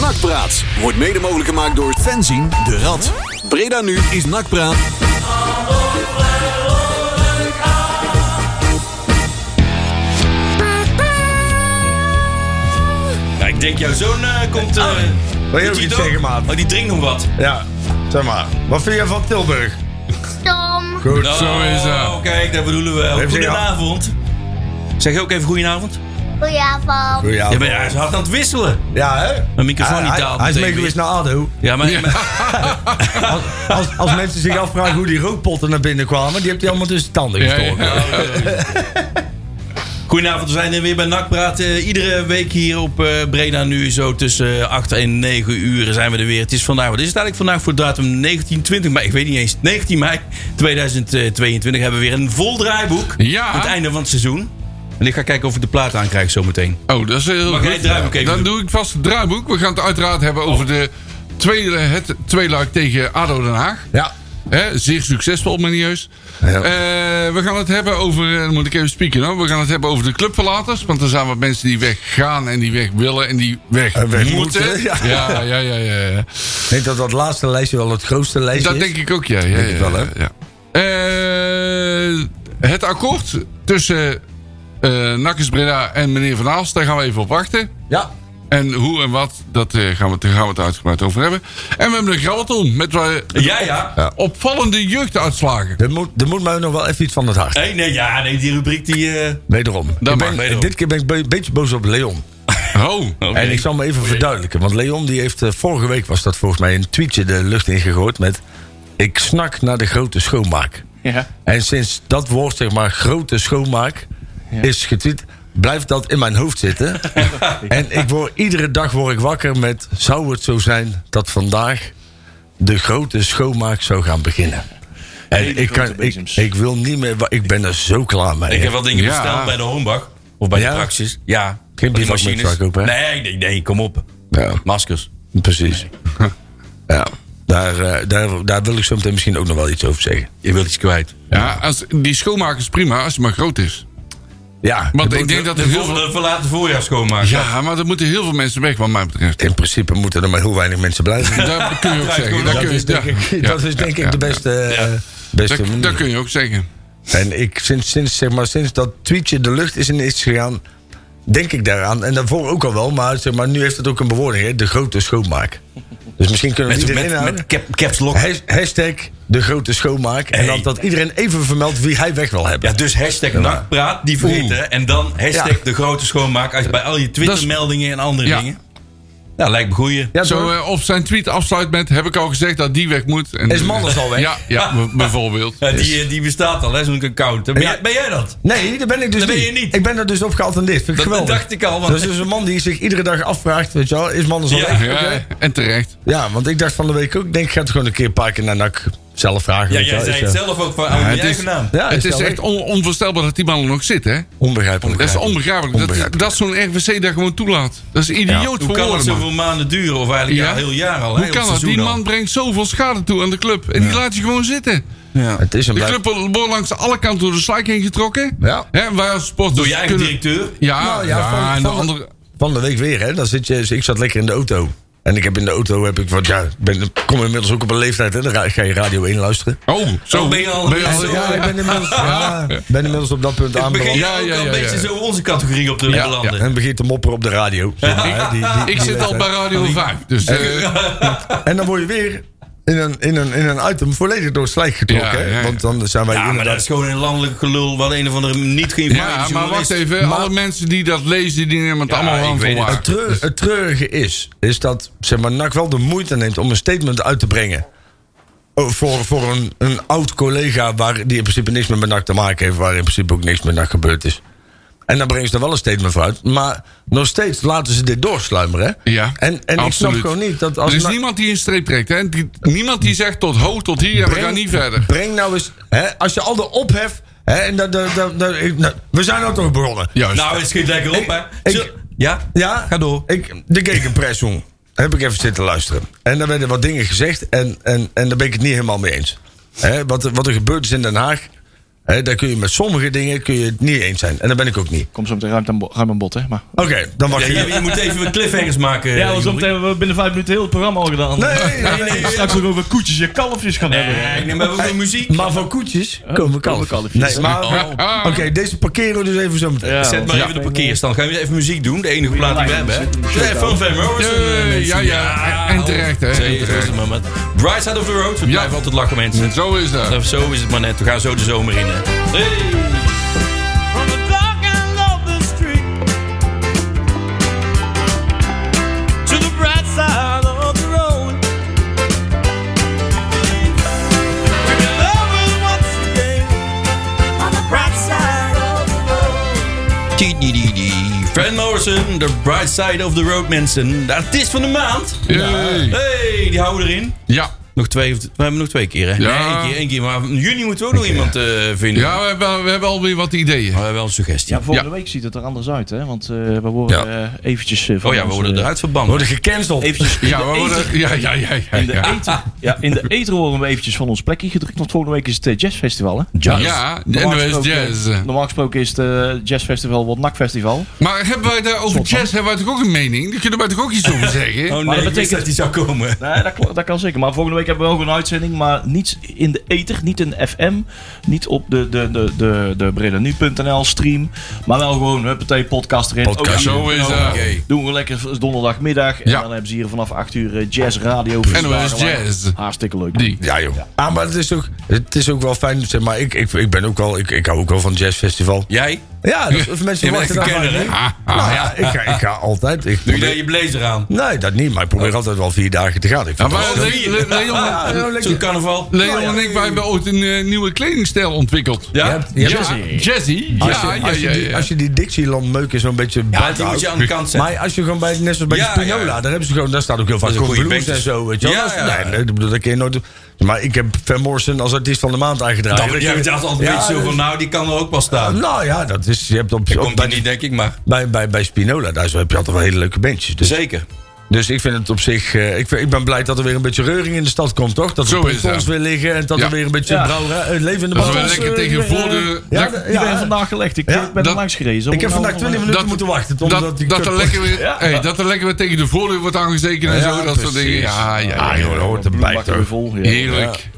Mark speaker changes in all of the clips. Speaker 1: Nakpraat wordt mede mogelijk gemaakt door Fenzin de Rad. Breda nu is Nakpraat.
Speaker 2: Ja, ik denk jouw zoon eh, komt... eh
Speaker 3: Wil je
Speaker 2: doet
Speaker 3: ook
Speaker 2: hij
Speaker 3: iets
Speaker 2: het
Speaker 3: zeggen, maat?
Speaker 2: Oh, die drinkt nog wat.
Speaker 3: Ja, zeg maar. Wat vind jij van Tilburg?
Speaker 4: Tom.
Speaker 3: Goed,
Speaker 5: Zo is dat.
Speaker 2: Oh, kijk, daar bedoelen we.
Speaker 3: Heeft hij-
Speaker 2: Goedenavond. Zeg je ook even goedenavond?
Speaker 4: Goedenavond.
Speaker 3: Ja,
Speaker 2: Ja, ben hij is hard aan het wisselen.
Speaker 3: ja, hè?
Speaker 2: Nou, Mijn microfoon
Speaker 3: Hij-
Speaker 2: niet
Speaker 3: hij-
Speaker 2: daalt
Speaker 3: Hij is
Speaker 2: meteen
Speaker 3: meegeweest
Speaker 2: weer.
Speaker 3: naar ADO.
Speaker 2: Ja, maar... maar-
Speaker 3: Als, als, als mensen zich afvragen hoe die rookpotten naar binnen kwamen, die hebt hij allemaal tussen de tanden
Speaker 5: Ja,
Speaker 3: gestoken.
Speaker 5: ja.
Speaker 2: Goedenavond, we zijn er weer bij Nakpraat. Eh, iedere week hier op eh, Breda nu, zo tussen eh, 8 en 9 uur zijn we er weer. Het is vandaag, wat is het eigenlijk vandaag voor datum 19, 20 mei? Ik weet niet eens. 19 mei 2022 hebben we weer een vol draaiboek.
Speaker 5: Ja.
Speaker 2: Aan het einde van het seizoen. En ik ga kijken of ik de plaat aankrijg zometeen.
Speaker 5: Oh, dat is
Speaker 2: Mag
Speaker 5: heel
Speaker 2: jij
Speaker 5: goed.
Speaker 2: het draaiboek even
Speaker 5: Dan
Speaker 2: doen?
Speaker 5: doe ik vast het draaiboek. We gaan het uiteraard hebben over de tweede, het tweeluik tegen ADO Den Haag.
Speaker 3: Ja.
Speaker 5: Hè, zeer succesvol, meneer
Speaker 3: Ja.
Speaker 5: Eh, we gaan het hebben over, eh, dan moet ik even spieken hoor. We gaan het hebben over de clubverlaters. Want er zijn wat mensen die weggaan en die weg willen en die weg,
Speaker 3: En Eh, weg
Speaker 5: moeten.
Speaker 3: moeten,
Speaker 5: Ja,
Speaker 3: ja.
Speaker 5: ja, ja, ja. ja.
Speaker 3: Ik denk dat dat laatste lijstje wel het grootste lijstje is.
Speaker 5: Dat denk ik ook, ja. ja,
Speaker 3: Denk
Speaker 5: ja,
Speaker 3: ik wel, hè?
Speaker 5: ja, ja. Eh, het akkoord tussen eh Nakkes Breda en meneer Van Aals, daar gaan we even op wachten.
Speaker 3: Ja.
Speaker 5: En hoe en wat, dat, eh, gaan we, daar gaan we het uitgebreid over hebben. En we hebben een grabbelton met eh,
Speaker 2: Ja, ja.
Speaker 5: opvallende jeugduitslagen.
Speaker 3: Er moet, er moet mij nog wel even iets van het hart.
Speaker 2: Nee, nee, ja, nee, die rubriek die... eh,
Speaker 3: Wederom. Ik
Speaker 5: mag,
Speaker 3: ben-
Speaker 2: wederom.
Speaker 3: Dit keer ben ik een beetje boos op Leon.
Speaker 5: Oh,
Speaker 2: Oké.
Speaker 3: En ik zal me even verduidelijken. Want Leon die heeft eh, vorige week was dat volgens mij een tweetje de lucht ingegooid met ik snak naar de grote schoonmaak.
Speaker 6: Ja.
Speaker 3: En sinds dat woord zeg maar grote schoonmaak is getweet, blijft dat in mijn hoofd zitten. en ik word, iedere dag word ik wakker met zou het zo zijn dat vandaag de grote schoonmaak zou gaan beginnen. En
Speaker 6: Hele
Speaker 3: ik, kan,
Speaker 6: grote
Speaker 3: ik,
Speaker 6: bezems.
Speaker 3: ik wil niet meer, wa- ik ben er zo klaar mee.
Speaker 2: Ik heb wel dingen
Speaker 5: Ja.
Speaker 2: besteld bij de Hornbach. Of bij
Speaker 3: Ja?
Speaker 2: de Praxis. Ja. Bij
Speaker 3: bivakmuts zou ik ook, hè?
Speaker 2: Nee, nee, nee, kom op.
Speaker 3: Ja.
Speaker 2: Maskers.
Speaker 3: Precies. Ja, daar, eh, daar, daar wil ik zo meteen misschien ook nog wel iets over zeggen.
Speaker 2: Je wilt iets kwijt.
Speaker 5: Ja, als, die schoonmaak is prima als het maar groot is.
Speaker 3: Ja,
Speaker 5: Want
Speaker 3: er
Speaker 5: ik
Speaker 3: moet-
Speaker 5: denk dat
Speaker 2: De
Speaker 5: er heel veel...
Speaker 2: volgende verlaten voorjaar schoonmaken.
Speaker 5: Ja, maar er moeten heel veel mensen weg, wat mij betreft.
Speaker 3: in principe moeten er maar heel weinig mensen blijven.
Speaker 5: Dat kun je ook
Speaker 2: Dat
Speaker 5: zeggen. Dat, kun je,
Speaker 3: is denk
Speaker 5: ja,
Speaker 3: ik,
Speaker 5: ja,
Speaker 3: dat is denk
Speaker 5: ja,
Speaker 3: ik de
Speaker 5: ja.
Speaker 3: beste, eh, beste
Speaker 5: Dat, dat
Speaker 3: manier.
Speaker 5: kun je ook zeggen.
Speaker 3: En ik, sinds, sinds, zeg maar, sinds dat tweetje de lucht is in is gegaan, denk ik daaraan. En daarvoor ook al wel, maar, zeg maar nu heeft het ook een bewoording: hè, de grote schoonmaak. Dus misschien kunnen we
Speaker 2: Met,
Speaker 3: iedereen
Speaker 2: met,
Speaker 3: inhouden.
Speaker 2: met cap, caps lock.
Speaker 3: Has- Hashtag de grote schoonmaak. En
Speaker 2: Hey.
Speaker 3: dan dat iedereen even vermeldt wie hij weg wil hebben.
Speaker 2: Ja, dus hashtag nakpraat, die vergeten. En dan hashtag
Speaker 3: Ja.
Speaker 2: de grote schoonmaak als bij al je Twitter-meldingen en andere
Speaker 5: Ja.
Speaker 2: dingen. Nou, lijkt me goeie.
Speaker 3: Ja,
Speaker 5: Zo,
Speaker 3: toch?
Speaker 5: eh, of zijn tweet afsluit met: heb ik al gezegd dat die weg moet? En,
Speaker 3: Is Manders al weg?
Speaker 5: Ja, ja b- bijvoorbeeld.
Speaker 2: Ja, die, eh, die bestaat al, hè, zo'n account. Ben,
Speaker 3: Ja.
Speaker 2: jij, ben jij dat?
Speaker 3: Nee, daar ben ik dus
Speaker 2: Daar ben
Speaker 3: niet.
Speaker 2: je niet.
Speaker 3: Ik ben er dus op geattendeerd. Vind ik
Speaker 2: Dat
Speaker 3: geweldig.
Speaker 2: dacht ik al, want-
Speaker 3: Dat is dus een man die zich iedere dag afvraagt, weet je wel, is mannen zo
Speaker 2: Ja.
Speaker 3: weg?
Speaker 5: Ja,
Speaker 3: Oké.
Speaker 5: en terecht.
Speaker 3: Ja, want ik dacht van de week ook, ik denk ik ga het gewoon een keer een paar keer naar NAC zelf vragen.
Speaker 2: Ja,
Speaker 3: weet je
Speaker 2: jij
Speaker 3: wel,
Speaker 2: zei
Speaker 3: is,
Speaker 2: het
Speaker 3: eh,
Speaker 2: zelf ook van oh, je
Speaker 5: het is-
Speaker 2: eigen naam.
Speaker 3: Ja,
Speaker 5: het is
Speaker 3: wel
Speaker 5: echt on- onvoorstelbaar dat die man er nog zit, hè?
Speaker 3: onbegrijpelijk.
Speaker 5: Dat is onbegrijpelijk. Dat,
Speaker 3: Onbegrijpelijk.
Speaker 5: dat zo'n RVC daar gewoon toelaat. Dat is idioot
Speaker 2: Hoe
Speaker 5: voor
Speaker 2: kan het
Speaker 5: woorden, man.
Speaker 2: zoveel maanden duren? Of eigenlijk ja,
Speaker 5: Ja.
Speaker 2: een heel jaar al. hè,
Speaker 5: Hoe
Speaker 2: of
Speaker 5: kan dat?
Speaker 2: seizoen
Speaker 5: Die
Speaker 2: al.
Speaker 5: man brengt zoveel schade toe aan de club. En die laat je gewoon zitten.
Speaker 3: Het is een
Speaker 5: De
Speaker 3: blijk-
Speaker 5: club wordt langs alle kanten door de slijk heen getrokken.
Speaker 3: Ja.
Speaker 5: Hè, wij als sporters
Speaker 2: Door je eigen
Speaker 5: kunnen-
Speaker 2: directeur?
Speaker 5: Ja,
Speaker 3: Nou
Speaker 5: ja,
Speaker 3: ja, van-
Speaker 5: en de
Speaker 3: van de-
Speaker 5: andere...
Speaker 3: Van de week weer, hè? Dan zit je, ik zat lekker in de auto. En ik heb in de auto, heb ik, want ja, ik ben, kom inmiddels ook op een leeftijd, hè? Dan ra- ga je Radio 1 luisteren.
Speaker 5: Oh, zo.
Speaker 2: Oh, ben je al-
Speaker 5: al-
Speaker 2: Zo,
Speaker 3: Ja, ik ben inmiddels, ja, ben inmiddels op dat punt
Speaker 2: Begin
Speaker 3: aanbeland.
Speaker 2: je
Speaker 5: Ja,
Speaker 2: ook
Speaker 5: ja,
Speaker 2: al een
Speaker 5: ja, ja.
Speaker 2: beetje zo onze categorie op te
Speaker 5: Ja,
Speaker 2: belanden?
Speaker 3: En begint te mopperen op de radio. zeg maar, hè, die- die- die
Speaker 5: Ik zit al
Speaker 3: leeftijd.
Speaker 5: bij Radio 5. Dus, eh,
Speaker 3: En dan word je weer in een, in een, in een item volledig door het slijk getrokken.
Speaker 5: Ja,
Speaker 3: hè?
Speaker 5: ja, ja.
Speaker 3: Want dan zijn wij
Speaker 2: Ja, maar dat is gewoon een landelijk gelul wat een of andere niet geïnformeerde
Speaker 5: ja, maar wacht
Speaker 2: journalist-
Speaker 5: even. Alle mensen die dat lezen, die nemen het allemaal
Speaker 2: ik
Speaker 5: aan
Speaker 2: weet
Speaker 5: voor
Speaker 2: het.
Speaker 5: waar.
Speaker 3: Het, treur- het treurige is, is dat zeg maar, NAC wel de moeite neemt om een statement uit te brengen. Oh, Voor, voor een, een oud collega waar, die in principe niks meer met NAC te maken heeft. Waar in principe ook niks met NAC gebeurd is. En dan brengen ze er wel een statement voor uit. Maar nog steeds laten ze dit doorsluimeren. hè?
Speaker 5: Ja,
Speaker 3: en en ik snap
Speaker 5: absoluut.
Speaker 3: gewoon niet dat als
Speaker 5: er is
Speaker 3: NAC-
Speaker 5: niemand die een streep trekt. Hè? Die- niemand die zegt tot ho, tot hier en we gaan niet verder.
Speaker 3: Breng nou eens, hè, als je al de ophef. Hè, en dat dat dat- dat- ik- nou, we zijn nou toch begonnen.
Speaker 5: Juist.
Speaker 2: Nou, het schiet lekker op,
Speaker 3: Ik-
Speaker 2: hè?
Speaker 3: ik-
Speaker 2: Zo- ja?
Speaker 3: Ja,
Speaker 2: Ga door.
Speaker 3: Ik, de Gegenpressung. Heb ik even zitten luisteren. En daar werden wat dingen gezegd. En, en, en daar ben ik het niet helemaal mee eens. Hè, wat, er- wat er gebeurd is in Den Haag. Hè, daar kun je met sommige dingen kun je het niet eens zijn. En daar ben ik ook niet.
Speaker 6: Komt zo meteen ruim aan, bo- ruim aan bod, hè? Maar
Speaker 3: Oké, dan mag
Speaker 2: Ja,
Speaker 3: je...
Speaker 2: je, je moet even wat cliffhangers maken.
Speaker 7: Ja, want
Speaker 2: Jorik.
Speaker 7: zometeen hebben we binnen vijf minuten heel het programma al gedaan.
Speaker 3: Nee, nee, nee, nee.
Speaker 7: Straks ook over koetjes en kalfjes gaan
Speaker 2: Nee,
Speaker 7: hebben.
Speaker 2: ik neem maar wel muziek.
Speaker 5: Nou,
Speaker 3: Maar van koetjes komen kalfjes. Nee, maar...
Speaker 5: Ah,
Speaker 3: Oké, deze parkeren we dus even zo meteen.
Speaker 7: Ja,
Speaker 2: Zet maar even de parkeerstand. Gaan we even muziek doen? De enige plaat die we hebben. hè? Ja, Van Van Morrison. eh,
Speaker 5: eh, ja,
Speaker 2: mensen.
Speaker 5: ja. En terecht, hè.
Speaker 2: Zee
Speaker 5: En
Speaker 2: is
Speaker 5: terecht.
Speaker 2: het maar met Bright Side of the Road. We blijven altijd lachen, mensen.
Speaker 5: Zo is dat.
Speaker 2: Of Zo is het maar net. We gaan zo de zomer in. hè. Hey.
Speaker 8: From the dark end of the street to the bright side of the road, when your love is once again on the bright side of the road.
Speaker 2: Tidididi. Van Morrison, The Bright Side of the Road, mensen. De artiest van de maand.
Speaker 5: Yay.
Speaker 2: Hey, die houden we erin.
Speaker 5: Ja.
Speaker 2: Nog twee, of- we hebben nog twee keer, hè?
Speaker 5: Ja.
Speaker 2: Nee, één keer, één keer. Maar in juni moeten we ook nog iemand eh, vinden.
Speaker 5: Ja, we hebben, we hebben alweer wat ideeën.
Speaker 2: Maar we hebben wel een suggestie.
Speaker 6: ja, volgende
Speaker 5: Ja.
Speaker 6: week ziet het er anders uit, hè? Want eh, we worden eh, eventjes... eh, van
Speaker 2: oh ja, we
Speaker 6: ons,
Speaker 2: worden
Speaker 6: eh,
Speaker 2: eruit verbannen.
Speaker 3: Worden gecanceld.
Speaker 6: Eventjes in
Speaker 5: Ja,
Speaker 6: de
Speaker 5: we
Speaker 6: ether-
Speaker 5: worden, ja, ja, ja, ja,
Speaker 6: In de,
Speaker 5: ja.
Speaker 6: ether, ja, in de ether worden we eventjes van ons plekje gedrukt. Want volgende week is het eh, jazzfestival, hè?
Speaker 2: Jazz.
Speaker 5: Ja, en er is jazz.
Speaker 6: Normaal gesproken is het eh, jazzfestival wat nakfestival.
Speaker 5: Maar hebben wij daar over
Speaker 6: Soms
Speaker 5: jazz hebben wij toch ook een mening? Daar kunnen wij toch ook iets over zeggen?
Speaker 2: Oh nee,
Speaker 6: Maar dat
Speaker 2: ik wist
Speaker 6: betekent-
Speaker 2: dat die zou komen.
Speaker 6: Nee, dat, klo- dat kan zeker. Maar volgende week hebben we ook een uitzending. Maar niet in de ether, niet in de FM. Niet op de, de, de, de, de bredanu.nl stream. Maar wel gewoon, huppatee, podcast erin.
Speaker 3: Podcast.
Speaker 6: Ook hier.
Speaker 5: Zo is
Speaker 6: Nou,
Speaker 5: dat.
Speaker 6: Doen we lekker donderdagmiddag. En
Speaker 5: Ja.
Speaker 6: dan hebben ze hier vanaf 8 uur eh, jazz, radio.
Speaker 5: NOS Jazz.
Speaker 6: Hartstikke leuk.
Speaker 5: Die.
Speaker 3: Ja, joh. Ah, maar het is ook, het is ook wel fijn. Zeg maar ik, ik, ik ben ook wel, ik, ik hou ook wel van het jazzfestival.
Speaker 2: Jij?
Speaker 3: Ja, dat, of mensen
Speaker 2: Je bent
Speaker 3: verwachten
Speaker 2: echt een
Speaker 3: daarvan
Speaker 2: kenner, hè?
Speaker 5: Ah,
Speaker 2: Ah,
Speaker 3: niet. Nou ja, ik ga, ik ga altijd. Ik
Speaker 2: Doe je Oh.
Speaker 3: probeer-
Speaker 2: daar je blazer aan? Oh,
Speaker 3: nee, dat niet, maar ik probeer altijd wel vier dagen te gaan. Ik
Speaker 2: Nou,
Speaker 5: Ja,
Speaker 3: vind
Speaker 5: maar
Speaker 3: dat-
Speaker 5: Le- Le- Leon,
Speaker 3: Ja, lekker.
Speaker 2: Ah, Zo'n carnaval?
Speaker 5: Leon en ik wij hebben ooit een eh, nieuwe kledingstijl ontwikkeld.
Speaker 3: Je
Speaker 2: Ja?
Speaker 3: hebt- je hebt-
Speaker 5: Jazzy.
Speaker 3: Als je,
Speaker 5: Ja, ja,
Speaker 3: als, je
Speaker 5: ja,
Speaker 3: die,
Speaker 5: ja.
Speaker 3: als je die Dixieland meuk is zo'n beetje
Speaker 2: Ja,
Speaker 3: buiten
Speaker 2: die moet je
Speaker 3: houdt.
Speaker 2: aan de kant zetten.
Speaker 3: Maar als je gewoon bij, net zoals bij
Speaker 2: Ja,
Speaker 3: de Spinola,
Speaker 2: ja.
Speaker 3: daar hebben ze gewoon, daar staat ook heel vaak
Speaker 2: Dat is een
Speaker 3: gewoon
Speaker 2: goede
Speaker 3: blues en
Speaker 2: bandjes.
Speaker 3: zo, weet je wel.
Speaker 2: Ja,
Speaker 3: Dat is-
Speaker 2: ja.
Speaker 3: Nee, nee, ik bedoel, dat kun je nooit Maar ik heb Van Morrison als artiest van de maand aangedragen.
Speaker 2: Dan, jij betaalt altijd
Speaker 3: Ja,
Speaker 2: een beetje zo
Speaker 3: dus-
Speaker 2: van, nou, die kan er ook wel staan.
Speaker 3: Nou ja, dat is, je hebt op, op-
Speaker 2: Komt
Speaker 3: bij,
Speaker 2: er niet, denk ik, maar...
Speaker 3: bij, bij, bij Spinola, daar zo heb je altijd wel hele leuke bandjes. Dus,
Speaker 2: Zeker.
Speaker 3: dus ik vind het op zich, eh, ik, vind- ik ben blij dat er weer een beetje reuring in de stad komt, toch? Dat
Speaker 5: Zo
Speaker 3: er
Speaker 5: is
Speaker 3: pontons
Speaker 5: dat.
Speaker 3: weer liggen en dat
Speaker 5: Ja.
Speaker 3: er weer een beetje
Speaker 6: Ja.
Speaker 3: brouwerij- eh, leven in de
Speaker 5: Dat we
Speaker 3: brouwerij-
Speaker 5: lekker tegen
Speaker 3: eh,
Speaker 5: voor de...
Speaker 3: Ja,
Speaker 6: Die
Speaker 3: ja, eh,
Speaker 6: ben vandaag gelegd. Ik
Speaker 3: Ja,
Speaker 6: ik ben
Speaker 5: dat-
Speaker 6: er langs gereden.
Speaker 3: ik heb vandaag 20 minuten
Speaker 5: dat-
Speaker 3: moeten wachten.
Speaker 5: Dat,
Speaker 3: Omdat die
Speaker 5: dat,
Speaker 3: kut-
Speaker 5: er lekker weer,
Speaker 6: Ja.
Speaker 5: hey, dat er lekker weer tegen de voordeur wordt aangezeken en
Speaker 3: Ja,
Speaker 5: zo. Dat soort
Speaker 3: precies.
Speaker 5: dingen. Ja, ja, ja.
Speaker 3: Ah, joh, dat hoort erbij
Speaker 6: minuten
Speaker 3: toch?
Speaker 6: vol. Ja.
Speaker 5: Heerlijk.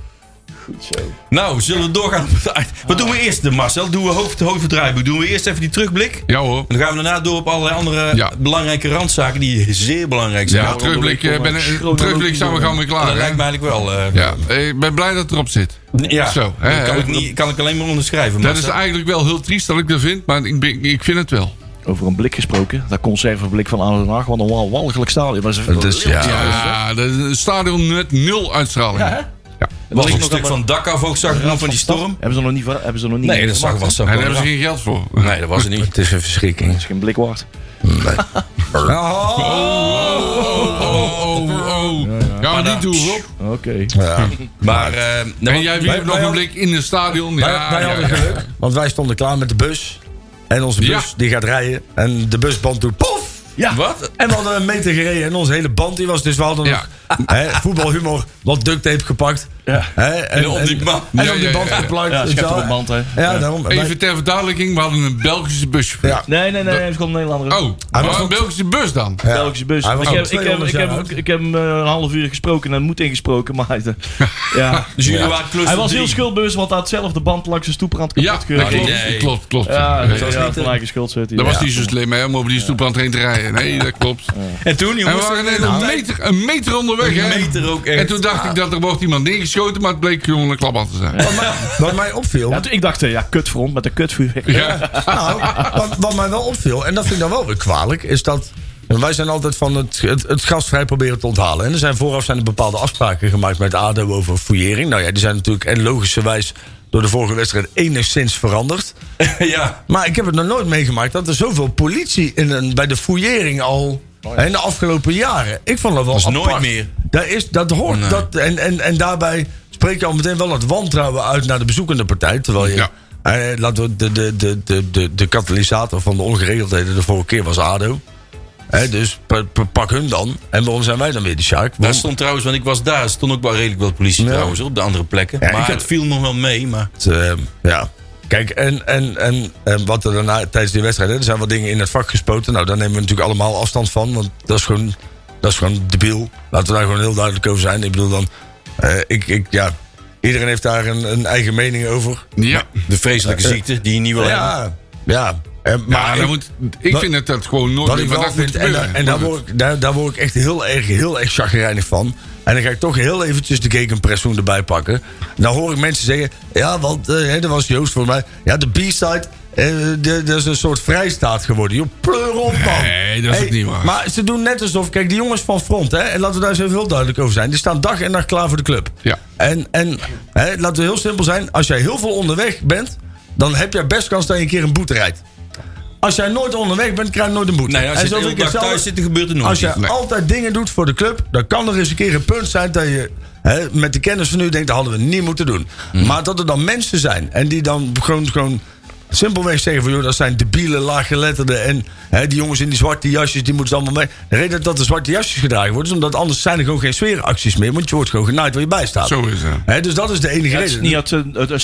Speaker 2: Nou, zullen we doorgaan? op het eind? Wat doen we eerst, eh, Marcel? Doen we hoofd, hoofdverdraaiboek? Doen we eerst even die terugblik? En
Speaker 5: Ja hoor.
Speaker 2: dan gaan we daarna door op allerlei andere
Speaker 5: Ja.
Speaker 2: belangrijke randzaken die zeer belangrijk zijn.
Speaker 5: Ja,
Speaker 2: dat
Speaker 5: terugblik, eh, ben, eh, terugblik zijn we gaan weer klaar. hè?
Speaker 2: lijkt mij eigenlijk wel. eh,
Speaker 5: Ja, ik ben blij dat het erop zit.
Speaker 2: ja.
Speaker 5: Zo,
Speaker 2: Dat
Speaker 5: hè,
Speaker 2: kan,
Speaker 5: hè.
Speaker 2: ik niet, kan ik alleen maar onderschrijven.
Speaker 5: Dat
Speaker 2: Marcel.
Speaker 5: is eigenlijk wel heel triest dat ik dat vind, maar ik, ben- ik vind het wel.
Speaker 6: Over een blik gesproken. Dat conserveblik van Arnhem Den Haag. Wat een wal- walgelijk stadion. Dat is een
Speaker 3: Dat is- ja.
Speaker 5: Ja, Ah, dat is een stadion met nul uitstraling.
Speaker 6: Ja, hè?
Speaker 2: Wat ik
Speaker 6: nog
Speaker 2: een stuk
Speaker 6: allemaal-
Speaker 2: van dak af ook zag van, van die storm.
Speaker 6: Hebben ze nog niet... ver- Hebben ze nog niet
Speaker 2: Nee, dat zag
Speaker 6: gemaakt,
Speaker 2: was Oh, zo.
Speaker 5: En daar hebben ze geen geld voor.
Speaker 2: Nee, dat was het niet.
Speaker 3: Het is een verschrikking.
Speaker 6: hè? is geen blik waard.
Speaker 5: Oh, oh, oh. Gaan we niet doen, Rob.
Speaker 6: Oké.
Speaker 2: Maar, eh, nee,
Speaker 5: En
Speaker 2: maar-
Speaker 5: jij wierp nog een blik in het stadion.
Speaker 3: Wij,
Speaker 5: Ja,
Speaker 3: wij
Speaker 5: ja,
Speaker 3: hadden
Speaker 5: ja.
Speaker 3: geluk, want wij stonden klaar met de bus. En onze bus
Speaker 5: Ja.
Speaker 3: die gaat rijden. En de busband doet pof!
Speaker 6: Ja.
Speaker 2: Wat?
Speaker 3: En we hadden een meter gereden en onze hele band die was dus we hadden
Speaker 5: Ja.
Speaker 3: nog hè, voetbalhumor, wat duct tape gepakt.
Speaker 6: Ja.
Speaker 3: Hè, en,
Speaker 2: En op die band.
Speaker 3: En,
Speaker 5: Ja,
Speaker 3: op die
Speaker 5: ja,
Speaker 3: band
Speaker 5: ja, ja.
Speaker 3: geplakt.
Speaker 6: Ja,
Speaker 3: weet je wel.
Speaker 6: schitterend band, hè?
Speaker 3: Ja, daarom. Wij-
Speaker 5: Even ter verduidelijking, we hadden een Belgische buschauffeur.
Speaker 3: Ja.
Speaker 6: Nee, nee, nee. Het komt een heel andere...
Speaker 5: Oh,
Speaker 3: Hij was
Speaker 5: maar een
Speaker 3: ook-
Speaker 5: Belgische bus dan?
Speaker 3: ja.
Speaker 6: Belgische bus.
Speaker 3: Hij
Speaker 6: Ik
Speaker 3: was
Speaker 6: heb,
Speaker 3: al
Speaker 6: ik, heb,
Speaker 3: 200
Speaker 6: ik,
Speaker 3: jaar
Speaker 6: heb,
Speaker 3: oud.
Speaker 6: ik heb hem eh, een half uur gesproken en moed ingesproken. Maar hij, ja.
Speaker 2: Dus jullie waren cluster
Speaker 6: hij was heel
Speaker 2: drie.
Speaker 6: schuldbewust, want hij had zelf de band langs de stoeprand kapot
Speaker 5: Ja, dat
Speaker 6: geurkt.
Speaker 5: klopt.
Speaker 2: Nee,
Speaker 5: klopt,
Speaker 2: nee.
Speaker 5: klopt, klopt.
Speaker 6: Ja,
Speaker 5: Nee,
Speaker 6: dat was niet van eigen schuld. zit hij.
Speaker 5: Dat was
Speaker 6: Ja.
Speaker 5: niet zo slim hè, om over die stoeprand heen te rijden. Nee, dat klopt.
Speaker 2: En toen,
Speaker 5: En we
Speaker 2: jongens, eh,
Speaker 5: waren net
Speaker 3: Nou,
Speaker 5: een meter, een meter onderweg hè.
Speaker 2: een meter ook echt.
Speaker 5: En toen dacht ik dat er wordt iemand neergeschoten, maar het bleek gewoon een klapband te zijn.
Speaker 3: Wat mij, wat mij opviel,
Speaker 6: Ja, toen- ik dacht, eh, ja, kutfront met een kutvuur.
Speaker 5: Ja.
Speaker 3: nou, wat, wat mij wel opviel, en dat vind ik dan wel weer kwalijk, is dat. en Wij zijn altijd van het, het, het gasvrij proberen te onthalen. En er zijn vooraf zijn er bepaalde afspraken gemaakt met ADO over fouillering. Nou ja, die zijn natuurlijk en logischerwijs door de vorige wedstrijd enigszins veranderd.
Speaker 2: ja.
Speaker 3: Maar ik heb het nog nooit meegemaakt dat er zoveel politie in een, bij de fouillering al... hè, In de afgelopen jaren. Ik vond dat wel
Speaker 2: Oh Dat is
Speaker 3: apart.
Speaker 2: nooit meer.
Speaker 3: Dat, is, dat hoort.
Speaker 2: Nee.
Speaker 3: Dat, en, en, en daarbij spreek je al meteen wel het wantrouwen uit naar de bezoekende partij. Terwijl je...
Speaker 5: Ja.
Speaker 3: eh, laten we de, de, de, de, de, de katalysator van de ongeregeldheden de vorige keer was ADO. Hè, dus pa- pa- pak hun dan. En waarom zijn wij dan weer de Sjaak?
Speaker 2: Daar
Speaker 3: Want
Speaker 2: stond trouwens, want ik was daar, er stond ook wel redelijk wat politie
Speaker 3: Ja.
Speaker 2: trouwens op de andere plekken.
Speaker 3: Ja, ik
Speaker 2: maar
Speaker 3: heb-
Speaker 2: het viel nog wel mee, maar
Speaker 3: eh, ja. Kijk, en, en, en, en wat er daarna tijdens die wedstrijd... hè, er zijn wat dingen in het vak gespoten. Nou, daar nemen we natuurlijk allemaal afstand van. Want dat is gewoon, dat is gewoon debiel. Laten we daar gewoon heel duidelijk over zijn. Ik bedoel dan... eh, ik, ik, ja, iedereen heeft daar een, een eigen mening over.
Speaker 5: Ja.
Speaker 2: De vreselijke ziekte die je niet wil hebben.
Speaker 3: Ja, ja. Eh,
Speaker 5: Maar
Speaker 3: ik-
Speaker 5: dan moet, ik
Speaker 3: wat-
Speaker 5: vind dat dat gewoon nooit
Speaker 3: Wat
Speaker 5: meer
Speaker 3: ik wel
Speaker 5: vandaag moet
Speaker 3: vind, en,
Speaker 5: gebeuren.
Speaker 3: daar- en daar, word ik, daar, daar word ik echt heel erg, heel erg chagrijnig van. En dan ga ik toch heel eventjes de Gekenpressoen erbij pakken. Dan hoor ik mensen zeggen, ja, want eh, hè, dat was Joost voor mij. Ja, de B-side, eh, de- dat is een soort vrijstaat geworden. Joh, pleur op man.
Speaker 5: Nee, dat is ook niet waar.
Speaker 3: Maar ze doen net alsof, kijk, die jongens van Front, hè, en laten we daar eens even heel duidelijk over zijn. Die staan dag en nacht klaar voor de club.
Speaker 5: Ja.
Speaker 3: En, en hè, laten we heel simpel zijn, als jij heel veel onderweg bent, dan heb jij best kans dat je een keer een boete rijdt. Als jij nooit onderweg bent, krijg je nooit een boete.
Speaker 2: Nee, als
Speaker 3: En
Speaker 2: je
Speaker 3: zo
Speaker 2: de
Speaker 3: vind
Speaker 2: hele
Speaker 3: ik
Speaker 2: dag
Speaker 3: hetzelfde-
Speaker 2: thuis zit, dan gebeurt er nooit
Speaker 3: Als
Speaker 2: iets.
Speaker 3: jij
Speaker 5: Nee.
Speaker 3: altijd dingen doet voor de club, dan kan er eens een keer een punt zijn dat je. Hè, met de kennis van nu denkt, dat hadden we niet moeten doen.
Speaker 2: Mhm.
Speaker 3: Maar dat er dan mensen zijn en die dan gewoon, gewoon simpelweg zeggen van... joh, dat zijn debiele, laaggeletterden en hè, die jongens in die zwarte jasjes, die moeten ze allemaal mee. De reden dat de zwarte jasjes gedragen worden, is omdat anders zijn er gewoon geen sfeeracties meer... want je wordt gewoon genaaid waar je bij staat.
Speaker 5: Zo is het.
Speaker 3: Hè, dus dat is de enige
Speaker 6: Het
Speaker 3: reden.
Speaker 6: is niet uit een, uit een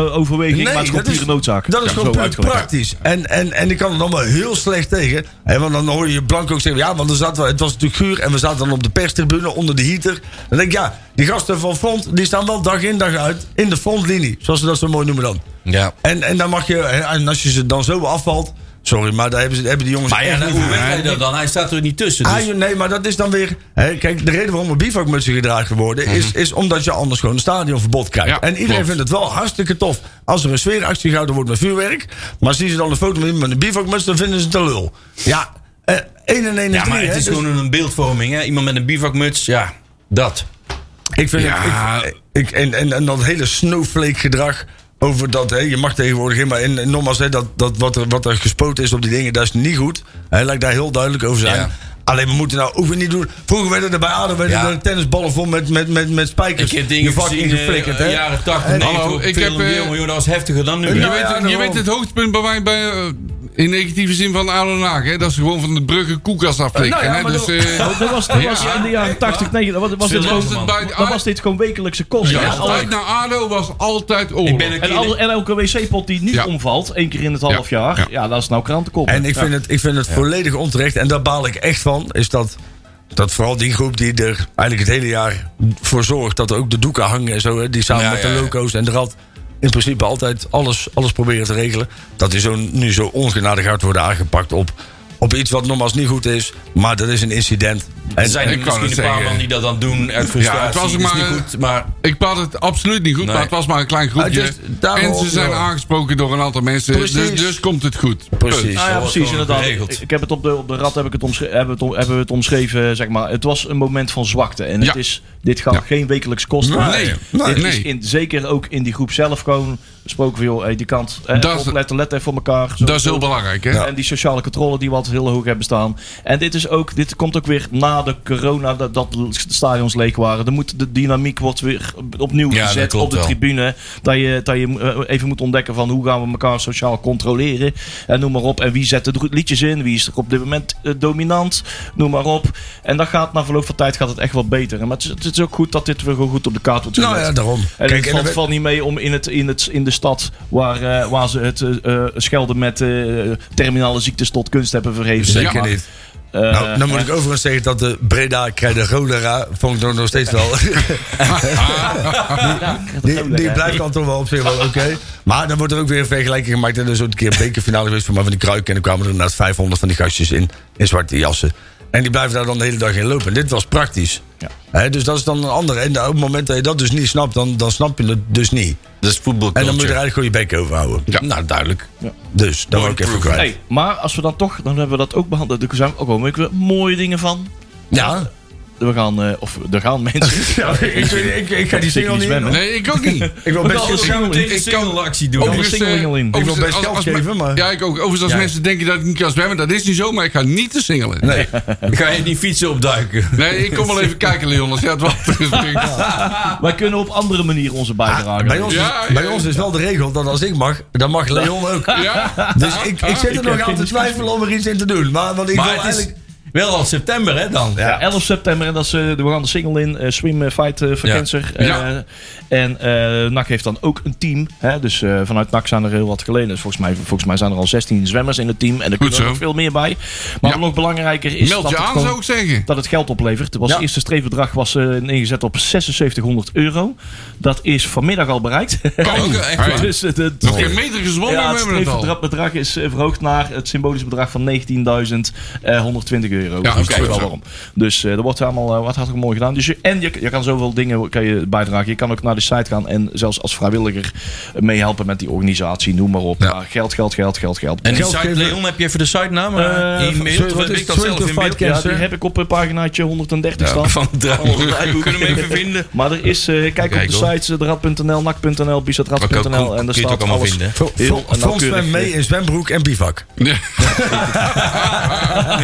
Speaker 6: stijloverweging, maar het is gewoon
Speaker 3: dat
Speaker 6: pure noodzaak.
Speaker 3: Dat is
Speaker 6: Ja,
Speaker 3: gewoon
Speaker 6: zo
Speaker 3: puur
Speaker 6: uitgelegd.
Speaker 3: praktisch. En, en, en ik kan er dan wel heel slecht tegen. Hè, want dan hoor je Blanco ook zeggen... ja, want er zaten we, het was natuurlijk guur... en we zaten dan op de perstribune onder de heater. Dan denk ik, ja, die gasten van Front... die staan wel dag in dag uit in de frontlinie. Zoals ze dat zo mooi noemen dan.
Speaker 2: Ja.
Speaker 3: En, en, dan mag je, en als je ze dan zo afvalt... sorry, maar daar hebben, ze, hebben die jongens...
Speaker 2: Maar ja,
Speaker 3: echt
Speaker 2: dan,
Speaker 3: niet
Speaker 2: hoe
Speaker 3: voor.
Speaker 2: weet hij dat dan? Hij staat er niet tussen.
Speaker 3: Ah,
Speaker 2: Dus.
Speaker 3: joh, nee, maar dat is dan weer. Hè, kijk, de reden waarom er bivakmutsen gedragen worden.
Speaker 2: Mhm.
Speaker 3: is, is omdat je anders gewoon een stadionverbod krijgt.
Speaker 5: Ja,
Speaker 3: en iedereen
Speaker 5: klopt.
Speaker 3: vindt het wel hartstikke tof. als er een sfeeractie gehouden wordt met vuurwerk. maar zien ze dan een foto met iemand met een bivakmuts. dan vinden ze het een lul. Ja, eh, één en één is
Speaker 2: Ja, maar
Speaker 3: drie,
Speaker 2: het
Speaker 3: hè,
Speaker 2: is
Speaker 3: dus
Speaker 2: gewoon een beeldvorming. Hè? Iemand met een bivakmuts, ja, dat.
Speaker 3: Ik vind
Speaker 5: Ja.
Speaker 3: het. Ik, ik- en, en, en dat hele snowflake gedrag. Over dat, hè, je mag tegenwoordig in, maar en, en nogmaals, hè, dat, dat wat, er, wat er gespoten is op die dingen, dat is niet goed. Hè, laat ik daar heel duidelijk over zijn.
Speaker 2: Ja.
Speaker 3: Alleen we moeten nou ook weer niet doen. Vroeger werden er bij ADO werden
Speaker 2: Ja.
Speaker 3: er tennisballen vol met, met, met, met spijkers.
Speaker 2: Ik heb dingen
Speaker 3: je vak
Speaker 2: gezien
Speaker 3: ingeflikkerd,
Speaker 2: in
Speaker 3: hè?
Speaker 2: de jaren 80,
Speaker 3: En-
Speaker 2: 90.
Speaker 5: Hallo,
Speaker 2: op
Speaker 5: ik
Speaker 2: film,
Speaker 5: heb, eh,
Speaker 2: jongen, jongen, dat was heftiger dan nu.
Speaker 5: Je,
Speaker 2: Ja.
Speaker 5: weet,
Speaker 3: ja,
Speaker 5: je
Speaker 3: daarom.
Speaker 5: weet het hoogtepunt bij mij bij, eh, in negatieve zin van Ado Den Haag, hè? Dat ze gewoon van de bruggen koelkast afprikken.
Speaker 3: Nou ja,
Speaker 5: hè?
Speaker 3: maar
Speaker 5: Dus,
Speaker 3: dat-
Speaker 5: eh,
Speaker 6: Dat was, dat was in de jaren 80, 90. Dat was, dit
Speaker 2: Veel
Speaker 5: was
Speaker 6: gewoon,
Speaker 2: man.
Speaker 5: het bij de
Speaker 6: dan was dit gewoon wekelijkse kost.
Speaker 5: Ja,
Speaker 6: En
Speaker 5: altijd
Speaker 6: alle-
Speaker 5: naar ADO was altijd oorlog.
Speaker 2: Ik ben een
Speaker 6: en,
Speaker 2: keer-
Speaker 6: alle- en elke wc-pot die niet
Speaker 5: Ja.
Speaker 6: omvalt, één keer in het half
Speaker 5: Ja.
Speaker 6: jaar.
Speaker 5: Ja.
Speaker 6: Ja, dat is nou krantenkop.
Speaker 3: En ik vind het, ik vind het volledig onterecht. En daar baal ik echt van. Is dat, dat vooral die groep die er eigenlijk het hele jaar voor zorgt. Dat er ook de doeken hangen en zo. Hè, die samen
Speaker 2: Ja,
Speaker 3: met
Speaker 2: ja,
Speaker 3: de
Speaker 2: ja.
Speaker 3: loco's en de rad. In principe altijd alles, alles proberen te regelen. Dat die zo, nu zo ongenadig hard worden aangepakt op, op iets wat nogmaals niet goed is. Maar dat is een incident. En
Speaker 2: Er zijn
Speaker 5: Ik
Speaker 2: er
Speaker 5: kan
Speaker 2: misschien een
Speaker 5: het
Speaker 2: paar
Speaker 5: zeggen.
Speaker 2: man die dat dan doen uit frustratie.
Speaker 5: Ja, het was
Speaker 2: is
Speaker 5: maar-
Speaker 2: niet goed, maar...
Speaker 5: Ik praat het absoluut niet goed,
Speaker 2: Nee.
Speaker 5: maar het was maar een klein groepje.
Speaker 3: Het is daarom-
Speaker 5: en ze zijn
Speaker 3: ja.
Speaker 5: aangesproken door een aantal mensen, dus,
Speaker 3: Precies.
Speaker 5: dus komt het goed. Punt.
Speaker 3: precies.
Speaker 6: Nou ja,
Speaker 2: wordt
Speaker 6: precies,
Speaker 2: gewoon
Speaker 6: inderdaad.
Speaker 2: geregeld.
Speaker 6: Ik, ik heb het op de, op de rad heb ik het omschre- hebben, we het om- hebben we het omschreven, zeg maar. Het was een moment van zwakte. En
Speaker 5: Ja.
Speaker 6: het is, dit gaat
Speaker 5: Ja.
Speaker 6: geen wekelijks kosten.
Speaker 5: Nee, nee,
Speaker 6: dit
Speaker 5: nee.
Speaker 6: Is in, zeker ook in die groep zelf gewoon besproken van, joh, hey, die kant, eh,
Speaker 5: Dat is-
Speaker 6: opletten, let even voor elkaar. Zo-
Speaker 5: Dat is heel belangrijk, hè?
Speaker 6: En die sociale controle die we altijd heel hoog hebben staan. En dit, is ook, dit komt ook weer na de corona, dat, dat de stadions leeg waren. Dan moet de dynamiek wordt weer opnieuw
Speaker 2: Ja, dat
Speaker 6: gezet
Speaker 2: klopt
Speaker 6: op de
Speaker 2: wel.
Speaker 6: tribune. Dat je, dat je eh, even moet ontdekken van hoe gaan we elkaar sociaal controleren. En noem maar op. En wie zet de dro- liedjes in? Wie is er op dit moment eh, dominant? Noem maar op. En dat gaat na verloop van tijd gaat het echt wel beter. Maar het is, het is ook goed dat dit weer gewoon goed op de kaart wordt gezet.
Speaker 3: Nou ja, daarom.
Speaker 6: En
Speaker 3: Kijk,
Speaker 6: het
Speaker 3: en
Speaker 6: valt,
Speaker 3: dan-
Speaker 6: valt niet mee om in, het, in, het, in de stad waar, eh, waar ze het eh, eh, schelden met eh, terminale ziektes tot kunst hebben verheven.
Speaker 3: Zeker
Speaker 5: Ja.
Speaker 3: niet.
Speaker 6: Eh,
Speaker 3: Nou, dan moet ik overigens zeggen dat de Breda krijgt de cholera. Vond ik nog- nog steeds wel. Die, die blijft dan toch wel op zich wel oké. Maar dan wordt er ook weer een vergelijking gemaakt. En er is ook een keer een bekerfinale geweest voor mij van die kruiken. En er kwamen er inderdaad 500 van die gastjes in, in zwarte jassen. En die blijven daar dan de hele dag in lopen. En dit was praktisch.
Speaker 6: Ja.
Speaker 3: Hè, dus dat is dan een andere. En op het moment dat je dat dus niet snapt, dan, dan snap je het dus niet.
Speaker 2: Dat is voetbal.
Speaker 3: En dan moet je er eigenlijk gewoon je bek over houden.
Speaker 2: Nou, duidelijk.
Speaker 3: Dus, dat wou ik even kwijt.
Speaker 6: Hey, maar als we dan toch, dan hebben we dat ook behandeld. Er zijn ook wel weer mooie dingen van.
Speaker 3: Ja.
Speaker 6: We gaan, eh, of er gaan mensen.
Speaker 3: ik, ik, ik ga die
Speaker 6: single niet in, hoor.
Speaker 5: Nee, ik ook niet.
Speaker 3: Ik wil best
Speaker 2: Dus gaan we meteen een
Speaker 5: Ik kan-
Speaker 2: singelactie doen.
Speaker 6: Overigens-
Speaker 5: eh,
Speaker 6: single in. Ik
Speaker 3: wil
Speaker 5: overigens,
Speaker 3: best geld geven, maar-
Speaker 5: Ja, ik ook. Overigens, als
Speaker 2: Ja.
Speaker 5: mensen denken dat ik niet kan zwemmen, dat is niet zo, maar ik ga niet te singelen. Nee,
Speaker 3: Nee.
Speaker 2: Ga je die fietsen opduiken?
Speaker 5: ik kom wel even kijken, Leon, als jij het water springt.
Speaker 6: Wij kunnen op andere manier onze bijdrage.
Speaker 3: Ah, Bij ons,
Speaker 5: Ja,
Speaker 3: is,
Speaker 5: ja,
Speaker 3: bij ons is wel de regel dat als ik mag, dan mag Leon ook.
Speaker 5: Ja?
Speaker 3: Dus ik, ik zit er
Speaker 6: heb
Speaker 3: nog aan
Speaker 6: geen
Speaker 3: te twijfelen om er iets in te doen. Maar want ik
Speaker 2: Maar
Speaker 3: wil
Speaker 2: het is,
Speaker 3: eigenlijk...
Speaker 2: Wel al september, hè, dan.
Speaker 6: Ja, 11 september en dat is, eh, we gaan de single in, eh, Swim eh, Fight eh, for
Speaker 2: Ja.
Speaker 6: Cancer.
Speaker 5: Ja.
Speaker 6: Eh, en eh NAC heeft dan ook een team. Hè? Dus eh, vanuit NAC zijn er heel wat geleden. Dus volgens mij, volgens mij zijn er al 16 zwemmers in het team. En er kunnen er
Speaker 5: zo.
Speaker 6: nog veel meer bij. Maar
Speaker 5: Ja.
Speaker 6: nog belangrijker is
Speaker 5: Meld
Speaker 6: dat
Speaker 5: je
Speaker 6: het
Speaker 5: aan,
Speaker 6: gewoon-
Speaker 5: zou ik zeggen.
Speaker 6: dat het geld oplevert. Het was
Speaker 2: Ja.
Speaker 6: eerste streefbedrag was eh, ingezet op 7600 euro. Dat is vanmiddag al bereikt.
Speaker 5: Kan, echt waar.
Speaker 6: dus het, het,
Speaker 5: Nog geen meter gezwommen,
Speaker 6: ja,
Speaker 5: we
Speaker 6: het
Speaker 5: hebben het al.
Speaker 6: streefbedrag is eh, verhoogd naar het symbolische bedrag van 19.120 euro.
Speaker 5: Ja,
Speaker 6: Dus
Speaker 5: oké,
Speaker 6: dat is wel
Speaker 5: zo.
Speaker 6: waarom. Dus eh dat wordt allemaal eh, wat hartstikke mooi gedaan. Dus je, en je, je kan zoveel dingen kan je bijdragen. Je kan ook naar de site gaan en zelfs als vrijwilliger eh, meehelpen met die organisatie. Noem maar op.
Speaker 5: Ja.
Speaker 6: Maar geld, geld, geld, geld, geld.
Speaker 2: En die
Speaker 3: Geld
Speaker 2: site,
Speaker 3: geven-
Speaker 2: Leon, heb je even de sitenaam?
Speaker 6: Eh,
Speaker 2: eh, in
Speaker 6: sorry,
Speaker 2: beeld? Of
Speaker 3: wat
Speaker 2: heb
Speaker 3: is
Speaker 2: ik dat
Speaker 3: het?
Speaker 2: zelf in
Speaker 3: Twenty
Speaker 2: beeld?
Speaker 3: Five
Speaker 6: ja,
Speaker 3: Cancer?
Speaker 6: die heb ik op een paginaatje 130 staan.
Speaker 2: Van het draaiboek.
Speaker 6: Oh, het draaiboek.
Speaker 2: Kunnen we hem even vinden?
Speaker 6: Maar er is, eh, kijk op
Speaker 2: Kijk,
Speaker 6: de
Speaker 2: hoor.
Speaker 6: sites, eh, derad.nl, nak.nl,
Speaker 2: Oké, cool.
Speaker 6: bisatrat.nl en
Speaker 2: Kun
Speaker 6: daar
Speaker 2: je het ook
Speaker 6: staat
Speaker 2: allemaal
Speaker 6: alles.
Speaker 2: vinden.
Speaker 6: heel
Speaker 3: Frans
Speaker 6: nauwkeurig. eh,
Speaker 3: zwemt mee in zwembroek en bivak.
Speaker 5: Ja,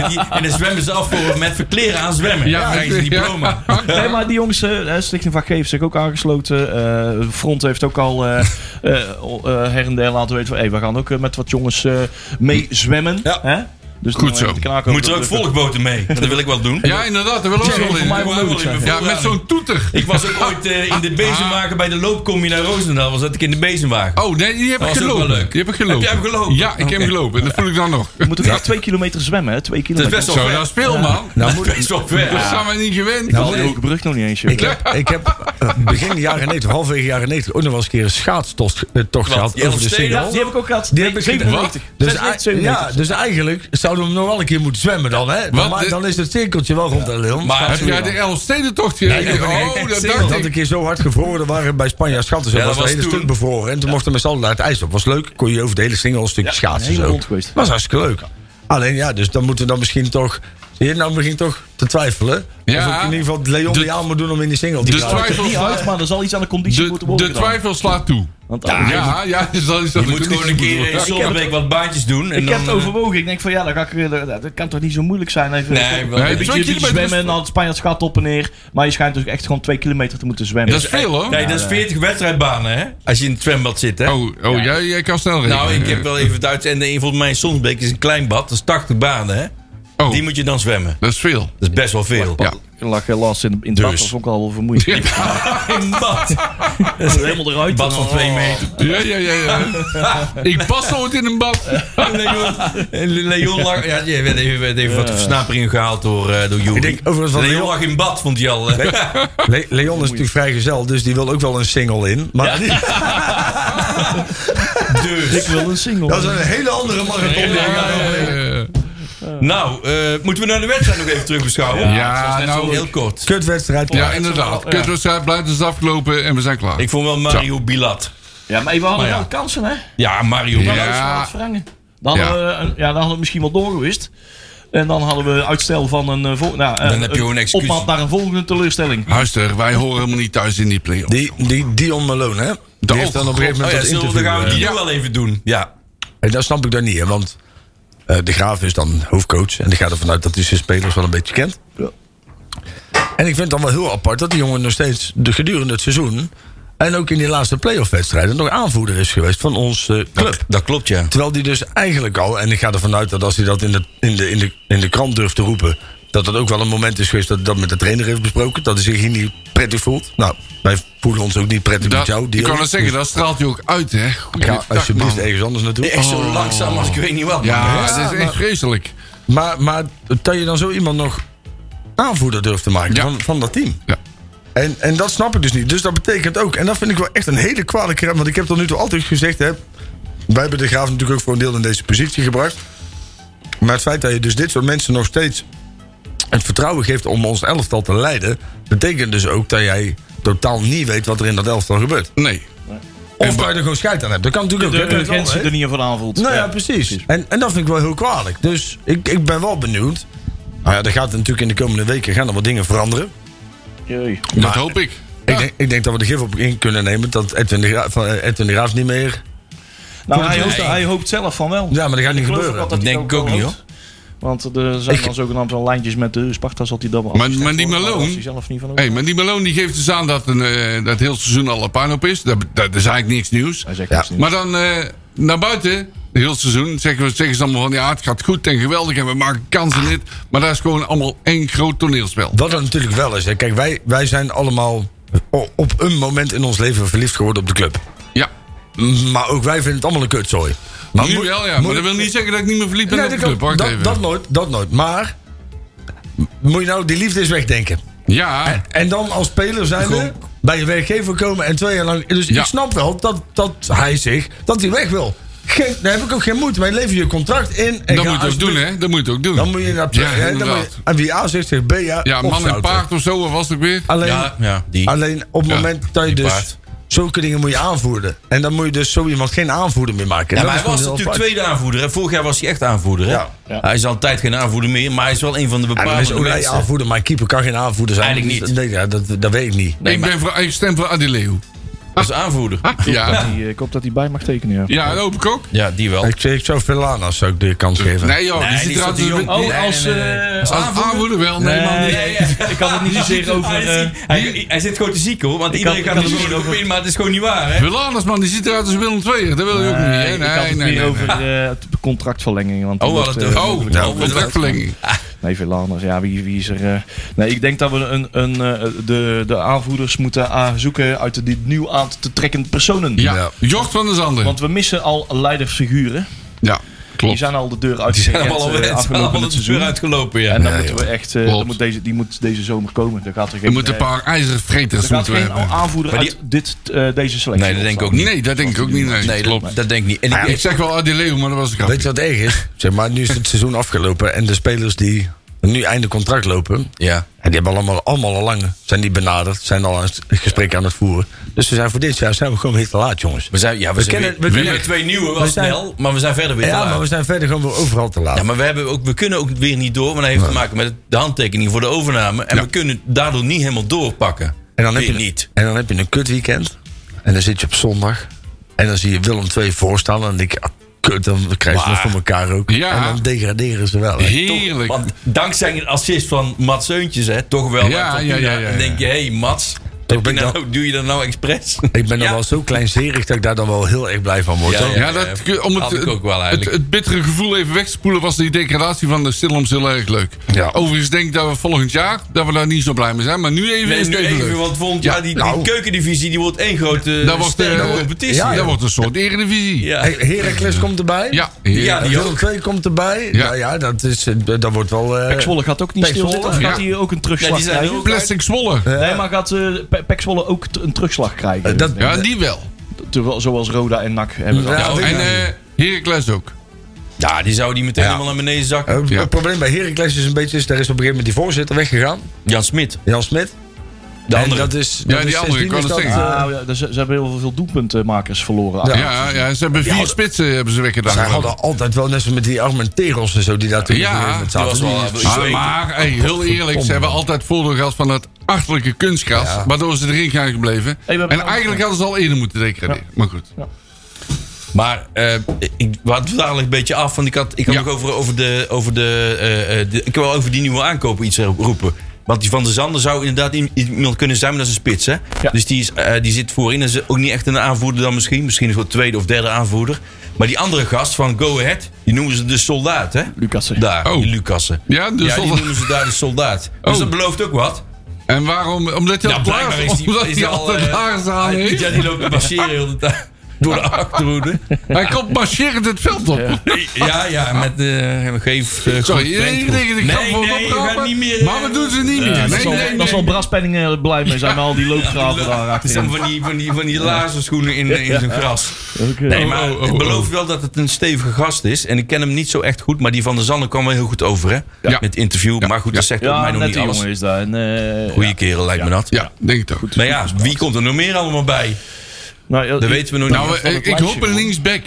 Speaker 2: En, die- en dan zwemmen ze af voor met verkleren aan zwemmen. Ja,
Speaker 5: Ja,
Speaker 2: dan krijgen ze
Speaker 5: ja.
Speaker 2: diploma.
Speaker 6: Nee, maar die jongens, eh, Stichting Vak G heeft zich ook aangesloten. Eh, Front heeft ook al eh, eh, eh, her en der laten weten van... Hey, we gaan ook eh, met wat jongens eh, mee zwemmen.
Speaker 3: Ja.
Speaker 6: Hè? Dus
Speaker 5: Goed
Speaker 6: dan, eh,
Speaker 5: zo.
Speaker 6: de knaken
Speaker 2: Moet er ook
Speaker 6: lukken.
Speaker 2: volgboten mee? Dat wil ik wel doen.
Speaker 5: ja inderdaad, dat wil ook
Speaker 2: Ja,
Speaker 5: wel
Speaker 2: voor mij wel
Speaker 5: in.
Speaker 2: moeilijk zijn.
Speaker 5: Ja, met zo'n toeter.
Speaker 2: Ik was ook ooit eh, in de bezemwagen bij de loopcombi naar Roosendaal. Was dat ik in de bezemwagen.
Speaker 5: Oh, nee, die heb ik
Speaker 2: Dat was ook
Speaker 5: gelopen.
Speaker 2: wel leuk.
Speaker 5: Die heb ik gelopen.
Speaker 2: Heb jij hem gelopen?
Speaker 5: Ja, ik heb hem
Speaker 2: Oké.
Speaker 5: gelopen. En dat voel ik dan nog.
Speaker 6: Je moet ook echt twee kilometer zwemmen, hè? Twee
Speaker 2: Dat is
Speaker 6: kilometer.
Speaker 2: best wel
Speaker 5: Zo,
Speaker 2: ver.
Speaker 5: dat speel, man.
Speaker 3: Nou,
Speaker 2: Dat is best wel ver.
Speaker 5: Dat zijn we niet gewend.
Speaker 2: Nou,
Speaker 6: Ik haal die hoge brug nog niet eens, joh.
Speaker 3: Ik heb, ik heb eh, begin de jaren 90, halverwege jaren 90, ook nog wel eens een keer een schaatstocht eh, tocht gehad
Speaker 2: Jelle
Speaker 3: over de
Speaker 2: Steen?
Speaker 3: single.
Speaker 6: Ja, die heb ik ook gehad.
Speaker 3: Die heb ik
Speaker 6: 97.
Speaker 3: Dus,
Speaker 6: 96,
Speaker 3: ei- ja,
Speaker 6: 97.
Speaker 3: dus eigenlijk zouden we hem nog wel een keer moeten zwemmen dan, hè? Dan,
Speaker 5: Wat?
Speaker 3: maar, dan is het cirkeltje wel rond, hè, Leon?
Speaker 2: Dus- Maar-
Speaker 5: Heb jij de Elfstedentocht
Speaker 2: Nee,
Speaker 5: gereden?
Speaker 2: dat ben ik
Speaker 5: Oh,
Speaker 2: echt
Speaker 5: dat
Speaker 2: single.
Speaker 5: dacht
Speaker 3: Dat
Speaker 5: ik.
Speaker 3: een keer zo hard gevroren er waren bij Spanje schatten. Ze
Speaker 2: Ja,
Speaker 3: was
Speaker 2: dat
Speaker 3: het
Speaker 2: was
Speaker 3: hele
Speaker 2: toen.
Speaker 3: stuk bevroren. En toen mochten we met z'n allen naar het ijsland. Was leuk, kon je over de hele singel een stukje schaatsen.
Speaker 6: een hele
Speaker 3: zo.
Speaker 6: rond geweest.
Speaker 3: Was hartstikke leuk. Alleen ja, dus dan moeten we dan misschien toch... Zie je, nou begint toch te twijfelen.
Speaker 5: Ja.
Speaker 3: Of ik in ieder geval Leon
Speaker 5: De-
Speaker 3: die aan moet doen om in die single te
Speaker 5: de
Speaker 3: krijgen.
Speaker 5: twijfel-
Speaker 6: Niet uit, maar er zal iets aan de conditie moeten
Speaker 5: De,
Speaker 6: worden
Speaker 5: de
Speaker 6: gedaan.
Speaker 5: twijfel slaat toe.
Speaker 6: Want ah,
Speaker 5: Ja, ja, dus dat is dat
Speaker 2: Je moet gewoon een keer eh, in Zolderbeek wat baantjes doen. En
Speaker 6: Ik
Speaker 2: dan,
Speaker 6: heb het
Speaker 2: eh,
Speaker 6: overwogen. Ik denk van ja, dan ga ik, weer- dat dat kan toch niet zo moeilijk zijn. Even,
Speaker 2: Nee,
Speaker 6: even
Speaker 2: wel.
Speaker 5: Nee,
Speaker 6: een beetje,
Speaker 5: twee
Speaker 6: een beetje
Speaker 5: kilometer
Speaker 6: zwemmen
Speaker 5: is-
Speaker 6: en dan het Spanjaardsgat op en neer. Maar je schijnt dus echt gewoon twee kilometer te moeten zwemmen.
Speaker 5: Dat is veel, hoor.
Speaker 2: Nee, dat is 40 wedstrijdbanen, hè? Als je in het zwembad zit, hè?
Speaker 5: Oh, oh jij, jij kan snel rekenen.
Speaker 2: Nou, ik heb wel even Duits en de- volgens mij in Sonsbeek is een klein bad. Dat is 80 banen, hè?
Speaker 5: Oh,
Speaker 2: Die moet je dan zwemmen.
Speaker 5: dat is veel.
Speaker 2: Dat is best wel veel.
Speaker 5: Ja.
Speaker 6: Ik lag helaas in, in het bad,
Speaker 2: Dus.
Speaker 6: dat was ook al wel vermoeid.
Speaker 5: Ja,
Speaker 2: Een bad.
Speaker 6: Helemaal eruit. eh, oh.
Speaker 2: bad van 2 meter.
Speaker 5: ja, ja. ja, ja. ik pas nooit in een bad.
Speaker 2: Leon, Leon lag... Ja, je werd even, werd even wat versnaperingen gehaald door, eh door Joeri.
Speaker 3: Ik denk overigens van
Speaker 2: Leon
Speaker 3: Leon-
Speaker 2: lag in bad, vond hij al. eh.
Speaker 3: Le- Leon is natuurlijk vrijgezel, dus die wil ook wel een single in. Maar
Speaker 2: Dus.
Speaker 6: Ik wil een single.
Speaker 3: dat is een hele andere marathon.
Speaker 5: Ja, ja, ja.
Speaker 2: Nou, eh, moeten we naar de wedstrijd nog even terugbeschouwen?
Speaker 5: Ja,
Speaker 2: Het was net
Speaker 5: nou,
Speaker 2: zo heel kort.
Speaker 3: Kutwedstrijd.
Speaker 5: Ja,
Speaker 3: klaar.
Speaker 5: inderdaad. Kutwedstrijd, blijft is dus afgelopen en we zijn klaar.
Speaker 2: Ik vond wel Mario Bilat.
Speaker 6: Ja, maar we hadden
Speaker 2: Maar ja.
Speaker 6: wel kansen, hè?
Speaker 2: Ja, Mario Bilat.
Speaker 5: Ja,
Speaker 6: Frangen. Dan, hadden we, een- ja, dan hadden we misschien wel doorgewist. En dan hadden we uitstel van een, eh, vol- nou,
Speaker 2: Dan heb je een excuus.
Speaker 6: opmaat naar een volgende teleurstelling.
Speaker 5: luister, wij horen helemaal niet thuis in die play
Speaker 3: Die, die Dion Malone, hè? Die
Speaker 5: Oh,
Speaker 3: heeft dan op een
Speaker 2: Oh
Speaker 3: gegeven moment
Speaker 2: ja,
Speaker 3: dat
Speaker 2: zullen we, dan
Speaker 3: interview,
Speaker 2: gaan we
Speaker 3: eh,
Speaker 2: die
Speaker 5: Ja.
Speaker 2: nu wel even doen. Ja.
Speaker 3: En dat snap ik dan niet, hè, want eh, de Graaf is dan hoofdcoach. En die gaat ervan uit dat hij zijn spelers wel een beetje kent. En ik vind het dan wel heel apart dat die jongen nog steeds de gedurende het seizoen... en ook in die laatste playoff-wedstrijden nog aanvoerder is geweest van ons eh, club.
Speaker 2: Dat klopt, ja.
Speaker 3: Terwijl die dus eigenlijk al, en ik ga ervan uit dat als hij dat in de, in de, in de, in de krant durft te roepen. dat dat ook wel een moment is geweest dat hij dat met de trainer heeft besproken. Dat hij zich hier niet prettig voelt. Nou, wij voelen ons ook niet prettig met
Speaker 5: Dat,
Speaker 3: jou.
Speaker 5: ik
Speaker 3: Dion. Dus
Speaker 5: kan het zeggen, dat straalt je ook uit, hè. Goeie
Speaker 3: Ga
Speaker 5: dag,
Speaker 3: alsjeblieft
Speaker 5: man.
Speaker 3: ergens anders naartoe.
Speaker 2: Echt zo langzaam als ik weet niet wat.
Speaker 5: Ja,
Speaker 2: man.
Speaker 5: dat is echt vreselijk.
Speaker 3: Maar, maar dat je dan zo iemand nog aanvoerder durft te maken
Speaker 5: Ja.
Speaker 3: van, van dat team.
Speaker 5: Ja.
Speaker 3: En, en dat snap ik dus niet. Dus dat betekent ook, en dat vind ik wel echt een hele kwalijke rem. Want ik heb tot nu toe altijd gezegd, hè, wij hebben de graaf natuurlijk ook voor een deel in deze positie gebracht. Maar het feit dat je dus dit soort mensen nog steeds het vertrouwen geeft om ons elftal te leiden, betekent dus ook dat jij totaal niet weet wat er in dat elftal gebeurt.
Speaker 5: Nee.
Speaker 3: Of dat je er gewoon scheid aan hebt. Dat kan natuurlijk
Speaker 6: De
Speaker 3: ook. hè. Dat kan,
Speaker 6: urgentie
Speaker 3: hè.
Speaker 6: er niet van aanvoelt.
Speaker 3: Nou ja, precies. En, en dat vind ik wel heel kwalijk. Dus ik, ik ben wel benieuwd. Nou ja, er gaat natuurlijk in de komende weken gaan er wat dingen veranderen.
Speaker 6: Jee.
Speaker 5: Dat hoop ik.
Speaker 3: Ik, denk, ik denk dat we de gif op in kunnen nemen dat Edwin de, Graaf, van eh, Edwin de Graaf niet meer...
Speaker 6: Nou, hij hoopt, hij hoopt zelf van wel.
Speaker 3: Ja, maar dat gaat niet
Speaker 6: Ik geloof
Speaker 3: gebeuren.
Speaker 6: wel hij
Speaker 2: Denk
Speaker 6: het
Speaker 2: ik ook
Speaker 6: wel
Speaker 2: niet,
Speaker 6: hoopt. Want er zijn dan zogenaamd wel lijntjes met de Sparta, zal hij dan wel
Speaker 5: Maar-
Speaker 6: afgesteld
Speaker 5: maar die
Speaker 6: worden,
Speaker 5: Malone-
Speaker 6: als hij zelf niet van
Speaker 5: Hey,
Speaker 6: hoopt.
Speaker 5: maar die Malone die geeft dus aan dat, een, eh, dat heel seizoen al een puinhoop is. Dat, dat is eigenlijk niks nieuws.
Speaker 6: Hij zegt
Speaker 3: Ja.
Speaker 6: niks niet.
Speaker 5: Maar dan eh, naar buiten heel het seizoen. Zeggen, we, zeggen ze allemaal van ja, het gaat goed en geweldig en we maken kansen dit. Maar dat is gewoon allemaal één groot toneelspel.
Speaker 3: Wat dat natuurlijk wel is. Hè. Kijk, wij, wij zijn allemaal o- op een moment in ons leven verliefd geworden op de club.
Speaker 5: Ja.
Speaker 3: Maar ook wij vinden het allemaal een kutzooi. Maar
Speaker 5: nu
Speaker 3: moet-
Speaker 5: wel, ja.
Speaker 3: moet-
Speaker 5: Maar dat wil niet zeggen dat ik niet meer verliefd ben
Speaker 3: Nee,
Speaker 5: op de
Speaker 3: dat,
Speaker 5: club.
Speaker 3: kan-
Speaker 5: Wacht
Speaker 3: dat,
Speaker 5: even.
Speaker 3: dat nooit, dat nooit. Maar m- moet je nou die liefde eens wegdenken.
Speaker 5: ja.
Speaker 3: En dan als speler zijn we
Speaker 5: Kom.
Speaker 3: bij je werkgever komen en twee jaar lang... Dus
Speaker 5: Ja.
Speaker 3: ik snap wel dat, dat hij zich, dat hij weg wil. Geen, daar heb ik ook geen moeite mee. Lever je contract in. En
Speaker 5: Dat
Speaker 3: ga
Speaker 5: moet je ook
Speaker 3: alsjeblieft-
Speaker 5: doen, hè? Dat moet je ook doen.
Speaker 3: Dan moet je naar
Speaker 5: Ja,
Speaker 3: hè, dan moet je-
Speaker 5: inderdaad.
Speaker 3: En wie A zegt, zegt B ja.
Speaker 5: Ja, man en
Speaker 3: opzouten.
Speaker 5: paard of zo, of was het ook weer?
Speaker 3: Alleen,
Speaker 2: Ja, ja, die.
Speaker 3: alleen op het
Speaker 5: Ja,
Speaker 3: moment dat je
Speaker 2: die
Speaker 3: dus...
Speaker 2: paard.
Speaker 3: Zulke dingen moet je aanvoeren. En dan moet je dus zo iemand geen aanvoerder meer maken.
Speaker 2: Ja,
Speaker 3: Dat
Speaker 2: maar hij
Speaker 3: is gewoon
Speaker 2: was
Speaker 3: heel
Speaker 2: natuurlijk
Speaker 3: apart.
Speaker 2: tweede aanvoerder. Hè? Vorig jaar was hij echt aanvoerder. Hè?
Speaker 3: Ja.
Speaker 2: Hij is al een tijd geen aanvoerder meer, maar hij is wel een van de
Speaker 3: Ja, dan is
Speaker 2: bepalende
Speaker 3: Olij
Speaker 2: mensen.
Speaker 3: aanvoerder, maar keeper kan geen aanvoerder zijn.
Speaker 2: Eigenlijk
Speaker 3: Dus
Speaker 2: niet.
Speaker 3: Nee, ja, dat, dat weet ik niet.
Speaker 2: Nee,
Speaker 5: ik,
Speaker 2: maar
Speaker 5: ben voor, ik stem voor Adileu.
Speaker 2: als aanvoerder.
Speaker 5: Ja.
Speaker 6: Die, eh, ik hoop dat hij bij mag tekenen, ja.
Speaker 5: Ja, en hoop ik ook.
Speaker 2: Ja, die wel.
Speaker 3: Ik, ik zou Villana's zou ik de kans geven.
Speaker 5: Dus Nee, joh.
Speaker 2: Oh,
Speaker 5: die zit eruit.
Speaker 2: te jong.
Speaker 5: als-
Speaker 2: Nee,
Speaker 6: als,
Speaker 2: nee, nee,
Speaker 6: eh,
Speaker 2: nee. Ah,
Speaker 5: Als aanvoerder wel. Nee, man.
Speaker 6: Nee,
Speaker 5: die-
Speaker 6: Ik kan het niet zozeer over...
Speaker 2: Hij,
Speaker 6: eh,
Speaker 2: is- hij, hij zit gewoon te ziek hoor, want
Speaker 6: Ik
Speaker 2: iedereen
Speaker 6: kan-
Speaker 2: gaat
Speaker 6: ik
Speaker 2: er
Speaker 6: kan
Speaker 2: zo
Speaker 6: het
Speaker 2: op in, maar het is gewoon niet waar. Hè?
Speaker 5: Willanus, man, die ziet eruit als Willem II. Dat wil je ook niet.
Speaker 6: Nee,
Speaker 5: hè?
Speaker 6: ik had
Speaker 5: Nee,
Speaker 6: het
Speaker 5: nee,
Speaker 6: meer
Speaker 5: nee.
Speaker 6: over eh, het contractverlenging. Want die
Speaker 2: Oh,
Speaker 6: wordt,
Speaker 2: wat
Speaker 6: eh,
Speaker 2: een-
Speaker 5: Oh,
Speaker 2: Ja,
Speaker 5: nou, contractverlenging.
Speaker 6: Nee, veel anders. Ja, wie, wie is er... eh, Nee, ik denk dat we een, een, eh, de, de aanvoerders moeten ah, zoeken uit de die nieuw aan te trekken personen.
Speaker 5: Ja, Jocht van der Zanden.
Speaker 6: Want we missen al leidersfiguren.
Speaker 5: Ja,
Speaker 6: Die
Speaker 5: klopt.
Speaker 6: zijn al de deur uit.
Speaker 2: Ze zijn allemaal al het eh,
Speaker 6: afgelopen het seizoen.
Speaker 2: weer uitgelopen. Ja.
Speaker 6: En dan moeten we echt... eh,
Speaker 5: Klopt.
Speaker 6: dan moet deze, die moet deze zomer komen. Dan gaat er
Speaker 5: We
Speaker 6: geen,
Speaker 5: moeten een
Speaker 6: eh,
Speaker 5: paar ijzervreters
Speaker 6: er gaat
Speaker 5: moeten we
Speaker 6: geen
Speaker 5: hebben.
Speaker 6: aanvoerder
Speaker 2: Maar die-
Speaker 6: uit dit, eh, deze selectie.
Speaker 2: nee, dat denk ik ook niet.
Speaker 5: Nee, dat denk ik ook niet. Nee,
Speaker 2: Nee,
Speaker 5: klopt.
Speaker 2: dat, dat denk ik niet. En ik,
Speaker 5: Ja, Ik zeg wel Adileu, maar dat was een grapje.
Speaker 3: Weet je wat erg is? Zeg maar, nu is het seizoen afgelopen en de spelers die nu einde contract lopen, en
Speaker 2: ja.
Speaker 3: die hebben allemaal, allemaal al lang, zijn die benaderd, zijn al een gesprek aan het voeren. Dus we zijn voor dit jaar zijn we gewoon weer te laat, jongens.
Speaker 2: We zijn, ja, we, zijn
Speaker 3: kennen-
Speaker 2: weer-
Speaker 3: we
Speaker 2: weer
Speaker 3: kennen-
Speaker 2: met twee nieuwe wel
Speaker 3: we zijn-
Speaker 2: snel, maar we zijn verder weer te
Speaker 3: Ja,
Speaker 2: laat.
Speaker 3: maar we zijn verder gewoon weer overal te laat.
Speaker 2: Ja, maar we, hebben ook, we kunnen ook weer niet door, want dat heeft te maken met de handtekening voor de overname. En we kunnen daardoor niet helemaal doorpakken.
Speaker 3: en, dan heb je,
Speaker 2: Weer niet.
Speaker 3: en dan heb je een kutweekend en dan zit je op zondag en dan zie je Willem 2 voorstaan en dan denk je, ah, kut, dan krijgen ze dat
Speaker 2: Maar-
Speaker 3: voor elkaar ook.
Speaker 5: Ja.
Speaker 3: En dan degraderen ze wel. hè.
Speaker 5: Heerlijk.
Speaker 2: Want dankzij een assist van Mats Zeuntjes, hè, toch wel.
Speaker 5: Ja,
Speaker 2: Want
Speaker 5: ja, ja, ja, ja.
Speaker 2: Dan denk je, hé hey, Mats, heb je
Speaker 3: ben ik
Speaker 2: nou, doe je dat nou expres?
Speaker 3: Ik ben dan
Speaker 2: Ja.
Speaker 3: wel zo kleinzerig dat ik daar dan wel heel erg blij van word.
Speaker 2: Ja,
Speaker 3: hoor.
Speaker 2: ja. eh,
Speaker 5: Ja, dat, om het,
Speaker 2: Had ik ook wel
Speaker 5: het,
Speaker 2: eigenlijk.
Speaker 5: het bittere gevoel even weg te spoelen was die degradatie van de Stillams heel erg leuk.
Speaker 3: Ja.
Speaker 5: Overigens denk ik dat we volgend jaar dat we daar niet zo blij mee zijn. Maar nu even
Speaker 2: Nee,
Speaker 5: is het
Speaker 2: nu
Speaker 5: even
Speaker 2: even,
Speaker 5: leuk.
Speaker 2: want volgend jaar die, die
Speaker 3: nou.
Speaker 2: keukendivisie die wordt één grote
Speaker 5: Dat wordt, eh,
Speaker 2: sterke
Speaker 5: dat wordt-
Speaker 2: competitie.
Speaker 3: ja,
Speaker 5: dat
Speaker 3: joh.
Speaker 5: wordt een soort eredivisie.
Speaker 2: Ja.
Speaker 3: Hey, Heracles komt erbij.
Speaker 5: Ja,
Speaker 2: Ja, die
Speaker 3: Eh, Willem
Speaker 2: ook.
Speaker 3: 2 komt erbij.
Speaker 5: Ja.
Speaker 3: Nou ja, dat, is, eh, dat wordt wel... eh,
Speaker 6: Pek Zwolle gaat ook niet
Speaker 3: Pek
Speaker 6: stilzitten. Of
Speaker 3: Zwolle?
Speaker 6: gaat
Speaker 5: Ja.
Speaker 6: hij ook een terugslag
Speaker 2: Ja, die zijn
Speaker 6: krijgen?
Speaker 2: ook-
Speaker 5: Plastic Zwolle.
Speaker 6: Nee, maar gaat eh, Pe- Pek Zwolle ook t- een terugslag krijgen?
Speaker 3: Eh, dat-
Speaker 5: Ja, die wel.
Speaker 6: Terwijl- zoals Roda en NAC hebben.
Speaker 3: Ja,
Speaker 6: dat.
Speaker 5: Ja,
Speaker 2: Oh,
Speaker 3: weet
Speaker 5: en
Speaker 3: ik niet.
Speaker 5: eh Heracles ook.
Speaker 2: Ja, die zou die meteen
Speaker 3: Ja.
Speaker 2: helemaal naar beneden zakken.
Speaker 3: Eh, het-
Speaker 5: Ja.
Speaker 3: Het probleem bij Heracles is een beetje... Is, daar is op een gegeven moment die voorzitter weggegaan.
Speaker 2: Jan Smit,
Speaker 3: Jan Smit.
Speaker 2: de
Speaker 3: En
Speaker 2: andere.
Speaker 3: dat is, dat
Speaker 5: Ja,
Speaker 3: is
Speaker 5: die andere,
Speaker 3: sindsdien
Speaker 5: ik wou
Speaker 3: is
Speaker 5: het
Speaker 3: dat,
Speaker 5: zeggen.
Speaker 3: eh,
Speaker 6: Ah, ja, dus ze, ze hebben heel veel doelpuntmakers verloren.
Speaker 3: Ja.
Speaker 5: Ja, ja, ze hebben vier
Speaker 2: hadden-
Speaker 5: spitsen hebben ze weggedaan.
Speaker 3: Zij
Speaker 5: geloof ik.
Speaker 3: hadden altijd wel, net zoals met die Armenteros en zo... die daar toen
Speaker 5: Ja,
Speaker 3: op een gegeven
Speaker 2: die
Speaker 3: moment
Speaker 2: was
Speaker 3: zaten.
Speaker 2: wel... eh,
Speaker 3: Die-
Speaker 5: Maar,
Speaker 2: zweet.
Speaker 5: Ah, maar, hey, heel eerlijk, ze hebben altijd voordeel gehad van dat achterlijke kunstgras. Waardoor ze erin zijn gebleven.
Speaker 6: Hey, we hebben
Speaker 5: en
Speaker 6: ook-
Speaker 5: eigenlijk hadden ze al eerder moeten degraderen. Maar goed.
Speaker 2: Maar eh, ik wat dadelijk een beetje af, want ik had, ik had
Speaker 5: Ja.
Speaker 2: nog over, over, de, over de, eh, eh, de- Ik wil over die nieuwe aankopen iets roepen. Want die van de Zander zou inderdaad i- iemand kunnen zijn, maar dat is een spits. Hè?
Speaker 6: Ja.
Speaker 2: Dus die, is, eh, die zit voorin. Dat is ook niet echt een aanvoerder dan misschien. Misschien is het wel tweede of derde aanvoerder. Maar die andere gast van Go Ahead, die noemen ze de soldaat. Hè?
Speaker 6: Lucassen.
Speaker 2: Daar,
Speaker 5: Oh.
Speaker 2: die Lucassen.
Speaker 5: Ja, dus de
Speaker 2: die
Speaker 5: soldaat.
Speaker 2: noemen ze daar de soldaat. Dus
Speaker 5: Oh.
Speaker 2: dat belooft ook wat.
Speaker 5: En waarom? Omdat hij
Speaker 2: Ja, Nou,
Speaker 5: al
Speaker 2: blijkbaar
Speaker 5: klaar
Speaker 2: is die,
Speaker 5: Omdat
Speaker 2: is
Speaker 5: hij
Speaker 2: die al,
Speaker 5: altijd
Speaker 2: eh,
Speaker 5: lagers aan
Speaker 2: hij-
Speaker 5: heeft.
Speaker 2: Ja, die loopt te passeren heel de tijd. Door de achterhoede.
Speaker 5: Hij komt marcherend het veld op.
Speaker 2: Ja, ja, met eh geef. eh,
Speaker 5: Sorry,
Speaker 2: goed
Speaker 5: iedereen
Speaker 2: Frank.
Speaker 5: denkt, ik ga
Speaker 2: Nee,
Speaker 5: voor
Speaker 2: nee, we gaan niet meer, eh,
Speaker 5: Maar we doen ze niet meer.
Speaker 6: Ja, dat
Speaker 5: Nee,
Speaker 6: zal,
Speaker 5: nee, nee.
Speaker 6: dat zal Braspenning eh, blij mee zijn met al die loopgraven daar
Speaker 2: Het zijn
Speaker 6: achterin.
Speaker 2: van die, van die, van die laserschoenen in, in zijn gras.
Speaker 6: Oké.
Speaker 2: Nee, maar
Speaker 5: Oh, oh, oh,
Speaker 2: ik beloof
Speaker 5: oh.
Speaker 2: wel dat het een stevige gast is. En ik ken hem niet zo echt goed, maar die van de Zanne kwam wel heel goed over, hè?
Speaker 5: Ja.
Speaker 2: Met het interview. Maar goed, dat zegt ook
Speaker 6: Ja,
Speaker 2: mij nog
Speaker 6: net
Speaker 2: niet
Speaker 6: die
Speaker 2: alles.
Speaker 6: jongen is daar. En, eh,
Speaker 2: Goeie
Speaker 6: ja.
Speaker 2: kerel lijkt me dat.
Speaker 5: Ja, denk het ook. Nou,
Speaker 2: Maar ja, wie komt er nog meer allemaal bij?
Speaker 6: Nou, ja,
Speaker 2: Dat weten we nog
Speaker 5: Nou,
Speaker 2: niet.
Speaker 5: eh, ik, ik hoop een linksback.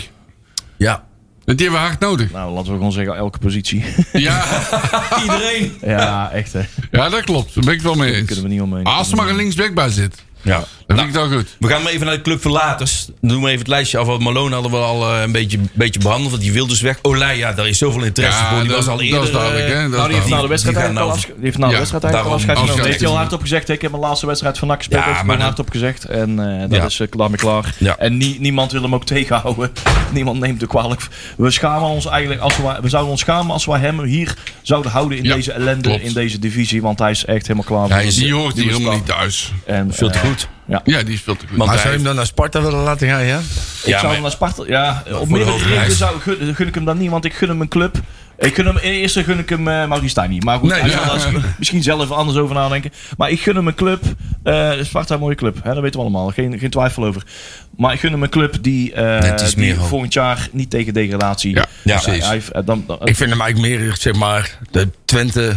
Speaker 2: Ja,
Speaker 5: Want die hebben we hard nodig.
Speaker 6: Nou, laten we gewoon zeggen, elke positie.
Speaker 5: Ja,
Speaker 2: iedereen.
Speaker 6: ja, echt hè. Daar
Speaker 5: ja dat klopt. Daar ben ik het wel mee eens. Ah,
Speaker 6: kunnen we niet omheen.
Speaker 5: Als er maar een linksback bij zit.
Speaker 2: Ja.
Speaker 5: Dat
Speaker 2: Nou,
Speaker 5: vind ik dan goed.
Speaker 2: We gaan maar even naar de club verlaters. Dan doen we even het lijstje af. Want Malone hadden we al eh, een beetje, beetje behandeld. Want die wil dus weg. Olij, ja, daar is zoveel interesse
Speaker 5: Ja,
Speaker 2: voor. Die
Speaker 5: dat-
Speaker 2: was al
Speaker 5: dat is
Speaker 2: eerder...
Speaker 5: duidelijk,
Speaker 2: eh,
Speaker 5: hè, dat is
Speaker 2: nou, die heeft
Speaker 5: duidelijk.
Speaker 2: na
Speaker 6: Nou, de wedstrijd
Speaker 2: die gaat
Speaker 6: eigenlijk al
Speaker 2: nou-
Speaker 6: afsche- die heeft na de
Speaker 5: Ja,
Speaker 6: wedstrijd eigenlijk al
Speaker 5: daarom
Speaker 6: afscheid genomen.
Speaker 5: afscheid
Speaker 6: Heeft hij al
Speaker 5: genomen.
Speaker 6: hardop gezegd. Ik heb mijn laatste wedstrijd van NAC gespeeld.
Speaker 2: Ja,
Speaker 6: Ja,
Speaker 2: maar
Speaker 6: maar
Speaker 2: dat-
Speaker 6: hardop gezegd. En eh, dat
Speaker 2: Ja.
Speaker 6: is eh, klaar mee klaar.
Speaker 2: Ja.
Speaker 6: En nie- niemand wil hem ook tegenhouden. niemand neemt de kwalijk. We schamen ons eigenlijk. Als we, we zouden ons schamen als we hem hier zouden houden in
Speaker 5: Ja,
Speaker 6: deze ellende.
Speaker 5: klopt.
Speaker 6: In deze divisie. Want hij is echt helemaal klaar.
Speaker 2: Hij is
Speaker 5: Die hoort hier
Speaker 2: was
Speaker 5: helemaal
Speaker 2: klaar.
Speaker 5: niet thuis.
Speaker 6: en,
Speaker 2: Veel te
Speaker 6: eh,
Speaker 2: goed.
Speaker 5: Ja, die is veel te
Speaker 2: Want
Speaker 5: goed.
Speaker 3: Maar
Speaker 2: hij
Speaker 3: zou je hem dan naar Sparta willen laten gaan, ja?
Speaker 6: Ik
Speaker 2: Ja,
Speaker 6: zou
Speaker 2: maar-
Speaker 6: hem naar Sparta. Ja, op
Speaker 2: de
Speaker 6: meerdere
Speaker 2: hoofdprijs.
Speaker 6: redenen zou, gun, gun ik hem dan niet, want ik gun hem een club. Ik gun hem, in eerste gun ik hem eh Maurice Stijn niet. Maar goed,
Speaker 5: Nee,
Speaker 6: hij
Speaker 5: ja.
Speaker 6: zal daar s- misschien zelf anders over nadenken. Maar ik gun hem een club. eh, Sparta, een mooie club. Hè, dat weten we allemaal. Geen, geen twijfel over. Maar ik gun hem een club die, eh,
Speaker 2: Net iets
Speaker 6: die
Speaker 2: meer hoop.
Speaker 6: volgend jaar niet tegen degradatie.
Speaker 5: Ja,
Speaker 2: ja,
Speaker 6: hij-
Speaker 2: precies.
Speaker 6: hij heeft, eh, dan, dan,
Speaker 3: Ik vind hem eigenlijk meer, zeg maar, de Twente...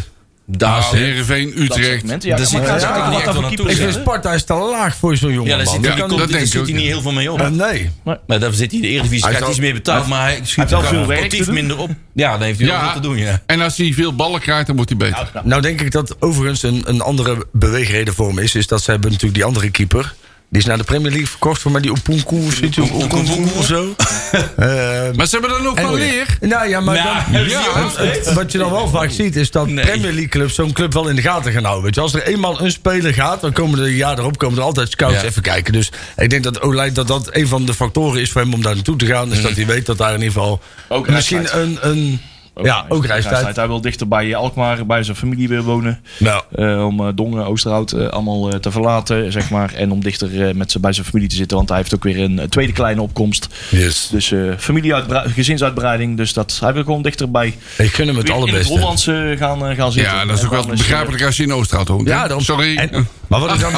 Speaker 5: Nou,
Speaker 2: Daar zit-
Speaker 5: Heerenveen,
Speaker 6: dat soort
Speaker 5: Utrecht.
Speaker 6: mensen. Ja,
Speaker 2: Daar zit
Speaker 6: maar
Speaker 2: hij
Speaker 6: daar zit
Speaker 2: eigenlijk niet
Speaker 6: ook wat
Speaker 2: echt
Speaker 6: aan voor
Speaker 2: naartoe,
Speaker 6: keepers,
Speaker 3: Ik vind
Speaker 6: hè?
Speaker 3: Sparta is te laag voor zo'n jongen,
Speaker 2: ja, daar zit,
Speaker 3: man.
Speaker 5: Ja,
Speaker 2: die komt-
Speaker 5: dat
Speaker 2: daar
Speaker 5: denk ik
Speaker 2: zit hij
Speaker 5: ook,
Speaker 2: niet
Speaker 5: ja.
Speaker 2: heel veel mee op.
Speaker 3: Eh, nee.
Speaker 2: Maar daar zit hij in de Eredivisie. Hij krijgt
Speaker 3: zou-
Speaker 2: iets meer betaald, maar hij schiet
Speaker 6: heeft wel
Speaker 2: ook
Speaker 6: veel werk
Speaker 2: sportief
Speaker 6: te doen.
Speaker 2: minder op. Ja, dan heeft hij wel
Speaker 5: Ja.
Speaker 2: veel te doen, ja.
Speaker 5: En als hij veel ballen krijgt, dan wordt hij beter.
Speaker 3: Nou denk ik dat overigens een, een andere beweegreden voor hem is... is dat ze hebben natuurlijk die andere keeper... die is naar de Premier League verkocht voor mij, die Opunku, zit die Opunku of zo. Ehm,
Speaker 5: Maar ze hebben dan ook wel leer.
Speaker 3: nou ja, maar
Speaker 2: Nou,
Speaker 3: dan...
Speaker 2: hebben ze die ook nog steeds?
Speaker 3: Het- Wat je dan wel vaak ziet is dat
Speaker 2: Nee.
Speaker 3: Premier League clubs zo'n club wel in de gaten gaan houden. Weet je, als er eenmaal een speler gaat, dan komen er jaar erop komen er altijd scouts
Speaker 2: Ja.
Speaker 3: even kijken. Dus ik denk dat Olij dat dat een van de factoren is voor hem om daar naartoe te gaan. Is dat hij weet dat daar in ieder geval
Speaker 6: Ook
Speaker 3: misschien een, een ja ook reistijd.
Speaker 6: Hij wil dichter bij Alkmaar, bij zijn familie weer wonen.
Speaker 3: Nou,
Speaker 6: Eh, om eh, Dongen, Oosterhout eh, allemaal eh, te verlaten, zeg maar. En om dichter eh, met z'n- bij zijn familie te zitten. Want hij heeft ook weer een eh, tweede kleine opkomst.
Speaker 3: yes.
Speaker 6: Dus eh familieuitbra- gezinsuitbreiding. Dus dat, hij wil gewoon dichter bij
Speaker 3: Ik gun hem het
Speaker 6: weer in het
Speaker 3: allerbeste.
Speaker 6: Hollandse gaan, eh, gaan zitten.
Speaker 5: Ja, dat is ook wel begrijpelijk als je in Oosterhout woont. hè?
Speaker 3: Ja, dan-
Speaker 5: Sorry.
Speaker 3: En- maar wat ik dan,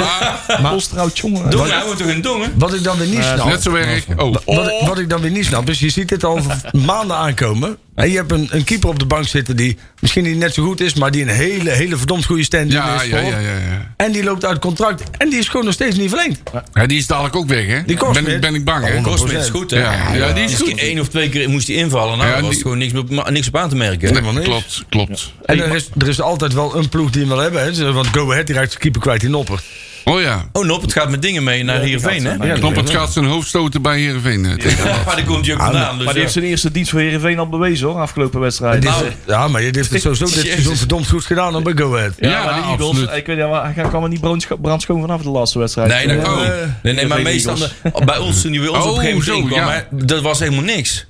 Speaker 6: Maar Oosterhout, jongen.
Speaker 2: Dongen, hij moet toch een dongen?
Speaker 3: wat ik dan weer niet snap.
Speaker 5: Net zo erg. Oh.
Speaker 3: Wat, ik- wat ik dan weer niet snap, is je ziet dit al maanden aankomen. En je hebt een, een keeper op de bank zitten die misschien niet net zo goed is, maar die een hele, hele verdomd goede stand
Speaker 5: Ja,
Speaker 3: is.
Speaker 5: ja,
Speaker 3: voor.
Speaker 5: ja, ja, ja.
Speaker 3: En die loopt uit contract. En die is gewoon nog steeds niet verlengd.
Speaker 5: Ja, die Oh, is dadelijk ook weg, hè?
Speaker 3: Die kost
Speaker 5: ben, ik-
Speaker 3: weer.
Speaker 5: ben ik bang, hè?
Speaker 3: Waarom?
Speaker 2: Kostman is goed, hè?
Speaker 5: Ja, ja, die is goed.
Speaker 2: Eén of twee keer moest hij invallen. Nou,
Speaker 5: Ja,
Speaker 2: daar was
Speaker 5: die-
Speaker 2: gewoon niks, op- ma- niks op aan te merken.
Speaker 5: Nee, klopt, klopt.
Speaker 3: En er is, er is altijd wel een ploeg die hem wil hebben. Hè. Zo, Want Go Ahead die raakt zijn keeper kwijt in Noppert.
Speaker 5: Oh ja.
Speaker 2: Oh, Nop, het gaat met dingen mee naar Heerenveen, hè?
Speaker 3: Ja,
Speaker 5: Knoppert gaat zijn hoofd stoten bij Heerenveen. eh, tegen.
Speaker 2: Ja, maar daar komt hij ook vandaan. Dus
Speaker 6: Maar die
Speaker 2: ja.
Speaker 6: heeft zijn eerste dienst voor Heerenveen al bewezen hoor, afgelopen wedstrijd.
Speaker 3: Dit is-
Speaker 6: Nou,
Speaker 3: ja, maar je heeft het sowieso dit
Speaker 2: Jezus.
Speaker 3: seizoen verdomd goed gedaan dan bij Go Ahead.
Speaker 6: ja,
Speaker 5: Ja,
Speaker 6: maar Nou, de Eagles, eh,
Speaker 5: absoluut.
Speaker 6: ik weet niet, maar hij kwam er niet brandscho- brandschoon vanaf de laatste wedstrijd.
Speaker 2: Nee, dat
Speaker 6: Eh,
Speaker 2: kan. nee,
Speaker 3: eh,
Speaker 2: nee, maar
Speaker 6: Heerenveen
Speaker 2: meestal
Speaker 6: Eagles.
Speaker 2: de- bij ons, toen hij bij ons op een gegeven moment
Speaker 5: Oh, zo,
Speaker 2: inkwam,
Speaker 5: ja.
Speaker 2: hè, dat was helemaal niks.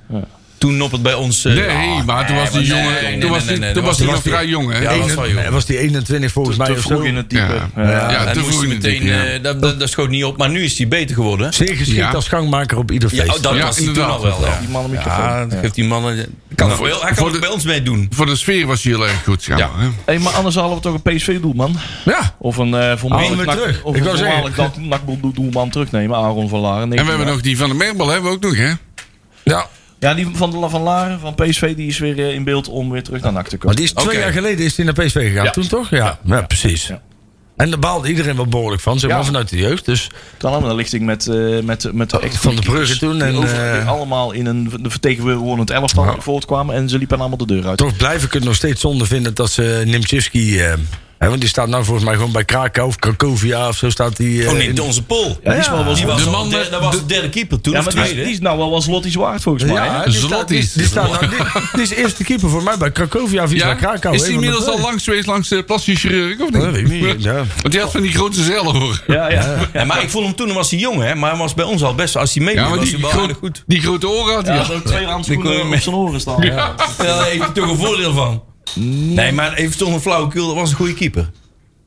Speaker 2: Toen Nop het bij ons... eh,
Speaker 5: Nee, maar toen was die
Speaker 2: nee, nee,
Speaker 5: jongen.
Speaker 2: nee,
Speaker 5: Toen was
Speaker 2: nee,
Speaker 5: die-
Speaker 2: nee,
Speaker 5: toen was
Speaker 2: nee,
Speaker 5: hij nog
Speaker 2: was die-
Speaker 5: vrij jong, hè?
Speaker 2: Ja, dat was wel, joh.
Speaker 3: Hij was die 21 volgens mij
Speaker 6: Te
Speaker 3: of zo.
Speaker 6: vroeg in het diepe.
Speaker 5: Ja.
Speaker 6: Ja.
Speaker 5: Ja,
Speaker 2: En
Speaker 5: toen
Speaker 2: moest
Speaker 5: vroeg
Speaker 2: hij
Speaker 5: hij
Speaker 2: meteen,
Speaker 5: meteen.
Speaker 2: eh, dat, dat, dat schoot niet op. Maar nu is hij beter geworden.
Speaker 3: Zeer geschikt
Speaker 5: Ja.
Speaker 3: als gangmaker op ieder
Speaker 2: Ja,
Speaker 3: feest.
Speaker 2: oh, dat
Speaker 5: Ja,
Speaker 2: was hij toen
Speaker 5: inderdaad.
Speaker 2: al wel. Ja.
Speaker 6: Die mannen microfoon.
Speaker 2: Ja, dat geeft die mannen... Kan ook wel- hij kan
Speaker 5: voor
Speaker 2: ook
Speaker 5: de-
Speaker 2: bij ons meedoen.
Speaker 5: Voor de sfeer was hij heel erg goed, ja.
Speaker 2: Ja.
Speaker 5: hè?
Speaker 6: Hey, maar anders hadden we toch een PSV-doelman?
Speaker 3: Ja.
Speaker 6: Of een eh
Speaker 3: Haal hem
Speaker 6: voormalig
Speaker 3: weer terug.
Speaker 6: nak- of
Speaker 3: Ik
Speaker 6: een
Speaker 3: wou
Speaker 6: voormalig nak- nakdoelman terugnemen, Aaron van Laren.
Speaker 5: En we hebben nog die van de Merbel, hebben we ook nog, hè?
Speaker 3: Ja.
Speaker 6: Ja, die van, de La- van Laren van PSV die is weer eh, in beeld om weer terug naar NAC te
Speaker 3: Maar
Speaker 6: komen.
Speaker 3: die is twee
Speaker 2: Oké.
Speaker 3: jaar geleden is hij naar PSV gegaan. Toen toch? Ja, ja. precies.
Speaker 6: Ja.
Speaker 3: En daar baalde iedereen wel behoorlijk van. Zeg maar
Speaker 6: Ja.
Speaker 3: vanuit de jeugd. Dus
Speaker 6: Kan allemaal een lichting met, eh met, met echt
Speaker 3: Oh, Van de
Speaker 6: goede
Speaker 3: Brugge
Speaker 6: keepers
Speaker 3: toen
Speaker 6: die
Speaker 3: en,
Speaker 6: over-
Speaker 3: eh,
Speaker 6: allemaal in een de vertegenwoordigend elftal voortkwamen en ze liepen allemaal de deur uit.
Speaker 3: toch blijf ik het nog steeds zonde vinden dat ze Nimczewski... eh, hè, want die staat nou volgens mij gewoon bij Krakau of Cracovia of zo staat hij... eh,
Speaker 2: Oh nee,
Speaker 3: in-
Speaker 2: de onze Pol.
Speaker 6: Ja, die is wel wel
Speaker 2: Die
Speaker 6: zot.
Speaker 2: was
Speaker 5: De
Speaker 2: al
Speaker 5: man
Speaker 2: der-
Speaker 5: met-
Speaker 2: dat was de derde keeper toen,
Speaker 6: Ja,
Speaker 2: of
Speaker 6: maar die is,
Speaker 2: tweede.
Speaker 6: die is nou wel wat Lotties waard volgens mij.
Speaker 3: Ja,
Speaker 6: hè?
Speaker 3: die staat, die,
Speaker 5: Zlotys.
Speaker 3: die staat nou, die, die is eerste keeper voor mij bij Cracovia of iets bij Krakau.
Speaker 5: Is
Speaker 3: hè,
Speaker 5: hij
Speaker 3: van de
Speaker 5: inmiddels
Speaker 3: twee.
Speaker 5: al langs geweest langs de plastische chirurg, of niet?
Speaker 3: Dat weet ik niet, ja.
Speaker 5: Want die had van die grote zellen, hoor.
Speaker 6: Ja, ja.
Speaker 2: Ja, maar ik vond hem toen dan was hij jong, hè? Maar hij was bij ons al best. Als hij meedeed,
Speaker 5: Ja, maar
Speaker 2: was
Speaker 5: die,
Speaker 2: hij wel
Speaker 5: gro-
Speaker 2: aardig goed.
Speaker 5: die grote oren had hij. al.
Speaker 6: Hij had ook twee
Speaker 2: Die kon
Speaker 6: handschoenen
Speaker 2: je
Speaker 6: op
Speaker 2: met-
Speaker 6: zijn oren staan. Ja.
Speaker 2: Ja, daar heeft hij toch een voordeel van. Nee, maar even zonder flauwekul, dat was een goede keeper.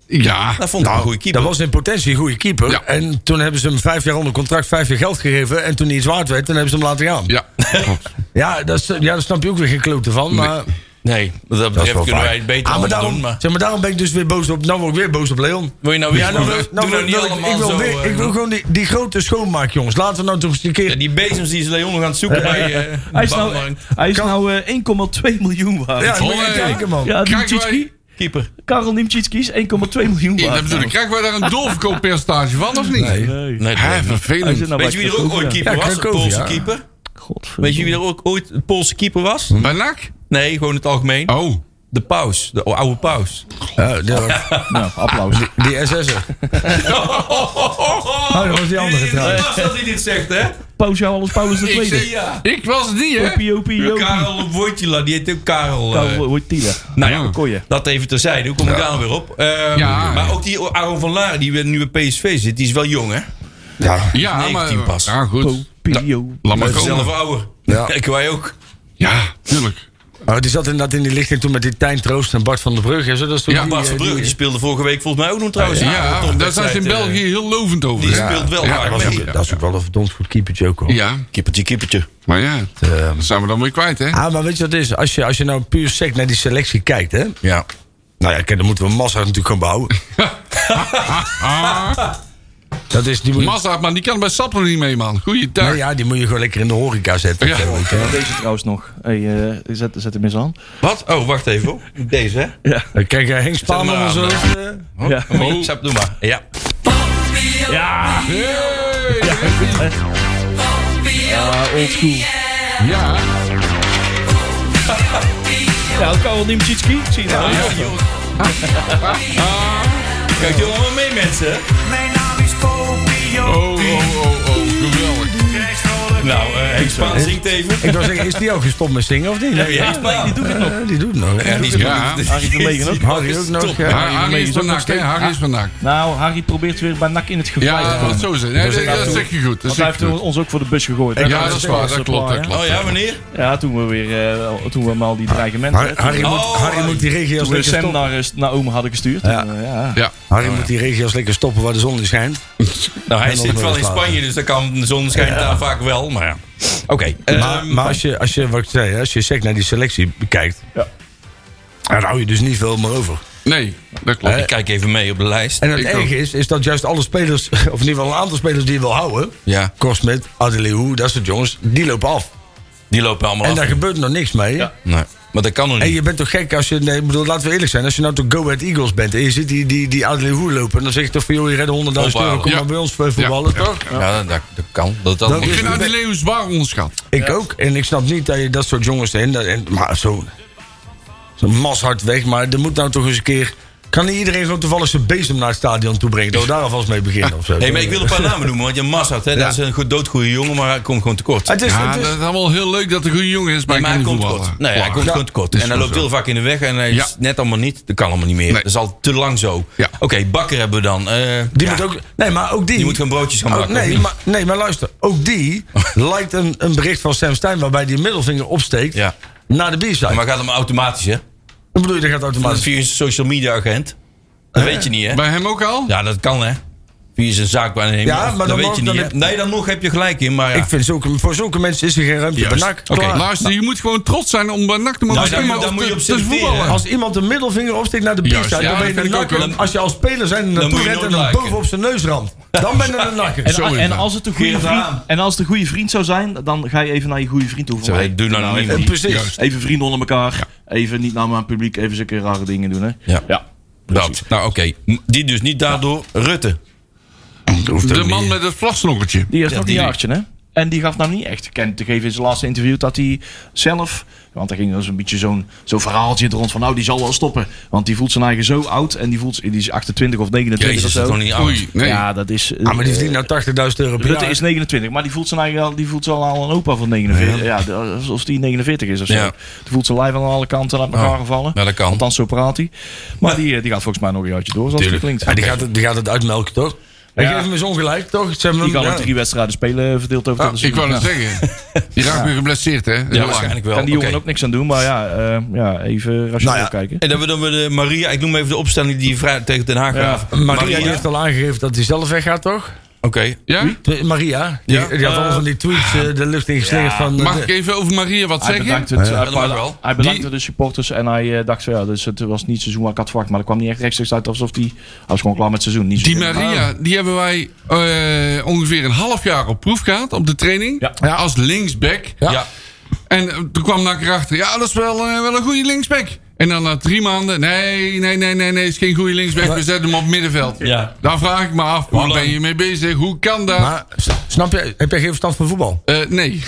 Speaker 5: Ja.
Speaker 2: Dat vond ik een goede keeper.
Speaker 3: Nou, Dat was in potentie een goede keeper.
Speaker 5: Ja.
Speaker 3: En toen hebben ze hem vijf jaar onder contract, vijf jaar geld gegeven. En toen hij iets waard werd, toen hebben ze hem laten gaan. Ja,
Speaker 5: Ja, klopt.
Speaker 3: dat is, ja daar snap je ook weer geen klote van. Maar
Speaker 2: Nee, wat dat
Speaker 3: Dat is
Speaker 2: betreft
Speaker 3: wel
Speaker 2: kunnen
Speaker 3: fijn.
Speaker 2: wij het beter
Speaker 3: Ah, maar
Speaker 2: allemaal
Speaker 3: daarom,
Speaker 2: doen. Maar
Speaker 3: Zeg maar daarom ben ik dus weer boos op. Nou word ik weer boos op Leon.
Speaker 2: wil je nou weer...
Speaker 3: nou,
Speaker 2: doe nou,
Speaker 3: wil-
Speaker 2: niet
Speaker 3: wil ik-
Speaker 2: allemaal
Speaker 3: ik wil,
Speaker 2: zo...
Speaker 3: weer-
Speaker 2: eh,
Speaker 3: ik wil gewoon die, die grote schoonmaak, jongens. Laten we nou toch eens een keer.
Speaker 2: ja, die bezems die is Leon nog aan het zoeken bij... eh
Speaker 6: Hij is nou,
Speaker 2: Bouwmarkt.
Speaker 6: hij is nou eh, 1,2 miljoen waard.
Speaker 3: ja, moet je
Speaker 5: Holle.
Speaker 3: kijken, man.
Speaker 6: Ja, die
Speaker 5: Krijgen wij-
Speaker 6: Tjitski,
Speaker 2: Keeper.
Speaker 6: Karel Nimtjitski is 1,2 miljoen
Speaker 5: Ja,
Speaker 6: waard.
Speaker 5: dat bedoel ik. Krijgen wij daar een doorverkooppercentage van, of niet?
Speaker 3: Nee.
Speaker 6: Nee.
Speaker 2: Nee, dat weet ik
Speaker 5: Hè,
Speaker 2: niet.
Speaker 6: Hij zit
Speaker 5: vervelend.
Speaker 6: nou
Speaker 2: Weet je wie er ook ooit keeper
Speaker 3: Ja,
Speaker 2: was? Een
Speaker 3: Krakowia.
Speaker 2: Poolse keeper. Weet je wie er ook ooit een Poolse keeper was?
Speaker 5: Bij NAC?
Speaker 2: Nee, gewoon in het algemeen.
Speaker 5: Oh.
Speaker 2: De paus. De oude paus.
Speaker 3: Ja, die,
Speaker 6: Nou, applaus.
Speaker 3: die SS'er. Oh, dat was die andere
Speaker 2: Het
Speaker 3: trouwens.
Speaker 2: was dat hij dit zegt, hè?
Speaker 6: Paus jou alles, Paulus de
Speaker 2: Ik zeg
Speaker 6: Tweede.
Speaker 2: ja.
Speaker 5: Ik was die, hè?
Speaker 6: Opie, opie, opie.
Speaker 2: Karel eh, Wojtyla, die heet ook Karel. eh,
Speaker 6: Karel wordt Tila.
Speaker 2: nou ja,
Speaker 6: Kooien.
Speaker 2: dat even terzijde. Hoe kom ik daar nou weer op? Ehm,
Speaker 5: Ja.
Speaker 2: Maar ook die Aaron van Laar, die weer nu bij PSV zit, die is wel jong, hè?
Speaker 5: Ja,
Speaker 2: 19
Speaker 5: maar...
Speaker 2: pas.
Speaker 5: Ja, goed.
Speaker 6: Popio.
Speaker 5: Laat maar
Speaker 2: Maar zelf
Speaker 5: komen.
Speaker 2: ouder.
Speaker 3: Ja.
Speaker 2: Kijk, wij ook.
Speaker 5: Ja, tuurlijk.
Speaker 3: Oh, die zat inderdaad in die lichting toen met die Tijn Troost en Bart van der Brug. en zo. dat is toen
Speaker 5: Ja,
Speaker 3: die,
Speaker 2: Bart van
Speaker 3: eh, die-
Speaker 2: Brugge, die speelde vorige week volgens mij ook nog trouwens. een
Speaker 5: Ja,
Speaker 2: topwedstrijd,
Speaker 5: daar zijn ze in
Speaker 2: eh,
Speaker 5: België heel lovend over.
Speaker 2: Die
Speaker 5: Ja.
Speaker 2: speelt wel
Speaker 5: Ja,
Speaker 2: vaak
Speaker 5: dat
Speaker 2: mee.
Speaker 5: is-
Speaker 3: Dat is ook wel een verdomd goed keepertje ook hoor.
Speaker 5: Ja,
Speaker 2: Kippertje, kippertje.
Speaker 5: maar ja,
Speaker 3: Eh,
Speaker 5: dat zijn we dan weer kwijt, hè?
Speaker 3: Ah, maar weet je wat het is? Als je, als je nou puur sec naar die selectie kijkt, hè?
Speaker 5: Ja.
Speaker 3: Nou ja, kijk, dan moeten we massa natuurlijk gaan bouwen. dat is, die moet, je,
Speaker 5: Massa, maar die kan bij Sappel niet mee, man. Goeie dag.
Speaker 3: nou ja, die moet je gewoon lekker in de horeca zetten.
Speaker 5: Ja.
Speaker 3: Ja. Weet je, hè.
Speaker 6: Deze trouwens nog. Hey, eh, zet, zet hem eens aan.
Speaker 2: Wat? Oh, wacht even. hoor. Ah, Deze, hè?
Speaker 3: Dan Kijk, eh, Henk Spaanman
Speaker 2: maar
Speaker 3: en zo.
Speaker 2: aan,
Speaker 6: Ja.
Speaker 2: Oh. Sap, doe maar. Ja.
Speaker 5: Hey,
Speaker 6: Ah, old school.
Speaker 5: Ja.
Speaker 6: Ja, Karel Nimchitski. Zie je nou?
Speaker 2: Ja, joh. Ah. Kijk, jongen, maar mee, mensen.
Speaker 8: Mijn naam is Popio.
Speaker 5: Oh, oh, oh, oh. Geweldig.
Speaker 8: Jij is vrolijk.
Speaker 2: Nou, eh Henk Spaan zingt even.
Speaker 3: Ik wou zeggen, is die ook gestopt met zingen of niet?
Speaker 2: Ja, Henk Spaan, die doet het nog.
Speaker 3: Eh, die doet het nog.
Speaker 2: Ja, die is
Speaker 5: Ja.
Speaker 6: Harry Vermegen ook.
Speaker 3: Harry ook nog. ja.
Speaker 5: Har- Harry is van NAC, hè? Harry is van NAC.
Speaker 6: Nou, Harry probeert weer bij NAC in het gevaar
Speaker 5: Ja,
Speaker 6: te
Speaker 5: ja,
Speaker 6: komen.
Speaker 5: dat zo zeggen. Nee, dat- dat zeg je goed. Dat
Speaker 6: Want hij
Speaker 5: zeg je
Speaker 6: heeft
Speaker 5: goed.
Speaker 6: ons ook voor de bus gegooid. hè?
Speaker 5: Ja, dat is waar. Dat klopt, dat klopt.
Speaker 2: Oh ja, wanneer?
Speaker 6: Ja, toen we weer, eh, toen we hem al die dreigementen...
Speaker 3: Har- Harry, moet,
Speaker 2: Oh,
Speaker 3: Harry moet die regio's
Speaker 6: toen we
Speaker 3: lekker
Speaker 6: Sam
Speaker 3: stoppen.
Speaker 6: naar, eh, naar Oom hadden gestuurd.
Speaker 3: Ja.
Speaker 6: En, eh, ja.
Speaker 5: Ja.
Speaker 3: Harry moet die regio's lekker stoppen waar de zon niet schijnt.
Speaker 2: Nou, hij
Speaker 3: En
Speaker 2: zit
Speaker 3: nog
Speaker 2: wel in
Speaker 3: wel
Speaker 2: Spanje, dus dat kan de zon schijnt daar vaak wel. Maar ja. Oké. ehm,
Speaker 3: Maar, maar als je, als je, wat ik zei, hè, als je sec naar die selectie kijkt,
Speaker 6: Ja.
Speaker 3: dan hou je dus niet veel meer over.
Speaker 5: Nee, dat klopt.
Speaker 2: ik kijk even mee op de lijst.
Speaker 3: En het
Speaker 5: Ik ook.
Speaker 3: erge is, is dat juist alle spelers, of in ieder geval een aantal spelers die je wil houden,
Speaker 2: Ja.
Speaker 3: Korsmet, Adeliou, dat soort jongens, die lopen af.
Speaker 2: Die lopen allemaal
Speaker 3: En
Speaker 2: af.
Speaker 3: daar gebeurt nog niks mee.
Speaker 2: Nee. Maar dat kan nog
Speaker 3: En
Speaker 2: niet.
Speaker 3: je bent toch gek als je, nee, ik bedoel, laten we eerlijk zijn, als je nou toch Go Ahead Eagles bent en je ziet die, die, die Adeliou lopen, dan zeg je toch van joh, je redt 100.000 euro,
Speaker 2: Ophouden.
Speaker 3: kom
Speaker 5: Ja.
Speaker 3: maar bij ons eh, voetballen,
Speaker 5: Ja.
Speaker 3: toch?
Speaker 2: Ja, dat, dat- dat kan. Dat, dat,
Speaker 3: Dat
Speaker 5: Ik
Speaker 2: is-
Speaker 5: vind nou die Leeuw zwaar onderschat.
Speaker 3: Ik ook. En ik snap niet dat je dat soort jongens. En, dat- en, maar zo. Zo mashard weg. Maar er moet nou toch eens een keer. Kan niet iedereen zo toevallig zijn bezem naar het stadion toe brengen? Dat we daar alvast mee beginnen of zo.
Speaker 2: Hey, maar ik wil een paar namen noemen, want je Massad, hè, dat is een goed, doodgoede jongen, maar hij komt gewoon tekort.
Speaker 3: Het is, dus-
Speaker 5: Ja,
Speaker 3: het is-
Speaker 5: dat is allemaal heel leuk dat de goede jongen is, maar
Speaker 2: Nee,
Speaker 5: ik
Speaker 2: maar hij
Speaker 5: kan
Speaker 2: komt
Speaker 5: niet
Speaker 2: tekort.
Speaker 5: voetballen.
Speaker 2: Nee, hij
Speaker 5: Ja.
Speaker 2: komt gewoon tekort.
Speaker 5: is
Speaker 2: En hij
Speaker 5: wel
Speaker 2: loopt
Speaker 5: zo.
Speaker 2: heel vaak in de weg en hij
Speaker 5: Ja.
Speaker 2: is net allemaal niet. Dat kan allemaal niet meer.
Speaker 5: Nee.
Speaker 2: Dat is al te lang zo.
Speaker 5: Ja.
Speaker 2: Oké, Bakker hebben we dan. Eh,
Speaker 3: die
Speaker 2: ja.
Speaker 3: moet ook. Nee, maar ook die.
Speaker 2: Die moet gewoon broodjes gaan
Speaker 3: Oh,
Speaker 2: bakken, of
Speaker 3: nee,
Speaker 2: niet?
Speaker 3: maar, nee, maar luister. Ook die lijkt een, een bericht van Sam Stein. waarbij die middelvinger opsteekt.
Speaker 2: Ja.
Speaker 3: naar de B-side.
Speaker 2: Maar gaat hem automatisch, hè?
Speaker 3: Wat bedoel je, dat gaat
Speaker 2: Maar
Speaker 3: automatisch.
Speaker 2: via een social media agent. Dat
Speaker 3: Eh?
Speaker 2: weet je niet, hè?
Speaker 5: Bij hem ook al?
Speaker 2: Ja, dat kan, hè? Via zijn zaakwaarnemer.
Speaker 3: Ja, maar
Speaker 2: dat
Speaker 3: dan
Speaker 2: weet
Speaker 3: nog-
Speaker 2: je niet,
Speaker 3: dan
Speaker 2: hè?
Speaker 3: heb-
Speaker 2: Nee, dan nog heb je gelijk in, maar ja.
Speaker 3: Ik vind zulke, voor zulke mensen is er geen ruimte. bij
Speaker 5: Juist.
Speaker 3: NAC.
Speaker 5: Oké,
Speaker 3: Klaar.
Speaker 5: luister, je moet gewoon trots zijn om bij NAC te mogen
Speaker 2: Nou, daar
Speaker 5: spelen.
Speaker 2: moet- daar
Speaker 5: of
Speaker 2: moet je
Speaker 5: te-
Speaker 2: op
Speaker 5: te
Speaker 2: selecteren.
Speaker 5: voetballen.
Speaker 3: Als iemand de middelvinger opsteekt naar de
Speaker 5: Juist,
Speaker 3: bierstaat,
Speaker 5: ja,
Speaker 3: dan ben je
Speaker 5: dat
Speaker 3: een
Speaker 5: vind ik
Speaker 3: nakker.
Speaker 5: ook wel.
Speaker 3: Als je als speler zijn en naartoe
Speaker 2: moet je
Speaker 3: rent en
Speaker 2: nooit
Speaker 3: hem
Speaker 2: liken.
Speaker 3: bovenop zijn neus ramt, dan ben je een nakker. Ah,
Speaker 5: Zo
Speaker 6: En,
Speaker 5: is
Speaker 6: en
Speaker 5: dat.
Speaker 6: als het een goede
Speaker 2: Geert
Speaker 6: vriend,
Speaker 2: Haan.
Speaker 6: en als het een goede vriend zou zijn, dan ga je even naar je goede vriend toe.
Speaker 2: Zo, hey, doe nou niet meer.
Speaker 6: even,
Speaker 3: Precies.
Speaker 6: even vrienden onder elkaar. Even niet naar mijn publiek. Even zulke rare dingen doen. Hè.
Speaker 2: Ja.
Speaker 6: ja.
Speaker 2: Dat. Nou, oké. Die dus niet daardoor. Rutte.
Speaker 5: De man met het vlagslokkertje.
Speaker 6: Die heeft nog
Speaker 5: die-
Speaker 6: een jaartje, hè? En die gaf nou niet echt kent te geven in zijn laatste interview dat hij zelf... Want er ging dus een beetje zo'n zo'n verhaaltje er rond van... nou, die zal wel stoppen. Want die voelt zijn eigen zo oud. En die, voelt, die is 28 of 29
Speaker 2: Jezus, dat
Speaker 6: of
Speaker 2: is
Speaker 6: zo.
Speaker 2: nog niet oud.
Speaker 5: Oei, nee.
Speaker 6: Ja, dat is...
Speaker 3: Ah, maar die
Speaker 6: eh,
Speaker 3: verdient nou 80.000 euro per
Speaker 6: Rutte
Speaker 3: jaar.
Speaker 6: is 29, maar die voelt zijn eigen al, die voelt al al een opa van 49. Ja, de- alsof die 49 is of zo.
Speaker 2: Ja.
Speaker 6: Die voelt zijn lijf aan alle kanten uit elkaar
Speaker 2: Oh,
Speaker 6: gevallen.
Speaker 2: ja, dat kan.
Speaker 6: Althans, zo praat hij. Maar die, eh, die gaat volgens mij nog een jaartje door, zoals het
Speaker 2: Tuurlijk.
Speaker 6: klinkt.
Speaker 3: Ja, die, gaat het, die gaat het uitmelken, toch? Hij
Speaker 6: Ja.
Speaker 3: geeft hem eens ongelijk, toch? Ze hebben
Speaker 6: Die
Speaker 3: hem-
Speaker 6: kan nog
Speaker 3: ja.
Speaker 6: drie wedstrijden spelen, verdeeld over
Speaker 5: Ah,
Speaker 6: het hele
Speaker 5: ik wou
Speaker 6: seizoen.
Speaker 5: net zeggen. Die raakt weer geblesseerd, hè?
Speaker 2: Ja, waarschijnlijk wel.
Speaker 6: Kan die jongen
Speaker 2: Oké. Nou
Speaker 6: ook niks aan doen, maar ja, eh, Nou ja even rationeel kijken.
Speaker 2: En dan hebben we dan weer de Maria. Ik noem even de opstelling die vrij tegen Den Haag gaf.
Speaker 3: Maria, die heeft al aangegeven dat hij zelf weggaat, toch?
Speaker 2: Oké.
Speaker 5: Ja?
Speaker 3: Tw- Maria, die,
Speaker 2: Ja.
Speaker 3: die had al van die tweets eh, de lucht ingeslingerd van... eh,
Speaker 5: Mag ik even over Maria wat
Speaker 6: Hij
Speaker 5: zeggen?
Speaker 6: bedankte, het, hij,
Speaker 2: dat mag
Speaker 6: bedankte-
Speaker 2: wel.
Speaker 6: hij bedankte
Speaker 5: Die-
Speaker 6: de supporters en hij eh, dacht van ja, dus het was niet het seizoen waar ik had verwacht. Maar dat kwam niet echt rechtstreeks uit alsof die, hij was gewoon klaar met het seizoen. Niet
Speaker 5: Die
Speaker 6: zozeer-
Speaker 5: Maria, die hebben wij eh, ongeveer een half jaar op proef gehad op de training.
Speaker 6: Ja.
Speaker 5: Ja, Als linksback.
Speaker 2: Ja.
Speaker 5: En eh, toen kwam ik erachter, ja, dat is wel, eh, wel een goede linksback. En dan na drie maanden, nee, nee, nee, nee, nee, is geen goede linksback, we zetten hem op middenveld.
Speaker 2: Ja.
Speaker 5: Daar vraag ik me af, waar ben je mee bezig? Hoe kan dat?
Speaker 3: Maar s- snap je, heb jij geen verstand van voetbal?
Speaker 5: Eh, nee,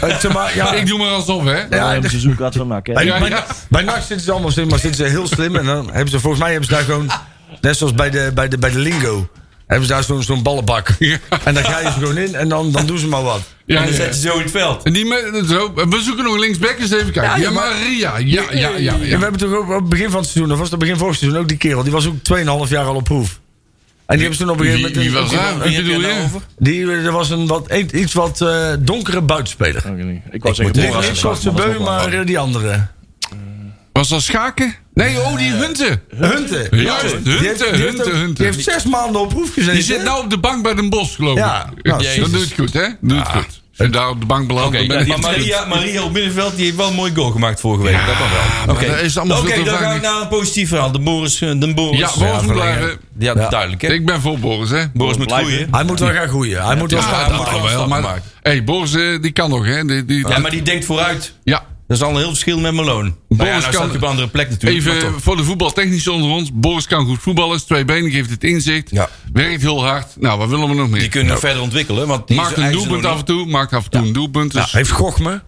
Speaker 3: Eh, zeg maar, ja,
Speaker 5: ik doe maar alsof, hè.
Speaker 3: ja,
Speaker 6: Daar hebben ze zoek uit van nou, NAC, hè?
Speaker 3: bij,
Speaker 5: Ja,
Speaker 3: bij,
Speaker 5: ja.
Speaker 3: bij NAC zitten ze allemaal slim, maar zitten ze heel slim. En dan hebben ze, volgens mij hebben ze daar gewoon, net zoals bij de, bij de, bij de lingo, hebben ze daar zo'n zo'n ballenbak. En dan ga je ze gewoon in en dan, dan doen ze maar wat.
Speaker 5: Ja,
Speaker 2: Dan
Speaker 5: ja.
Speaker 2: zet je zo in het veld.
Speaker 5: En die me- zo, we zoeken nog een linksback, eens even kijken. Ja, Maria, ja, ja, ja.
Speaker 3: En
Speaker 5: ja.
Speaker 3: we hebben toch ook op het begin van het seizoen, of was het begin vorig seizoen, ook die kerel. Die was ook 2,5 jaar al op proef. En die hebben ze toen op een
Speaker 5: Wie,
Speaker 3: gegeven
Speaker 5: wie was
Speaker 3: moment...
Speaker 5: daar? Wie bedoel je?
Speaker 3: Die, eh, er was een wat, een- iets wat eh, donkere buitenspeler.
Speaker 6: Ik, niet. ik was
Speaker 3: Niet-
Speaker 6: zeggen, Boras
Speaker 3: Niet
Speaker 6: en Bas,
Speaker 3: Kotze
Speaker 6: maar dat is
Speaker 3: Beu,
Speaker 6: ook wel-
Speaker 3: maar eh, die andere.
Speaker 5: Was dat Schaken? Nee, oh, die Hunten.
Speaker 3: Hunten.
Speaker 5: Ja, Hunten,
Speaker 3: Die heeft- die
Speaker 5: Hunten,
Speaker 3: heeft ook-
Speaker 5: Hunten.
Speaker 3: Die heeft zes maanden op proef gezeten.
Speaker 5: Die zit nou op de bank bij Den Bos, geloof ik.
Speaker 3: Ja, nou,
Speaker 5: dat doet het goed, hè? Doet het goed. Als je daar op de bank belandt, dan ben je
Speaker 2: maar
Speaker 5: het goed.
Speaker 2: Maria, Maria op middenveld die heeft wel een mooi goal gemaakt vorige week. dat dan wel. Oké,
Speaker 5: dat is allemaal
Speaker 2: Oké,
Speaker 5: veel te
Speaker 2: dan ga
Speaker 5: weinig.
Speaker 2: ik naar een positief verhaal. De Boris. eh, De Boris.
Speaker 5: Ja, Boris moet
Speaker 2: verlengen.
Speaker 5: blijven.
Speaker 2: Ja,
Speaker 3: Ja.
Speaker 2: duidelijk. Hè?
Speaker 5: Ik ben voor Boris, hè?
Speaker 2: Boris moet
Speaker 6: blijven.
Speaker 2: groeien.
Speaker 3: Hij moet wel gaan groeien. Hij moet wel
Speaker 5: Ja,
Speaker 3: stappen
Speaker 5: dat
Speaker 3: maken.
Speaker 5: kan wel,
Speaker 2: Stap
Speaker 5: maar...
Speaker 2: maken.
Speaker 5: hey, Boris, eh, die kan nog, hè? Die, die,
Speaker 2: Ja, maar die denkt vooruit.
Speaker 5: ja.
Speaker 2: Dat is al een heel verschil met Malone. Maar ja,
Speaker 5: Boris
Speaker 2: nou
Speaker 5: kan-
Speaker 2: staat hij op een andere plek natuurlijk. maar
Speaker 5: Even
Speaker 2: toch.
Speaker 5: voor de voetbaltechnici onder ons. Boris kan goed voetballen, is twee benen, geeft het inzicht.
Speaker 3: Ja.
Speaker 5: Werkt heel hard. Nou, wat willen we nog
Speaker 2: Die
Speaker 5: meer?
Speaker 2: kunnen nog verder ontwikkelen. Want die
Speaker 5: Maakt
Speaker 2: is- hij
Speaker 5: een
Speaker 2: is er
Speaker 5: doelpunt
Speaker 2: nog
Speaker 5: af en toe, maakt af en toe een doelpunt. Dus ja,
Speaker 3: Heeft Gochme.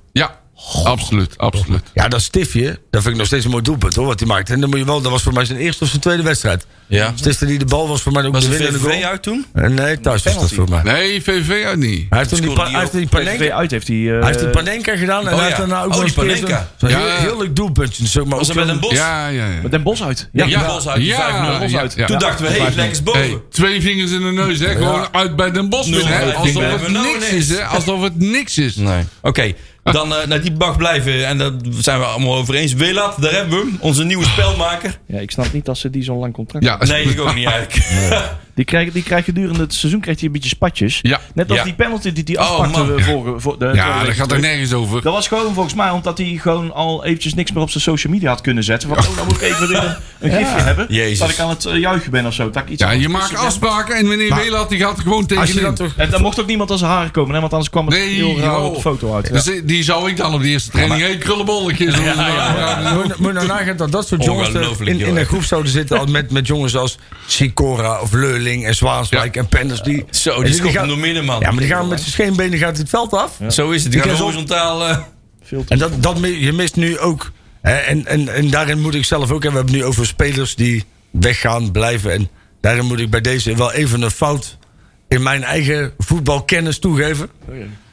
Speaker 5: absoluut, absoluut.
Speaker 3: Ja, dat stiftje. Dat vind ik nog steeds een mooi doelpunt hoor, wat hij maakt. En dan moet je wel, dat was voor mij zijn eerste of zijn tweede wedstrijd.
Speaker 2: niet. Ja.
Speaker 3: Stifte die de bal was voor mij ook
Speaker 2: Was
Speaker 3: de
Speaker 2: het
Speaker 3: winnende
Speaker 2: VVV
Speaker 3: goal.
Speaker 2: uit toen?
Speaker 3: Eh, Nee, thuis was dat voor mij.
Speaker 5: Nee, VV uit niet.
Speaker 3: Hij heeft toen die,
Speaker 2: Scoorde
Speaker 3: pa-
Speaker 2: die
Speaker 3: hij heeft
Speaker 2: ook.
Speaker 3: die Panenka,
Speaker 6: PSV uit heeft hij... eh,
Speaker 3: hij heeft die Panenka gedaan en
Speaker 2: Oh,
Speaker 3: hij heeft
Speaker 2: ja.
Speaker 3: daarna ook
Speaker 2: Oh,
Speaker 3: nog
Speaker 2: die
Speaker 3: eens een keer
Speaker 2: Panenka.
Speaker 3: zo'n- zo'n
Speaker 5: Ja.
Speaker 3: heel, heel leuk doelpuntje. Zeg maar
Speaker 2: Was er
Speaker 3: ook
Speaker 2: wel
Speaker 3: zo'n-
Speaker 2: een bos?
Speaker 5: Ja, ja, ja.
Speaker 6: Met Den Bos uit.
Speaker 2: Ja, Bos uit. die 5-0 Bos
Speaker 5: ja,
Speaker 2: uit.
Speaker 5: ja.
Speaker 2: Toen dachten we, hé, hey, lekker boven.
Speaker 5: Hey, twee vingers in de neus, hè? Gewoon uit bij Den Bosch.
Speaker 2: Nul
Speaker 5: winnen, hè?
Speaker 2: vijf.
Speaker 5: Alsof
Speaker 2: Ik ben
Speaker 5: het
Speaker 2: er nou
Speaker 5: niks
Speaker 2: ineens.
Speaker 5: is, hè? Alsof het niks is.
Speaker 2: Nee. Oké, dan eh, naar die bag blijven. En daar zijn we allemaal over eens. Willard, daar hebben we hem. Onze nieuwe spelmaker.
Speaker 6: Ja, ik snap niet dat ze die zo'n lang contract
Speaker 5: Ja,
Speaker 2: Nee, ik ook niet eigenlijk.
Speaker 6: Die krijgt die krijgt gedurende het seizoen krijgt hij een beetje spatjes.
Speaker 5: Ja.
Speaker 6: Net als
Speaker 2: Ja.
Speaker 6: die penalty die hij
Speaker 2: Oh,
Speaker 6: afpakte
Speaker 2: man.
Speaker 6: eh, vorige, voor de, vorige
Speaker 5: ja
Speaker 6: week
Speaker 5: daar gaat er
Speaker 6: terug.
Speaker 5: nergens over.
Speaker 6: Dat was gewoon volgens mij omdat hij gewoon al eventjes niks meer op zijn social media had kunnen zetten. Want oh, dan moet ik even weer een, een gifje hebben.
Speaker 2: Jezus.
Speaker 6: Dat ik aan het eh, juichen ben of zo. Dat ik iets
Speaker 5: Ja,
Speaker 6: aan-
Speaker 5: je maakt afspraken en meneer Welat die gaat er gewoon
Speaker 3: Als je dat
Speaker 5: tegenin.
Speaker 3: toch...
Speaker 6: En dan mocht ook niemand aan zijn haren komen, hè, want anders kwam het
Speaker 5: Nee,
Speaker 6: heel raar op
Speaker 5: joh.
Speaker 6: de foto uit.
Speaker 5: Dus die zou ik dan op de eerste training. Hé, krullenbolletje. zo.
Speaker 3: Moet je- moet je nou nagaan dat dat soort jongens er
Speaker 2: Ongelooflijk,
Speaker 3: in, in
Speaker 2: joh,
Speaker 3: een
Speaker 2: echt.
Speaker 3: groep zouden zitten als met, met jongens als Sicora of Leuling en Zwaanswijk en Penders. Die,
Speaker 2: Zo,
Speaker 3: en
Speaker 2: die schopt
Speaker 3: gaan-
Speaker 2: hem door midden, man.
Speaker 3: Ja, maar die gaan met zijn scheenbenen gaat het veld af.
Speaker 2: Zo is het. Die
Speaker 3: Die
Speaker 2: gaan
Speaker 3: kan zo-
Speaker 2: horizontaal... eh,
Speaker 3: En dat, dat, mi- je mist nu ook. hè, En, en, en daarin moet ik zelf ook. En we hebben het nu over spelers die weggaan, blijven. En daarin moet ik bij deze wel even een fout in mijn eigen voetbalkennis toegeven.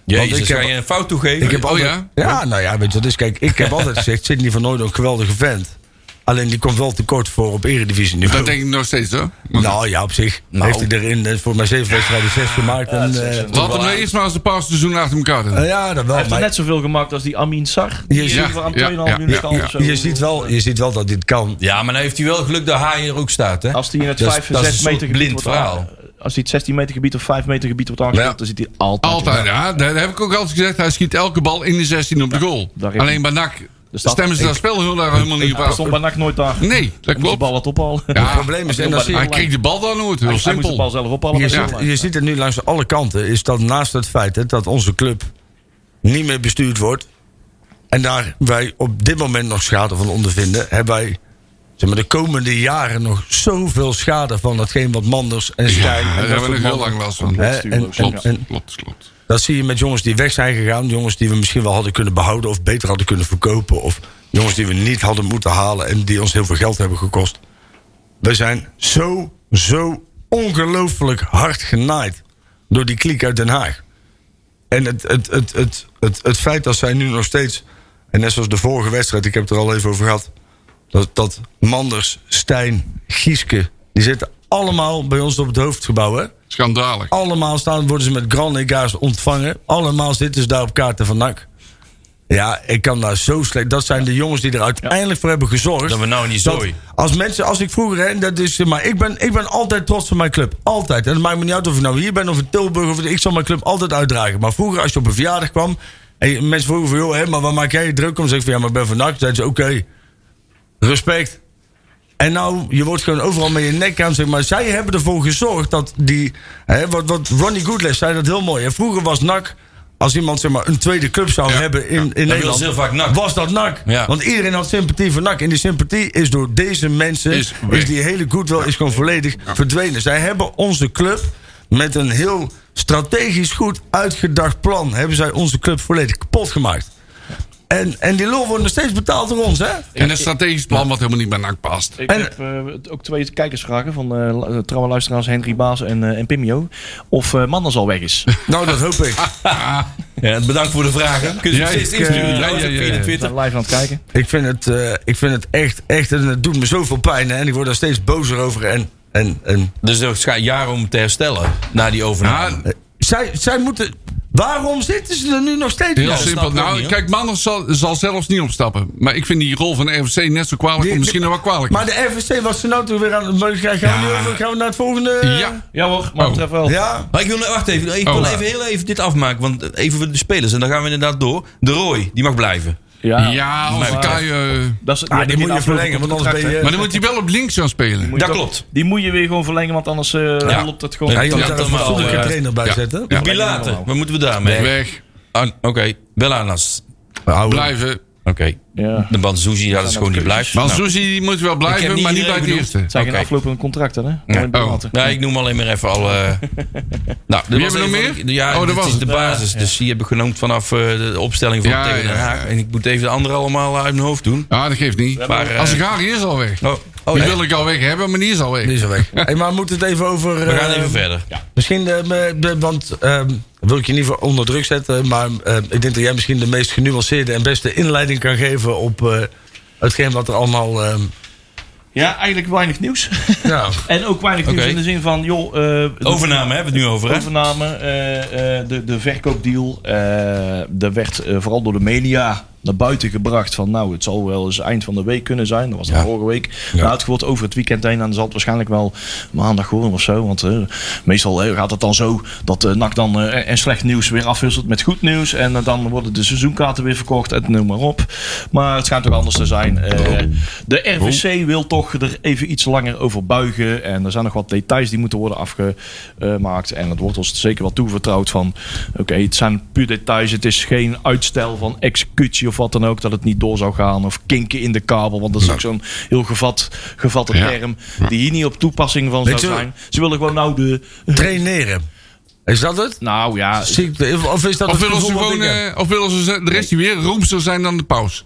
Speaker 2: Jezus,
Speaker 3: ik
Speaker 2: ga
Speaker 3: heb-
Speaker 2: je een fout toegeven?
Speaker 3: Ik heb
Speaker 5: Oh
Speaker 3: altijd,
Speaker 5: ja?
Speaker 3: nou ja, weet je wat is? Kijk, ik heb altijd gezegd, Sidney van Nooit een geweldige vent. Alleen die komt wel tekort voor op eredivisie
Speaker 5: Dat
Speaker 3: niveau.
Speaker 5: denk ik nog steeds, hoor.
Speaker 3: Nou ja, op zich heeft hij erin eh, voor mij zeven wedstrijden zes gemaakt. En, eh,
Speaker 5: Laten we eerst maar eens een paar seizoenen achter elkaar doen.
Speaker 3: nou ja, dat wel.
Speaker 6: Hij heeft
Speaker 3: maar-
Speaker 6: er net zoveel gemaakt als die Amin Sar.
Speaker 3: Je
Speaker 6: Die
Speaker 3: ziet-
Speaker 6: hier aan
Speaker 5: ja,
Speaker 6: 2,5
Speaker 5: ja,
Speaker 6: minuten
Speaker 5: ja,
Speaker 6: kan
Speaker 5: ja.
Speaker 6: of zo.
Speaker 3: je, ziet wel, je ziet wel dat dit kan.
Speaker 2: Ja, maar dan heeft hij wel geluk dat hij er ook staat, hè?
Speaker 6: Als die in het
Speaker 2: Dat is-
Speaker 6: 5 en
Speaker 2: dat is
Speaker 6: 6
Speaker 2: een soort
Speaker 6: meter gebied
Speaker 2: blind
Speaker 6: wordt
Speaker 2: verhaal.
Speaker 6: aange- Als hij het 16 meter gebied of 5 meter gebied wordt aangespeeld,
Speaker 5: Ja.
Speaker 6: dan zit hij altijd.
Speaker 5: Altijd, ja. Dat heb ik ook altijd gezegd. Hij schiet elke bal in de 16 op de goal.
Speaker 6: daar heeft
Speaker 5: Alleen bij NAC
Speaker 6: staat-
Speaker 5: stemmen ze dat spel heel erg helemaal niet op
Speaker 6: Hij stond
Speaker 5: af.
Speaker 6: bij NAC nooit daar.
Speaker 5: Nee, dat
Speaker 6: Hij moet de
Speaker 5: klopt.
Speaker 6: bal wat ophalen.
Speaker 5: Ja,
Speaker 3: Het probleem is, en dat zie je
Speaker 5: Hij kreeg de bal dan nooit. Heel
Speaker 6: Hij, hij moest de
Speaker 5: simpel.
Speaker 6: bal zelf ophalen.
Speaker 3: Je,
Speaker 6: maar dat
Speaker 5: Ja.
Speaker 6: is heel
Speaker 3: ziet, je ziet het nu langs alle kanten. Is dat naast het feit hè, dat onze club niet meer bestuurd wordt. En daar wij op dit moment nog schade van ondervinden. Hebben wij zeg maar, de komende jaren nog zoveel schade van datgeen wat Manders en
Speaker 5: Ja,
Speaker 3: Stijn.
Speaker 5: daar
Speaker 3: en dat
Speaker 5: hebben we
Speaker 3: soort
Speaker 5: nog heel
Speaker 3: mannen-
Speaker 5: lang last van.
Speaker 3: Hè, en, en,
Speaker 5: Klopt,
Speaker 3: en
Speaker 5: klopt, klopt.
Speaker 3: dat zie je met jongens die weg zijn gegaan. Jongens die we misschien wel hadden kunnen behouden of beter hadden kunnen verkopen. Of jongens die we niet hadden moeten halen en die ons heel veel geld hebben gekost. We zijn zo, zo ongelooflijk hard genaaid door die kliek uit Den Haag. En het, het, het, het, het, het feit dat zij nu nog steeds... En net zoals de vorige wedstrijd, ik heb het er al even over gehad... dat, dat Manders, Stijn, Gieske... die zitten allemaal bij ons op het hoofdgebouw, hè?
Speaker 5: Schandalig.
Speaker 3: Allemaal staan, worden ze met Grand Lega's ontvangen. Allemaal zitten ze daar op kaarten van NAC. Ja, ik kan daar zo slecht. Dat zijn de jongens die er uiteindelijk voor hebben gezorgd.
Speaker 2: Dat we nou niet
Speaker 3: Dat
Speaker 2: zooi.
Speaker 3: als mensen, als ik vroeger, hè, dat is, eh, maar ik ben, ik ben altijd trots op mijn club. Altijd. En het maakt me niet uit of ik nou hier ben of in Tilburg. Of, ik zal mijn club altijd uitdragen. Maar vroeger, als je op een verjaardag kwam. En je- mensen vroegen van, joh, hè, maar waar maak jij je druk om? Zeg ik van, ja, maar ik ben van NAC. Zeiden ze, oké. Respect. En nou, je wordt gewoon overal met je nek aan, zeg maar. Zij hebben ervoor gezorgd dat die... Hè, wat, wat Ronnie Goodless zei dat heel mooi. hè. Vroeger was NAC als iemand zeg maar, een tweede club zou hebben in, in
Speaker 2: was
Speaker 3: Nederland,
Speaker 2: heel vaak NAC.
Speaker 3: was dat NAC.
Speaker 5: Ja.
Speaker 3: Want iedereen had sympathie voor NAC. En die sympathie is door deze mensen,
Speaker 5: Is
Speaker 3: is,
Speaker 5: weg.
Speaker 3: die hele goodwill, is gewoon volledig verdwenen. Zij hebben onze club met een heel strategisch goed uitgedacht plan, hebben zij onze club volledig kapot gemaakt. En, en die lul wordt nog steeds betaald door ons, hè?
Speaker 5: En een strategisch plan wat helemaal niet bij NAC past.
Speaker 6: Ik
Speaker 3: En-
Speaker 6: heb eh, ook twee kijkersvragen van eh, lu- trouwe luisteraars Henry Baas en, eh, en Pimio. Of eh Manders al weg is.
Speaker 3: Nou, dat hoop ik.
Speaker 2: Ja, bedankt voor de vragen. Kun je
Speaker 5: Ja,
Speaker 2: nog steeds
Speaker 5: ik,
Speaker 2: insturen
Speaker 5: eh,
Speaker 2: trouwens,
Speaker 5: ja, ja,
Speaker 2: ook via de
Speaker 5: ja.
Speaker 6: We
Speaker 2: Twitter.
Speaker 6: zijn live aan het kijken.
Speaker 3: Ik vind het, eh, ik vind het echt, echt, en het doet me zoveel pijn. hè, En ik word daar steeds bozer over. En, en, en Eh,
Speaker 2: Dus dat gaat jaren om te herstellen na die overname.
Speaker 5: Ja,
Speaker 3: zij, zij moeten. Waarom zitten ze er nu nog steeds?
Speaker 5: heel
Speaker 3: mee?
Speaker 2: dat
Speaker 5: simpel.
Speaker 2: snap ik ook
Speaker 5: Nou,
Speaker 2: niet, hoor.
Speaker 5: kijk, Manders zal, zal zelfs niet opstappen. Maar ik vind die rol van de RFC net zo kwalijk,
Speaker 3: Die-
Speaker 5: of misschien nog wel kwalijk.
Speaker 3: Maar de RVC, wat ze nou toe weer aan het gaan, gaan, we nu over- gaan we naar het volgende? eh,
Speaker 2: eh,
Speaker 5: ja,
Speaker 6: Ja hoor, maar
Speaker 5: Oh.
Speaker 6: betreft wel.
Speaker 3: Ja?
Speaker 2: Maar ik wil, wacht even, ik
Speaker 5: Oh,
Speaker 2: wil
Speaker 5: ja.
Speaker 2: even heel even dit afmaken. Want even voor de spelers. En dan gaan we inderdaad door. De Roy, die mag blijven.
Speaker 6: Ja,
Speaker 2: Ah.
Speaker 5: ja, als
Speaker 6: maar-
Speaker 5: Kai, eh,
Speaker 6: Dat is,
Speaker 3: Ah, die moet je verlengen, want anders ben je.
Speaker 5: maar dan moet hij wel op links gaan spelen.
Speaker 2: Dat klopt.
Speaker 6: Die moet je weer gewoon verlengen, want anders eh,
Speaker 2: Ja.
Speaker 6: loopt het gewoon.
Speaker 3: Ja, je
Speaker 2: Ja,
Speaker 3: moet daar
Speaker 2: dat
Speaker 3: een
Speaker 2: wel,
Speaker 3: fatsoenlijke
Speaker 2: eh,
Speaker 3: trainer bij
Speaker 5: ja.
Speaker 3: zetten.
Speaker 5: Ja.
Speaker 2: Pilaten, wat moeten we daarmee?
Speaker 5: Weg,
Speaker 2: Ah, Oké, Bellanas.
Speaker 5: blijven.
Speaker 2: Oké.
Speaker 6: Ja.
Speaker 2: De Banzuzi, ja, dat is gewoon die blijft.
Speaker 5: Want
Speaker 2: Nou,
Speaker 5: Suzy die moet wel
Speaker 2: Ik heb
Speaker 5: blijven,
Speaker 2: niet eh,
Speaker 5: maar niet
Speaker 2: iedereen
Speaker 5: bij het
Speaker 2: benoemd.
Speaker 5: eerste.
Speaker 6: Het zijn
Speaker 2: Oké.
Speaker 6: geen aflopende contracten, hè? Alleen
Speaker 5: Oh.
Speaker 6: bematen.
Speaker 2: nee, ik noem alleen maar even al. eh nou, er
Speaker 5: Wie hebben we nog meer?
Speaker 2: ja,
Speaker 5: Oh, dat
Speaker 2: dit
Speaker 5: was
Speaker 2: is
Speaker 5: het.
Speaker 2: de basis. Dus die heb ik genoemd vanaf eh, de opstelling van
Speaker 5: Ja,
Speaker 2: tegen Den
Speaker 5: ja, ja.
Speaker 2: Haag. En ik moet even de andere allemaal uit mijn hoofd doen.
Speaker 5: Ja, Ah, dat geeft niet.
Speaker 2: Maar, eh,
Speaker 5: Als ik haar die is al weg.
Speaker 2: Oh, oh
Speaker 5: Die
Speaker 2: nee.
Speaker 5: wil ik al weg hebben, maar die is al weg.
Speaker 3: Die is al weg. Hey, maar we moeten het even over.
Speaker 2: We gaan
Speaker 3: eh,
Speaker 2: even verder.
Speaker 3: Misschien, eh, me- de- want ehm, wil ik je niet voor onder druk zetten, maar eh, ik denk dat jij misschien de meest genuanceerde en beste inleiding kan geven op eh, hetgeen wat er allemaal. ehm,
Speaker 6: Ja, eigenlijk weinig nieuws.
Speaker 3: ja.
Speaker 6: en ook weinig
Speaker 2: Oké.
Speaker 6: nieuws in de zin van, joh... eh, de-
Speaker 2: Overname hebben we het nu over, hè?
Speaker 6: Overname, eh, eh, de, de verkoopdeal. eh er werd eh, vooral door de media naar buiten gebracht van nou, het zal wel eens eind van de week kunnen zijn. Dat was dan vorige week. Nou, het wordt over het weekend heen en dan zal het waarschijnlijk wel maandag worden of zo. Want eh, meestal eh, gaat het dan zo dat eh NAC dan eh, en slecht nieuws weer afwisselt met goed nieuws. En eh, dan worden de seizoenkaarten weer verkocht en noem maar op. Maar het schijnt ook anders te zijn. Eh, de RVC wil toch er even iets langer over buigen. En er zijn nog wat details die moeten worden afgemaakt. En het wordt ons zeker wel toevertrouwd van... Oké, het zijn puur details. Het is geen uitstel van executie of wat dan ook. Dat het niet door zou gaan. Of kinken in de kabel. Want dat is
Speaker 3: Nou.
Speaker 6: ook zo'n heel gevat, gevatte
Speaker 5: Ja.
Speaker 6: term. Die hier niet op toepassing van
Speaker 3: Weet
Speaker 6: zou
Speaker 3: je-
Speaker 6: zijn. Ze willen gewoon nou de...
Speaker 3: Traineren. Is dat het?
Speaker 6: Nou ja,
Speaker 3: Ziekte, of is dat
Speaker 5: Of
Speaker 3: het
Speaker 5: willen ze
Speaker 3: gevoel wat
Speaker 5: gewoon,
Speaker 3: ik heb?
Speaker 5: eh, of willen ze ze- de rest die weer roemster zijn dan de paus?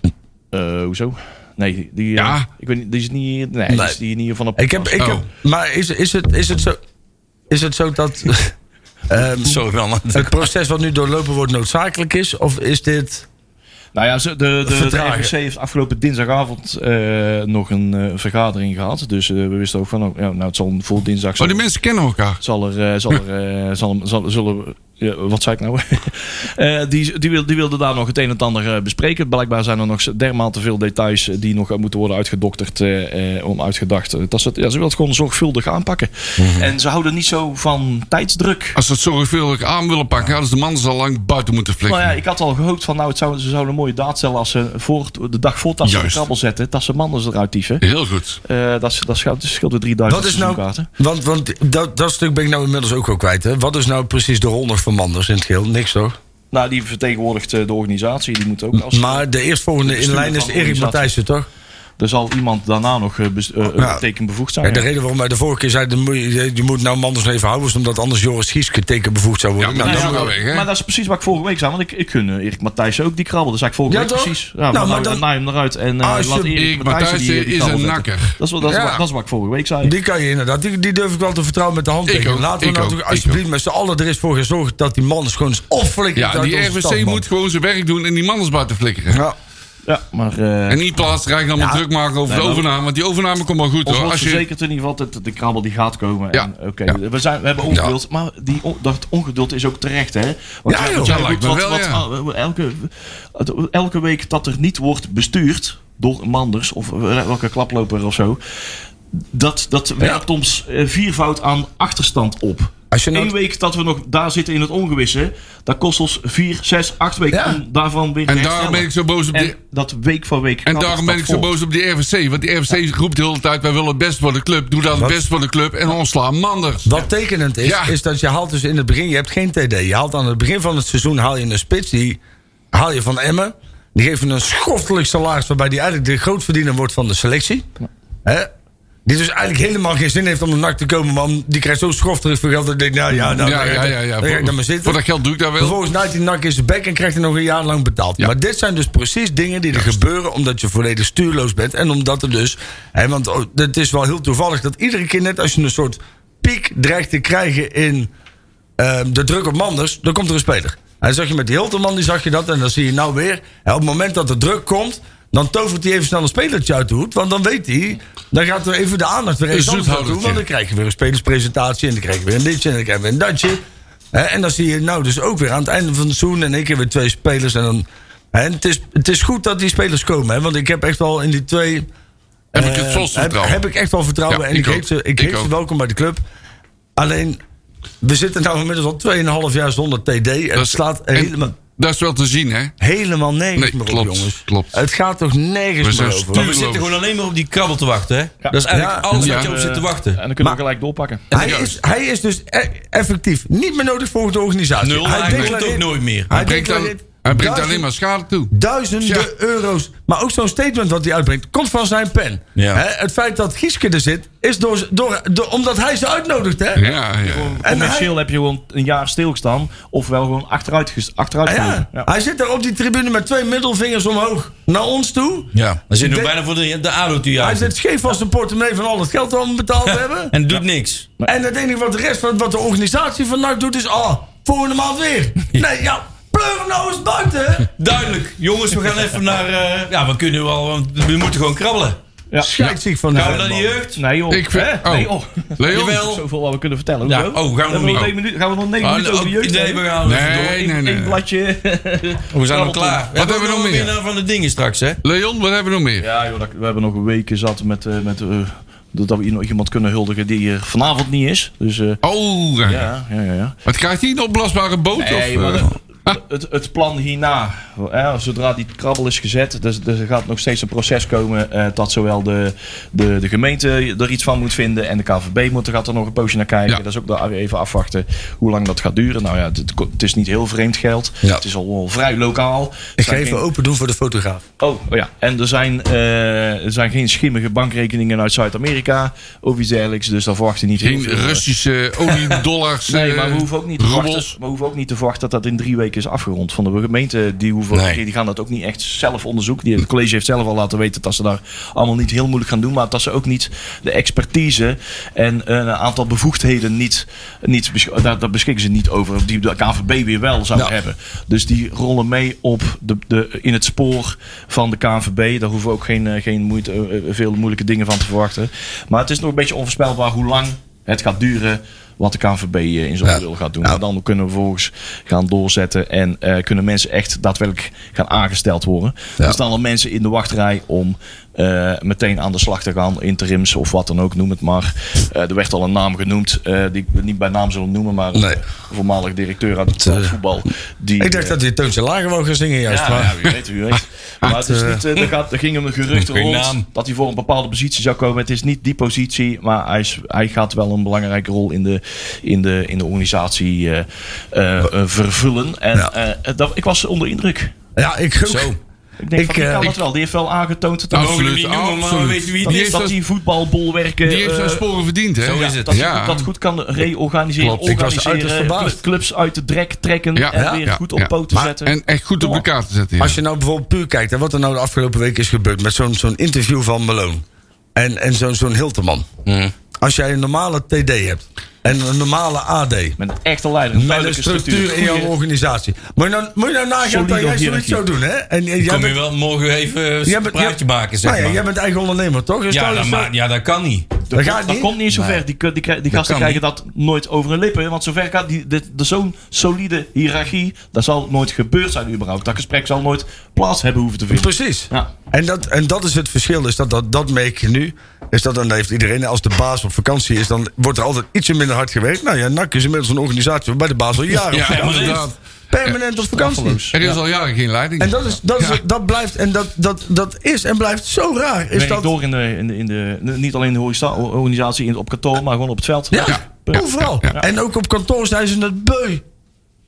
Speaker 6: eh, hoezo? Nee, die, eh,
Speaker 5: Ja.
Speaker 6: ik weet niet, die is niet hier. Nee, Die
Speaker 3: Nee.
Speaker 6: is die hier niet van op.
Speaker 3: Ik heb, ik
Speaker 5: Oh.
Speaker 3: heb, maar is, is, het, is, het zo, is het zo dat ehm,
Speaker 2: Sorry, man.
Speaker 3: het proces wat nu doorlopen wordt noodzakelijk is? Of is dit...
Speaker 6: Nou ja, ze- de, de, de
Speaker 3: Vertragen.
Speaker 6: RVC heeft afgelopen dinsdagavond eh, nog een eh, vergadering gehad. Dus eh, we wisten ook van, oh, ja, nou het zal een vol dinsdag
Speaker 5: Oh,
Speaker 6: zijn.
Speaker 5: die mensen kennen elkaar.
Speaker 6: zal er, eh, zal er, eh, zal, zal, zullen we- ja, wat zei ik nou? Eh, die, die, wil, die wilde daar nog het een en het ander eh, bespreken. Blijkbaar zijn er nog z- dermate veel details eh, die nog moeten worden uitgedokterd, eh, eh, om uitgedacht. Eh, Dat ze, het- ja, ze wil het gewoon zorgvuldig aanpakken.
Speaker 5: Mhm.
Speaker 6: En ze houden niet zo van tijdsdruk.
Speaker 5: Als ze het zorgvuldig aan willen pakken, hadden ze de man al lang buiten moeten flikken.
Speaker 6: Nou ja, ik had al gehoopt van nou, het zou, ze zouden een mooie daad stellen als ze voor, de dag voor dat ze de
Speaker 5: Juist.
Speaker 6: krabbel zetten, dat ze mannen eruit dieven.
Speaker 5: Heel goed.
Speaker 6: Eh, dat, is- dat scheelt, dat scheelt
Speaker 5: Oh,
Speaker 6: weer 3000
Speaker 3: Wat is nou,
Speaker 6: seizoenkaarten.
Speaker 3: want want dat, dat stuk ben ik nou inmiddels ook wel kwijt. Hè? Wat is nou precies de rol nog van Manders in het geheel? Niks toch?
Speaker 6: Nou, die vertegenwoordigt eh, de organisatie. Die moet ook als,
Speaker 3: Maar de eerstvolgende in
Speaker 6: bestuurder
Speaker 3: lijn is
Speaker 6: van
Speaker 3: Erik
Speaker 6: organisatie.
Speaker 3: Matthijssen, toch?
Speaker 6: Er zal iemand daarna nog eh, bes- eh,
Speaker 3: Ja.
Speaker 6: tekenbevoegd
Speaker 3: Ja,
Speaker 6: zijn.
Speaker 3: de
Speaker 6: ja.
Speaker 3: reden waarom wij de vorige keer zeiden... moet je- je moet nou Manders nog even houden... is omdat anders Joris Gieske tekenbevoegd zou worden.
Speaker 5: Ja, maar
Speaker 3: Nou,
Speaker 5: dat
Speaker 6: Nou
Speaker 5: is
Speaker 6: ja,
Speaker 5: wel weg, hè?
Speaker 6: maar dat is precies wat ik vorige week zei. Want ik, ik gun eh, Erik Matthijs ook die krabbel. Dat zei ik vorige
Speaker 3: Ja,
Speaker 6: week
Speaker 3: toch?
Speaker 6: precies. Ja,
Speaker 3: Nou,
Speaker 6: maar
Speaker 3: maar
Speaker 6: nou,
Speaker 3: dan-
Speaker 6: naai hem eruit. En eh,
Speaker 3: Als je-
Speaker 6: laat Erik,
Speaker 5: Erik
Speaker 6: Matthijssen die,
Speaker 5: Matthijssen
Speaker 6: eh, die
Speaker 5: is
Speaker 6: krabbel
Speaker 5: een
Speaker 6: zetten.
Speaker 5: nakker.
Speaker 6: Dat is, wat, dat, is
Speaker 3: Ja.
Speaker 6: wat, dat is wat ik vorige week zei.
Speaker 3: Die kan je inderdaad, die, die durf ik wel te vertrouwen met de hand
Speaker 5: Ik
Speaker 3: tekenen.
Speaker 5: ook,
Speaker 3: Laten
Speaker 5: ik
Speaker 3: we nou
Speaker 5: ook,
Speaker 3: toch
Speaker 5: ik
Speaker 3: alsjeblieft met z'n allen er eens voor gaan zorgen dat die man is gewoon eens opflikkert
Speaker 5: Ja,
Speaker 3: uit
Speaker 5: die
Speaker 3: onze
Speaker 5: RVC
Speaker 3: stad, man.
Speaker 5: moet gewoon zijn werk doen en die mannen buiten flikkeren.
Speaker 3: Ja.
Speaker 6: Ja, maar... eh,
Speaker 5: En niet plaatsrijken allemaal druk maken over de
Speaker 6: maar-
Speaker 5: overname. Want die overname komt wel goed
Speaker 6: Ons
Speaker 5: hoor.
Speaker 6: wordt
Speaker 5: Als je,
Speaker 6: verzekerd in ieder geval dat de krabbel die gaat komen.
Speaker 5: Ja.
Speaker 6: En, eh, oké,
Speaker 5: Ja.
Speaker 6: we, zijn, we hebben ongeduld, maar die, on- dat ongeduld is ook terecht, hè? Want
Speaker 5: Ja,
Speaker 6: jij-
Speaker 5: joh,
Speaker 6: want
Speaker 5: dat
Speaker 6: jij
Speaker 5: lijkt
Speaker 6: roept
Speaker 5: me wel,
Speaker 6: wat- wat-
Speaker 5: ja.
Speaker 6: ah, we- elke, het- elke week dat er niet wordt bestuurd door Manders of welke klaploper of zo, dat, dat werpt ons eh, viervoud aan eh, achterstand op.
Speaker 3: Als je nou-
Speaker 7: Eén week dat we nog daar zitten in het ongewisse, dat kost ons vier, zes, acht weken
Speaker 3: Ja.
Speaker 7: om daarvan weer
Speaker 5: En
Speaker 7: te
Speaker 5: daarom ben ik zo boos op die...
Speaker 7: En dat week voor week.
Speaker 5: En
Speaker 7: kan
Speaker 5: daarom
Speaker 7: het
Speaker 5: ben
Speaker 7: dat
Speaker 5: ik zo
Speaker 7: vol.
Speaker 5: boos op die RVC. Want die RVC roept de hele tijd... wij willen het best voor de club. Doe dan het best voor de club en ontsla Manders.
Speaker 3: Wat tekenend is,
Speaker 5: Ja.
Speaker 3: is dat je haalt dus in het begin... Je hebt geen TD. Je haalt aan het begin van het seizoen haal je een spits. Die haal je van Emmen. Die geeft hem een schoftelijk salaris... waarbij die eigenlijk de grootverdiener wordt van de selectie. Hè? Die dus eigenlijk helemaal geen zin heeft om naar NAC te komen. Maar om- die krijgt zo schoftelijk voor geld... dat ik denk, nou ja, nou,
Speaker 5: ja,
Speaker 3: dan-
Speaker 5: ja, ja. ja.
Speaker 3: dan ga ik
Speaker 5: Voor,
Speaker 3: dan maar zitten.
Speaker 5: voor dat geld doe ik dat wel.
Speaker 3: Vervolgens naait die nak in zijn bek en krijgt hij nog een jaar lang betaald.
Speaker 5: Ja.
Speaker 3: Maar dit zijn dus precies dingen die er gebeuren omdat je volledig stuurloos bent. En omdat er dus. Hè, want oh, het is wel heel toevallig dat iedere keer net als je een soort piek dreigt te krijgen in eh, de druk op Manders, dan komt er een speler. En dan zag je met die Hilterman, die zag je dat. En dan zie je nou weer. En op het moment dat de druk komt. Dan tovert hij even snel een spelertje uit de hoed. Want dan weet hij. Dan gaat er even de aandacht weer eens anders naartoe.
Speaker 5: zoethoudertje.
Speaker 3: Want dan krijg je weer een spelerspresentatie. En dan krijg je weer een ditje. En dan krijg je weer een datje. Hè, en dan zie je nou dus ook weer aan het einde van het seizoen. En ik heb weer twee spelers. En, dan, hè, en het, is, het is goed dat die spelers komen. Hè, want ik heb echt wel in die twee.
Speaker 5: Heb
Speaker 3: eh,
Speaker 5: ik het volste
Speaker 3: heb,
Speaker 5: vertrouwen.
Speaker 3: heb ik echt wel vertrouwen.
Speaker 5: Ja,
Speaker 3: en
Speaker 5: ik
Speaker 3: ik,
Speaker 5: ook.
Speaker 3: heet ze, ik
Speaker 5: Ik
Speaker 3: heet ze
Speaker 5: ook.
Speaker 3: welkom bij de club. Alleen, we zitten nou inmiddels al 2,5 jaar zonder TD. En het
Speaker 5: is-
Speaker 3: slaat
Speaker 5: en-
Speaker 3: helemaal,
Speaker 5: Dat is wel te zien, hè?
Speaker 3: helemaal nergens
Speaker 5: Nee,
Speaker 3: meer op,
Speaker 5: klopt,
Speaker 3: jongens.
Speaker 5: klopt.
Speaker 3: Het gaat toch
Speaker 5: We
Speaker 3: nergens
Speaker 5: zijn
Speaker 3: meer over.
Speaker 5: stuur-
Speaker 2: We zitten gewoon alleen maar op die krabbel te wachten, hè? Dat is eigenlijk
Speaker 3: Ja.
Speaker 2: alles
Speaker 5: Ja.
Speaker 2: wat je op zit te wachten.
Speaker 6: En dan kunnen we gelijk doorpakken.
Speaker 3: Hij is, hij is dus e- effectief niet meer nodig volgens de organisatie.
Speaker 2: Nul, hij komt ook nooit meer.
Speaker 3: Hij
Speaker 5: Brengt dan-
Speaker 3: declareert
Speaker 5: hij brengt
Speaker 3: duizend-
Speaker 5: alleen maar schade toe.
Speaker 3: Duizenden
Speaker 5: Ja.
Speaker 3: euro's. Maar ook zo'n statement wat hij uitbrengt, komt van zijn pen.
Speaker 2: Ja.
Speaker 3: Hè, het feit dat Gieske er zit, is door, door, door- omdat hij ze uitnodigt. Hè?
Speaker 5: Ja, ja.
Speaker 3: En
Speaker 6: Commercieel heb je gewoon een jaar stilgestaan. Ofwel gewoon achteruit, ges- achteruit
Speaker 3: Ja,
Speaker 6: gelopen. Ah, Ja.
Speaker 3: Hij zit daar op die tribune met twee middelvingers omhoog naar ons toe.
Speaker 2: Ja. Dan zitten we
Speaker 3: Ik denk-
Speaker 2: bijna voor de, de ADO te
Speaker 3: Hij
Speaker 2: jagen.
Speaker 3: zit scheef van zijn portemonnee van al het geld dat we betaald hebben.
Speaker 2: En doet niks.
Speaker 3: En het enige wat de rest van wat de organisatie vandaag doet is... Ah, volgende maand weer. Nee, ja, pleur hem nou eens buiten.
Speaker 2: Duidelijk. Jongens, we gaan even naar... eh, ja, we kunnen wel... want We moeten gewoon krabbelen.
Speaker 3: Scheidziek van de
Speaker 2: Gaan we naar
Speaker 3: man.
Speaker 2: de jeugd?
Speaker 6: Nee joh.
Speaker 5: Ik vind...
Speaker 6: Hè? Nee,
Speaker 5: Oh,
Speaker 6: joh.
Speaker 5: Leon?
Speaker 2: Jawel.
Speaker 6: Zoveel wat we kunnen vertellen.
Speaker 2: Ja.
Speaker 6: hoezo?
Speaker 2: Oh, gaan we
Speaker 6: Hebben
Speaker 2: nog-
Speaker 6: nog negen minuten- Gaan we nog negen
Speaker 2: Oh,
Speaker 6: minuten over de jeugd?
Speaker 2: nee,
Speaker 6: hebben?
Speaker 2: we gaan...
Speaker 5: Nee, nee,
Speaker 6: Eén-
Speaker 5: nee.
Speaker 6: één bladje.
Speaker 2: We zijn al klaar. We hebben
Speaker 5: hebben we
Speaker 2: ook
Speaker 5: nog meer?
Speaker 2: winnaar van de dingen straks, hè?
Speaker 5: Leon, wat hebben we nog meer?
Speaker 6: Ja, joh, dat- we hebben nog een week zat met, eh, met eh, dat we hier nog iemand kunnen huldigen die er vanavond niet is. Dus eh,
Speaker 5: Oh, ja.
Speaker 6: ja, ja, ja. ja.
Speaker 5: Wat krijgt hij? Een opblaasbare boot?
Speaker 6: Nee,
Speaker 5: of,
Speaker 6: maar
Speaker 5: eh,
Speaker 6: het, het, het plan hierna, hè, zodra die krabbel is gezet, dus, dus er gaat nog steeds een proces komen eh, dat zowel de, de, de gemeente er iets van moet vinden en de KVB moet er, gaat er nog een poosje naar kijken.
Speaker 5: Ja.
Speaker 6: Dat is ook daar even afwachten hoe lang dat gaat duren. Nou ja, het, het is niet heel vreemd geld.
Speaker 3: Ja.
Speaker 6: Het is al wel vrij lokaal.
Speaker 3: Ik
Speaker 6: Het
Speaker 3: ga
Speaker 6: zijn
Speaker 3: even
Speaker 6: geen-
Speaker 3: open doen voor de fotograaf.
Speaker 6: Oh, oh ja, en er zijn, eh, er zijn geen schimmige bankrekeningen uit Zuid-Amerika of iets dergelijks. Dus daar verwacht je niet heel
Speaker 5: Geen
Speaker 6: veel, eh,
Speaker 5: Russische oliedollars.
Speaker 6: Nee, maar we
Speaker 5: eh,
Speaker 6: hoeven ook niet te
Speaker 5: roebels.
Speaker 6: wachten. Maar we hoeven ook niet te wachten dat dat in drie weken is afgerond. Van de gemeente die, hoeven,
Speaker 5: Nee.
Speaker 6: die, die gaan dat ook niet echt zelf onderzoeken. Die, het college heeft zelf al laten weten dat ze daar allemaal niet heel moeilijk gaan doen. Maar dat ze ook niet de expertise en eh, een aantal bevoegdheden niet, niet besch- daar, daar beschikken ze niet over. Die de KVB weer wel zou hebben. Dus die rollen mee op de, de, in het spoor van de KNVB. Daar hoeven we ook geen, eh, geen moeite, eh, eh, veel moeilijke dingen van te verwachten. Maar het is nog een beetje onvoorspelbaar hoe lang het gaat duren. Wat de KNVB eh, in zo'n
Speaker 3: Ja.
Speaker 6: wil gaat doen. En dan kunnen we vervolgens gaan doorzetten. En eh, kunnen mensen echt daadwerkelijk gaan aangesteld worden. Er staan al mensen in de wachtrij om eh, meteen aan de slag te gaan. Interims of wat dan ook, noem het maar. Eh, er werd al een naam genoemd. eh, die ik niet bij naam zullen noemen. Maar
Speaker 3: Nee. eh,
Speaker 6: een voormalig directeur uit het voetbal. Die, eh,
Speaker 3: Ik dacht dat hij Toontje Lager wou gaan zingen juist.
Speaker 6: ja,
Speaker 3: maar-
Speaker 6: ja, wie weet, wie weet. Maar het is
Speaker 3: eh,
Speaker 6: niet, eh, er, gaat, er ging hem een gerucht
Speaker 2: Geen
Speaker 6: rond
Speaker 2: naam.
Speaker 6: dat hij voor een bepaalde positie zou komen. Het is niet die positie, maar hij, is, hij gaat wel een belangrijke rol in de, in de, in de organisatie eh, eh, eh, vervullen. En
Speaker 3: Ja.
Speaker 6: eh, dat, ik was onder indruk.
Speaker 3: Ja, ik ook.
Speaker 6: Ik denk,
Speaker 3: Ik,
Speaker 6: van, die
Speaker 3: eh,
Speaker 6: kan
Speaker 3: ik-
Speaker 6: dat wel. Die heeft wel aangetoond dat,
Speaker 5: Nou,
Speaker 6: dat,
Speaker 2: Mogen we niet
Speaker 5: Absoluut,
Speaker 2: noemen, maar we
Speaker 5: absoluut.
Speaker 2: weten wie
Speaker 5: Dat
Speaker 2: het
Speaker 5: die
Speaker 6: dat,
Speaker 5: is
Speaker 2: is.
Speaker 5: dat-
Speaker 6: die voetbalbolwerken...
Speaker 5: Die heeft zijn
Speaker 6: eh,
Speaker 5: sporen verdiend, hè?
Speaker 2: Zo is het.
Speaker 6: dat,
Speaker 5: Ja.
Speaker 6: je dat goed kan reorganiseren,
Speaker 5: Klopt.
Speaker 3: Ik was uiterst
Speaker 6: organiseren,
Speaker 3: verbaasd.
Speaker 6: cl- clubs uit de drek trekken
Speaker 5: Ja,
Speaker 6: en
Speaker 5: ja,
Speaker 6: weer
Speaker 5: ja,
Speaker 6: goed op
Speaker 5: ja.
Speaker 6: poten
Speaker 3: Maar-
Speaker 6: zetten.
Speaker 5: En echt goed op elkaar te zetten. ja.
Speaker 3: Als je nou bijvoorbeeld puur kijkt en wat er nou de afgelopen week is gebeurd met zo'n zo'n interview van Malone en, en zo'n zo'n Hilterman.
Speaker 2: Hmm.
Speaker 3: Als jij een normale TD hebt en een normale AD.
Speaker 6: Met een echte leider, een
Speaker 3: Met een
Speaker 6: duidelijke
Speaker 3: structuur in jouw
Speaker 6: Goeie-
Speaker 3: organisatie. Moet je nou, moet je nou nagaan
Speaker 6: Solide
Speaker 3: dat jij zoiets
Speaker 6: hiërarchie.
Speaker 3: zou doen, hè? En, jij
Speaker 2: Kom je
Speaker 3: bent-
Speaker 2: wel morgen even
Speaker 3: jij
Speaker 2: een
Speaker 3: bent-
Speaker 2: praatje
Speaker 3: jij-
Speaker 2: maken, zeg
Speaker 3: nou ja, jij
Speaker 2: maar.
Speaker 3: bent eigen ondernemer, toch? Dus
Speaker 2: Ja,
Speaker 3: stel-
Speaker 2: dat
Speaker 3: stel-
Speaker 2: ma- ja, dat kan niet.
Speaker 3: Dat gaat
Speaker 6: Dat
Speaker 3: niet.
Speaker 6: komt niet eens zo ver. Die, ku- die, krij- die gasten
Speaker 5: kan
Speaker 6: krijgen dat nooit over hun lippen. Want zover gaat die, dit, de, zo'n solide hiërarchie. Dat zal nooit gebeurd zijn, überhaupt. Dat gesprek zal nooit plaats hebben hoeven te vinden.
Speaker 3: Precies.
Speaker 6: Ja.
Speaker 3: En dat, en dat is het verschil. Is dat, dat, dat merk je nu. Is dat, en dat heeft iedereen. Als de baas op vakantie is, dan wordt er altijd ietsje minder hard gewerkt. Nou ja, NAC is inmiddels een organisatie waarbij de baas al jaren op
Speaker 5: Ja,
Speaker 3: vakantie is.
Speaker 5: inderdaad.
Speaker 3: Permanent op vakantie.
Speaker 5: Er is al jaren geen leiding.
Speaker 3: En dat, is, dat, is,
Speaker 5: Ja.
Speaker 3: dat blijft en dat, dat, dat is en blijft zo raar. Is
Speaker 6: Werk
Speaker 3: dat
Speaker 6: door in de, in de, in de, niet alleen in de horeca- organisatie, in- op kantoor, maar gewoon op het veld.
Speaker 3: Ja, overal.
Speaker 5: ja, ja.
Speaker 3: En ook op kantoor zijn ze dat beu.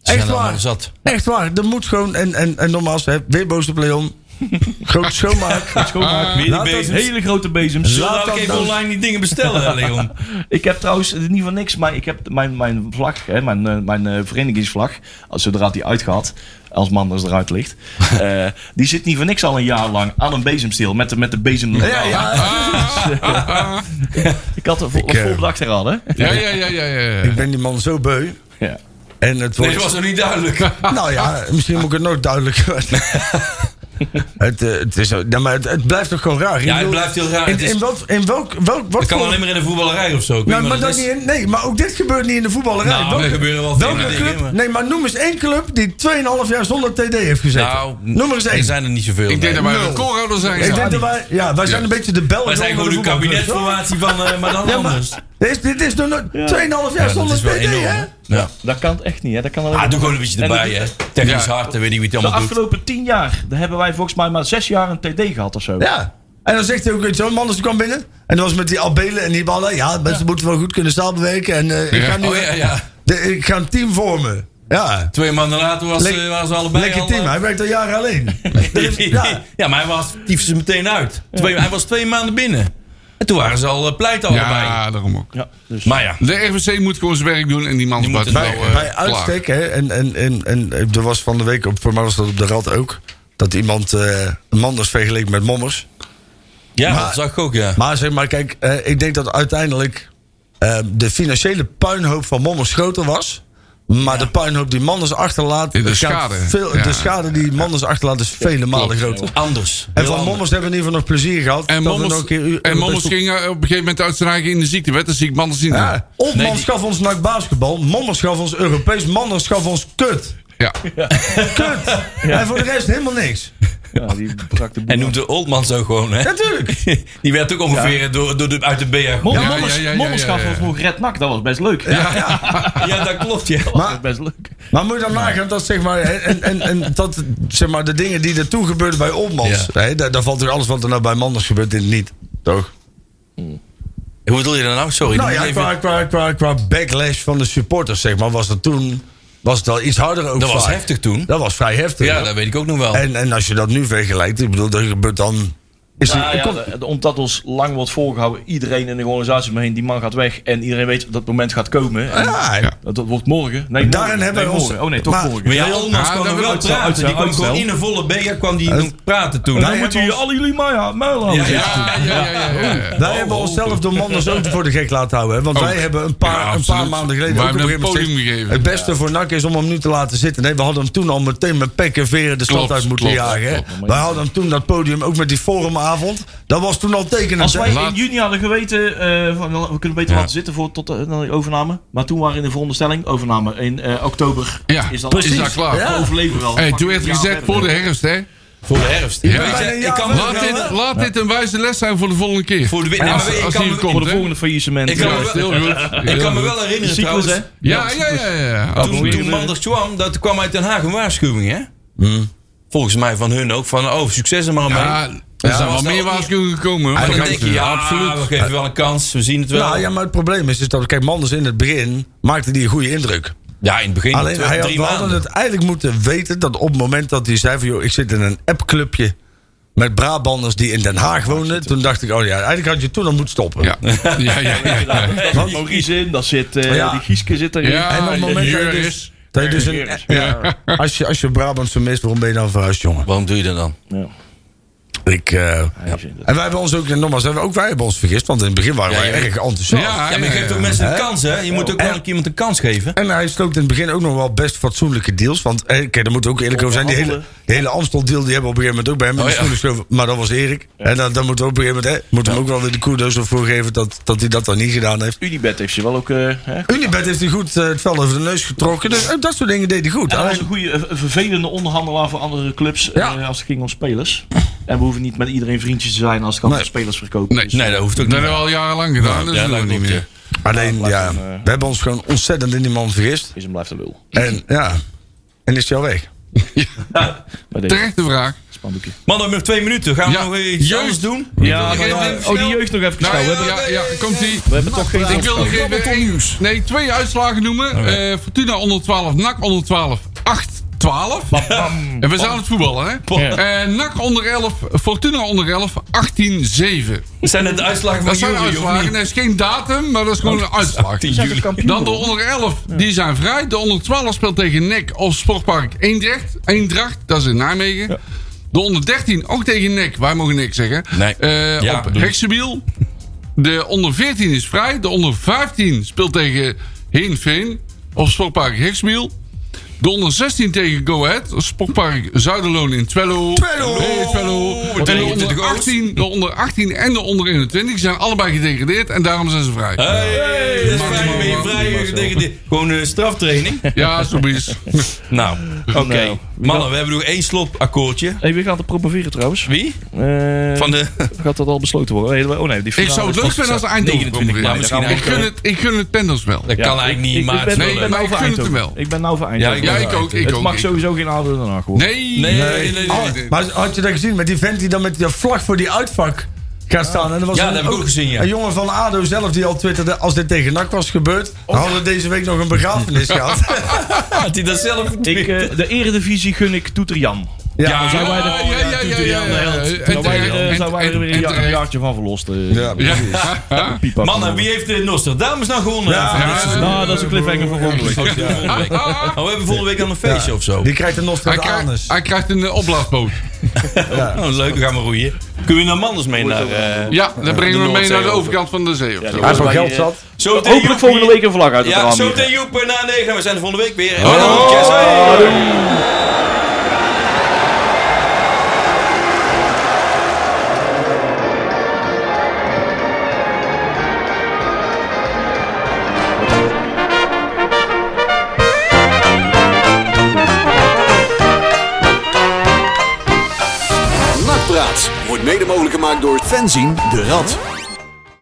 Speaker 3: Echt waar.
Speaker 2: Zat.
Speaker 3: Echt waar. Dat moet gewoon. En, en, en nogmaals, hè, weer boos op Leon. Groot schoonmaak.
Speaker 6: Schoonmaak, weer die
Speaker 3: Ah. Laat dat-
Speaker 6: bezems. Hele grote
Speaker 3: Laat
Speaker 6: bezems.
Speaker 2: Zullen we
Speaker 3: dat
Speaker 2: ook even
Speaker 3: dan.
Speaker 2: online die dingen bestellen, Leon?
Speaker 6: Ik heb trouwens eh, niet van niks, maar ik heb mijn, mijn vlag, hè, mijn, eh, mijn eh, verenigingsvlag, als zodra die uitgaat, als Manders eruit ligt, eh, die zit niet voor niks al een jaar lang aan een bezemsteel met de, met de bezem.
Speaker 3: Ja, ja.
Speaker 6: Ik had er vol,
Speaker 3: Ik, eh,
Speaker 6: vol bedacht eraan, hè?
Speaker 5: Ah. Ja, ja, ja, ja. ja, ja.
Speaker 3: Ik ben die man zo beu.
Speaker 6: Ja.
Speaker 3: En het
Speaker 2: Nee,
Speaker 3: wordt.
Speaker 2: dat was nog niet duidelijk.
Speaker 3: Nou ja, misschien moet ik het nog duidelijker het, eh, het, is, ja, maar het, het blijft toch gewoon raar. Ik
Speaker 2: Ja, het
Speaker 3: bedoel,
Speaker 2: blijft heel raar.
Speaker 3: In,
Speaker 2: Het is-
Speaker 3: in welk, in welk, welk, wat
Speaker 2: Dat kan
Speaker 3: voor-
Speaker 2: alleen maar in de voetballerij of zo. Ik
Speaker 3: Nou,
Speaker 2: weet
Speaker 3: maar
Speaker 2: niet wat
Speaker 3: dat
Speaker 2: het
Speaker 3: niet
Speaker 2: is.
Speaker 3: in- nee, maar ook dit gebeurt niet in de voetballerij.
Speaker 2: Nou,
Speaker 3: Welke-
Speaker 2: er gebeuren wel veel
Speaker 3: welke
Speaker 2: dingen,
Speaker 3: club,
Speaker 2: maar-
Speaker 3: Nee, maar noem eens één club die 2,5 jaar zonder TD heeft gezeten.
Speaker 2: Nou,
Speaker 3: noem er eens
Speaker 2: Er
Speaker 3: één.
Speaker 2: zijn er niet zoveel.
Speaker 5: Ik
Speaker 2: nee.
Speaker 5: denk dat wij
Speaker 3: Nul.
Speaker 5: recordhouder zijn.
Speaker 3: Ik denk
Speaker 5: Ja.
Speaker 3: dat wij, ja, wij zijn een beetje de Belgen.
Speaker 2: Wij zijn
Speaker 3: onder
Speaker 2: gewoon de
Speaker 3: voetbalclubs, hoor.
Speaker 2: kabinetformatie van, eh, maar dan
Speaker 3: Ja, maar
Speaker 2: anders.
Speaker 3: dit is, dit is nog nooit 2,5 jaar
Speaker 2: Ja, dat
Speaker 3: zonder
Speaker 2: is wel
Speaker 3: TD,
Speaker 2: enorm.
Speaker 3: hè?
Speaker 2: hè? Ja.
Speaker 6: Dat kan echt niet, hè? Dat kan alleen
Speaker 2: Ah,
Speaker 6: maar-
Speaker 2: doe gewoon een beetje
Speaker 6: En
Speaker 2: erbij,
Speaker 6: dat-
Speaker 2: hè. Technisch
Speaker 5: Ja.
Speaker 2: hard, dan weet ik wie het
Speaker 6: De
Speaker 2: allemaal doet.
Speaker 6: afgelopen tien jaar daar hebben wij volgens mij maar zes jaar een TD gehad of zo.
Speaker 3: Ja. En dan zegt hij ook iets, zo'n man die kwam binnen. En dat was met die albelen en die ballen. Ja, mensen moeten wel goed kunnen samenwerken. En eh, ik,
Speaker 5: Ja.
Speaker 3: ga nu,
Speaker 2: Oh ja, ja.
Speaker 3: de- ik ga een team vormen. Ja,
Speaker 2: Twee maanden later was,
Speaker 3: Lek-
Speaker 2: eh, waren ze allebei
Speaker 3: lekker
Speaker 2: al,
Speaker 3: team.
Speaker 2: eh,
Speaker 3: Hij werkt al jaren alleen.
Speaker 2: ja.
Speaker 3: Ja.
Speaker 2: maar hij was, dief ze meteen uit. Twee, Hij was twee maanden binnen. En toen waren ze al eh, pleit allebei.
Speaker 5: Ja, daarom ook.
Speaker 6: Ja, dus.
Speaker 2: Maar ja,
Speaker 5: De RVC moet gewoon zijn werk doen en die man is
Speaker 2: Die moet
Speaker 5: buiten
Speaker 2: het
Speaker 5: wel,
Speaker 2: wel,
Speaker 5: eh,
Speaker 3: bij
Speaker 5: klaar.
Speaker 3: uitstek, hè, en, en, en, en eh, er was van de week, op, voor mij was dat op de rad ook, dat iemand eh Manders vergeleek met Mommers.
Speaker 2: ja
Speaker 3: Maar-
Speaker 2: dat zag ik ook, ja.
Speaker 3: Maar zeg maar, kijk, eh, ik denk dat uiteindelijk eh, de financiële puinhoop van Mommers groter was. Maar de puinhoop die Manders achterlaat,
Speaker 5: De
Speaker 3: gaat
Speaker 5: schade.
Speaker 3: Veel,
Speaker 5: Ja.
Speaker 3: De schade die Manders achterlaat is vele malen groter.
Speaker 2: Anders.
Speaker 3: En
Speaker 2: Heel
Speaker 3: van
Speaker 2: anders.
Speaker 3: Mommers hebben we in ieder geval nog plezier gehad.
Speaker 5: En
Speaker 3: dat we
Speaker 5: Mommers,
Speaker 3: nog een keer u-
Speaker 5: en Mommers ging eh, op een gegeven moment uit zijn eigen in de ziektewet. Dat zie ik mannen zien.
Speaker 3: Ja, of
Speaker 2: Nee,
Speaker 3: Manders
Speaker 2: die-
Speaker 3: gaf ons NAC basketbal, Mommers gaf ons Europees, Manders gaf ons kut.
Speaker 5: Ja.
Speaker 3: Kut! En voor de rest helemaal niks.
Speaker 6: Ja, die brak de boel
Speaker 2: En noemde Oldman zo gewoon, hè.
Speaker 3: Natuurlijk.
Speaker 2: Die werd ook ongeveer eh, door, door de, uit de BR
Speaker 6: Mom-
Speaker 2: gegooid.
Speaker 5: ja,
Speaker 6: Mommers-
Speaker 5: ja, ja, ja,
Speaker 6: Mommers gaf
Speaker 5: ja.
Speaker 6: ons nog Red Nak, dat was best leuk.
Speaker 2: Ja, dat klopt, ja.
Speaker 6: Dat was best leuk.
Speaker 3: Maar moet je dan nagaan dat zeg maar, en, en, en dat, zeg maar de dingen die er toen gebeurden bij Opmans,
Speaker 2: Ja.
Speaker 3: hè, daar, daar valt er alles wat er nou bij Manders gebeurt in het niet. Toch?
Speaker 2: Hoe bedoel je dat nou? Sorry.
Speaker 3: Nou
Speaker 2: dan
Speaker 3: ja,
Speaker 2: moet ik even-
Speaker 3: qua, qua, qua, qua backlash van de supporters zeg maar, was dat toen was het wel iets harder ook
Speaker 2: Dat was
Speaker 3: vaak.
Speaker 2: heftig toen.
Speaker 3: Dat was vrij heftig.
Speaker 2: Ja,
Speaker 3: hoor.
Speaker 2: dat weet ik ook nog wel.
Speaker 3: en, en als je dat nu vergelijkt, ik bedoel, dat gebeurt dan... Is
Speaker 6: Nou
Speaker 3: er-
Speaker 6: ja,
Speaker 3: komt-
Speaker 6: de- de- omdat ons lang wordt voorgehouden, iedereen in de organisatie omheen, die man gaat weg en iedereen weet dat het moment gaat komen. En
Speaker 3: ja,
Speaker 6: dat, dat wordt morgen. Nee, morgen.
Speaker 3: Daarin hebben
Speaker 6: nee,
Speaker 3: wij ons-
Speaker 6: morgen. Oh nee, toch
Speaker 3: maar-
Speaker 6: morgen.
Speaker 2: Maar ja, Olmans
Speaker 5: Ja,
Speaker 2: kwam
Speaker 5: dat
Speaker 2: nog
Speaker 5: wil
Speaker 2: wel
Speaker 5: ik zeggen.
Speaker 2: praten. Die kwam
Speaker 6: Uitstel.
Speaker 2: gewoon in een volle BR kwam die nog praten toen.
Speaker 3: Nou
Speaker 6: Dan moeten jullie alle jullie maar ja, muil houden.
Speaker 2: Ja, ja.
Speaker 5: Ja, ja, ja, ja, ja, ja.
Speaker 3: Wij hebben onszelf door Manders ook voor de gek laten houden. Hè? Want
Speaker 5: Ook.
Speaker 3: wij hebben een paar,
Speaker 5: Ja,
Speaker 3: een
Speaker 5: absoluut.
Speaker 3: paar maanden geleden
Speaker 5: Wij
Speaker 3: ook op
Speaker 5: hebben
Speaker 3: gegeven
Speaker 5: hem
Speaker 3: moment
Speaker 5: podium
Speaker 3: gezegd,
Speaker 5: gegeven.
Speaker 3: Het beste voor NAC is om hem nu te laten zitten. Nee, we hadden hem toen al meteen met pek en veren de stad
Speaker 5: Klopt,
Speaker 3: uit moeten
Speaker 5: klopt,
Speaker 3: jagen. hè.
Speaker 5: klopt. Maar
Speaker 3: wij hadden hem toen dat podium ook met die forumavond. Dat was toen al tekenend.
Speaker 6: Als
Speaker 3: hè.
Speaker 6: wij
Speaker 5: Laat-
Speaker 6: in juni hadden geweten, eh, van, we kunnen beter laten zitten voor, tot de, naar de overname. Maar toen waren we in de veronderstelling, overname in eh, oktober
Speaker 5: Ja,
Speaker 6: is dat
Speaker 5: is dat klaar?
Speaker 6: We
Speaker 3: Ja.
Speaker 6: overleven wel.
Speaker 5: Hey,
Speaker 6: Pak
Speaker 5: toen
Speaker 6: een
Speaker 5: werd
Speaker 6: jaar
Speaker 5: gezegd
Speaker 6: verder.
Speaker 5: voor de herfst, hè?
Speaker 2: Voor de herfst.
Speaker 5: Ja.
Speaker 2: Weet je, ik kan me
Speaker 5: Laat dit, laat dit een wijze les zijn voor de volgende keer.
Speaker 2: Voor de win-
Speaker 5: Als-
Speaker 2: nee, maar ik
Speaker 5: als
Speaker 2: kan
Speaker 5: die
Speaker 2: me-
Speaker 5: komt,
Speaker 6: Voor de
Speaker 5: hè?
Speaker 6: volgende faillissement.
Speaker 2: Ik kan me
Speaker 5: Ja, heel goed.
Speaker 2: Ik
Speaker 5: Heel
Speaker 2: kan me
Speaker 5: goed.
Speaker 2: wel
Speaker 6: De
Speaker 2: herinneren
Speaker 6: cyclus,
Speaker 2: trouwens.
Speaker 6: hè?
Speaker 5: Ja, ja, ja, ja. ja.
Speaker 2: Toen, toen Manders kwam, dat kwam uit Den Haag een waarschuwing, hè?
Speaker 3: Hmm.
Speaker 2: Volgens mij van hun ook. Van, oh, succes er maar mee.
Speaker 5: Ja, er zijn wel
Speaker 2: was
Speaker 5: meer
Speaker 2: wel-
Speaker 5: waarschuwingen gekomen. hoor.
Speaker 2: maar dan
Speaker 5: Maar
Speaker 2: denk je, ja, absoluut. We geven wel een kans. We zien het wel.
Speaker 3: nou ja, maar het probleem is, is dat kijk, Manders in het begin maakte die een goede indruk.
Speaker 2: Ja, in het begin
Speaker 3: Alleen
Speaker 2: twee,
Speaker 3: hij had,
Speaker 2: eh, drie
Speaker 3: we hadden
Speaker 2: maanden.
Speaker 3: het eigenlijk moeten weten dat op het moment dat hij zei van joh, ik zit in een appclubje met Brabanders die in Den Haag wonen. Toen dacht ik, oh ja, eigenlijk had je toen al moeten stoppen.
Speaker 5: Ja, ja, ja. ja, ja.
Speaker 6: Daar zit Maurice in, daar zit eh,
Speaker 3: Oh Ja.
Speaker 6: die Gieske zit erin.
Speaker 5: Ja,
Speaker 3: En op het moment dat je
Speaker 5: Juris.
Speaker 3: dus, dat je dus een,
Speaker 6: Juris.
Speaker 3: ja, als je, als je Brabant vermist, waarom ben je dan verhuisd, jongen?
Speaker 2: Waarom doe je dat dan?
Speaker 6: Ja.
Speaker 3: Ik, eh, ja.
Speaker 6: is inderdaad-
Speaker 3: En wij hebben ons ook, nogmaals, hebben ook wij hebben ons vergist, want in het begin waren
Speaker 2: Ja,
Speaker 3: wij
Speaker 2: je
Speaker 3: erg
Speaker 2: weet-
Speaker 3: enthousiast.
Speaker 2: Ah, Ja, maar je geeft ook mensen een kans, hè? Je moet ook wel een keer iemand een kans geven.
Speaker 3: En hij sloot in het begin ook nog wel best fatsoenlijke deals. Want eh, kijk, daar moeten we ook eerlijk over zijn. Die hele, die hele Amstel-deal die hebben we op een gegeven moment ook bij hem in de
Speaker 2: Oh, ja.
Speaker 3: schoenen geschoven. Maar dat was Erik. En dan, dan moeten we op een gegeven moment hè, moeten we hem ook wel weer de kudos voor geven dat, dat hij dat dan niet gedaan heeft.
Speaker 6: Unibet heeft ze wel ook. eh, hè?
Speaker 3: Unibet heeft hij goed eh, het vel over de neus getrokken. Dus eh, dat soort dingen deed hij goed.
Speaker 6: Hij was
Speaker 3: Alleen-
Speaker 6: een goede, eh, vervelende onderhandelaar voor andere clubs eh,
Speaker 3: Ja.
Speaker 6: als het ging om spelers. En we hoeven niet met iedereen vriendjes te zijn als het gaat om
Speaker 3: Nee.
Speaker 6: spelers verkopen.
Speaker 5: Nee.
Speaker 6: Dus,
Speaker 2: Nee, dat hoeft ook
Speaker 5: Dat
Speaker 2: niet.
Speaker 5: hebben we al jarenlang gedaan, dus
Speaker 2: ja,
Speaker 5: dat
Speaker 2: dat
Speaker 5: doen we niet
Speaker 2: klopt,
Speaker 5: meer.
Speaker 3: Alleen, ja,
Speaker 6: hem, eh,
Speaker 3: we hebben ons gewoon ontzettend in die man vergist.
Speaker 6: is hem blijft een lul.
Speaker 3: En ja, en is hij al weg.
Speaker 6: Bij deze
Speaker 5: Terechte vraag.
Speaker 6: spandoekje.
Speaker 2: Mannen, nog twee minuten. Gaan we
Speaker 5: Ja.
Speaker 2: nog iets
Speaker 5: Jeugd.
Speaker 2: anders doen?
Speaker 6: Ja,
Speaker 5: maar-
Speaker 6: oh, die jeugd nog even
Speaker 5: Nou,
Speaker 6: snel. We
Speaker 5: ja,
Speaker 6: hebben,
Speaker 5: ja, ja, komt ie.
Speaker 6: we hebben toch geen Oh,
Speaker 5: Ik wil nog even één- Nee, twee uitslagen noemen. Eh, Fortuna 112, NAC 112, 8-12. En we zouden het voetballen, hè?
Speaker 6: Ja.
Speaker 5: Eh, NAC onder 11, Fortuna onder 11, 18-7.
Speaker 2: Zijn het de uitslagen van
Speaker 5: Dat zijn
Speaker 2: jullie, of
Speaker 5: uitslagen.
Speaker 2: niet?
Speaker 5: Dat is geen datum, maar dat is gewoon een
Speaker 6: Oh,
Speaker 5: uitslag.
Speaker 2: 10 juli.
Speaker 5: Dan de onder 11, die zijn vrij. De onder 12 speelt tegen NEC of Sportpark Eendrecht. Eendracht, dat is in Nijmegen. De onder 13 ook tegen NEC. Wij mogen niks zeggen.
Speaker 2: Nee.
Speaker 5: Eh,
Speaker 2: Ja,
Speaker 5: op
Speaker 2: doe.
Speaker 5: Heksenbiel. De onder 14 is vrij. De onder 15 speelt tegen Heenveen of Sportpark Heksenbiel. De onder 16 tegen Go Ahead. Sportpark Zuiderloon in Twello.
Speaker 3: Twello!
Speaker 5: Nee, Twello. En de
Speaker 2: betekent dit
Speaker 5: onder
Speaker 2: ook?
Speaker 5: 18, de onder 18 en de onder 21 zijn allebei gedegradeerd. En daarom zijn ze vrij.
Speaker 2: Hey, dat is
Speaker 5: Mag-
Speaker 2: fijn.
Speaker 5: mag-
Speaker 2: Ben je
Speaker 5: mag-
Speaker 2: vrij tegen dit? Gewoon eh, straftraining?
Speaker 5: Ja, zoiets.
Speaker 2: Nou, oké.
Speaker 6: Nou,
Speaker 2: Mannen, we hebben nog één slotakkoordje.
Speaker 6: Hey, wie gaat het promoveren trouwens?
Speaker 2: Wie?
Speaker 6: Eh,
Speaker 2: Van de...
Speaker 6: Gaat dat al besloten worden? Nee, we- Oh nee, die
Speaker 5: Ik
Speaker 6: finale
Speaker 5: zou het
Speaker 6: is
Speaker 5: leuk
Speaker 6: pas-
Speaker 5: vinden als Eindhoven
Speaker 2: 29
Speaker 5: promoveert.
Speaker 2: maar misschien
Speaker 5: Ik gun het, ik gun het Pendels wel.
Speaker 2: Dat
Speaker 6: Ja,
Speaker 2: kan eigenlijk niet,
Speaker 6: ik,
Speaker 2: maar...
Speaker 6: ik ben,
Speaker 2: het is wel
Speaker 6: ik ben
Speaker 2: leuk.
Speaker 5: maar
Speaker 6: nou
Speaker 5: ik
Speaker 6: voor
Speaker 5: gun het hem
Speaker 6: Eindhoven.
Speaker 5: wel.
Speaker 6: Ik ben nou voor Eindhoven.
Speaker 5: Ja, ik ook. Ik
Speaker 6: het
Speaker 5: ook.
Speaker 6: mag
Speaker 5: ik ook.
Speaker 6: sowieso geen ouder dan acht worden.
Speaker 5: Nee.
Speaker 2: Nee, nee, nee, nee. nee.
Speaker 3: Oh, Maar had je dat gezien met die vent die dan met die vlag voor die uitvak gaat staan? En er was
Speaker 2: Ja,
Speaker 3: een-
Speaker 2: dat heb ik ook gezien, ja.
Speaker 3: Een jongen van ADO zelf die al twitterde, als dit tegen NAC was gebeurd, dan hadden we deze week nog een begrafenis gehad.
Speaker 2: Ah, Had hij dat zelf
Speaker 6: Ik, eh, de eredivisie gun ik Toeter Jan.
Speaker 2: Ja,
Speaker 5: Ja,
Speaker 2: ja,
Speaker 5: ja, ja, ja, ja, ja, ja. En
Speaker 6: Daar waren
Speaker 5: terecht,
Speaker 6: eh,
Speaker 5: en-
Speaker 6: daar waren we
Speaker 5: en-
Speaker 6: weer
Speaker 5: en
Speaker 6: een, jaar, een
Speaker 5: terecht.
Speaker 6: jaartje van verlost. eh.
Speaker 3: Ja.
Speaker 5: Ja. Ja.
Speaker 6: Piep af.
Speaker 2: Mannen, wie heeft de Nostradamus nou gewonnen?
Speaker 3: Ja.
Speaker 2: Van dit seizoen?
Speaker 6: Nou, dat is een cliffhanger voor volgende week.
Speaker 2: Oh, die volgende week.
Speaker 5: Ah,
Speaker 2: Oh, we hebben volgende week dan een feestje of zo.
Speaker 3: Die krijgt een
Speaker 5: Hij krijgt,
Speaker 3: Nostradamus.
Speaker 5: hij krijgt een eh, opblaasboot.
Speaker 2: Oh, leuk, we gaan we roeien. Kunnen we nou Manders mee naar... eh,
Speaker 5: Ja, dan brengen we hem mee
Speaker 2: Noordzee
Speaker 5: naar de
Speaker 2: over.
Speaker 5: overkant van de zee. Of zo.
Speaker 3: Hij heeft wel geld zat.
Speaker 2: Zo meteen
Speaker 6: Hopelijk
Speaker 2: Joepie.
Speaker 6: volgende week een vlag uit het
Speaker 2: Ja,
Speaker 6: raam.
Speaker 2: zo
Speaker 6: hier.
Speaker 2: meteen Joep eh, na 9. We zijn er volgende week weer. Hallo. Yes, hey.
Speaker 1: Nakpraat wordt mede mogelijk gemaakt door Fenzin de Rad.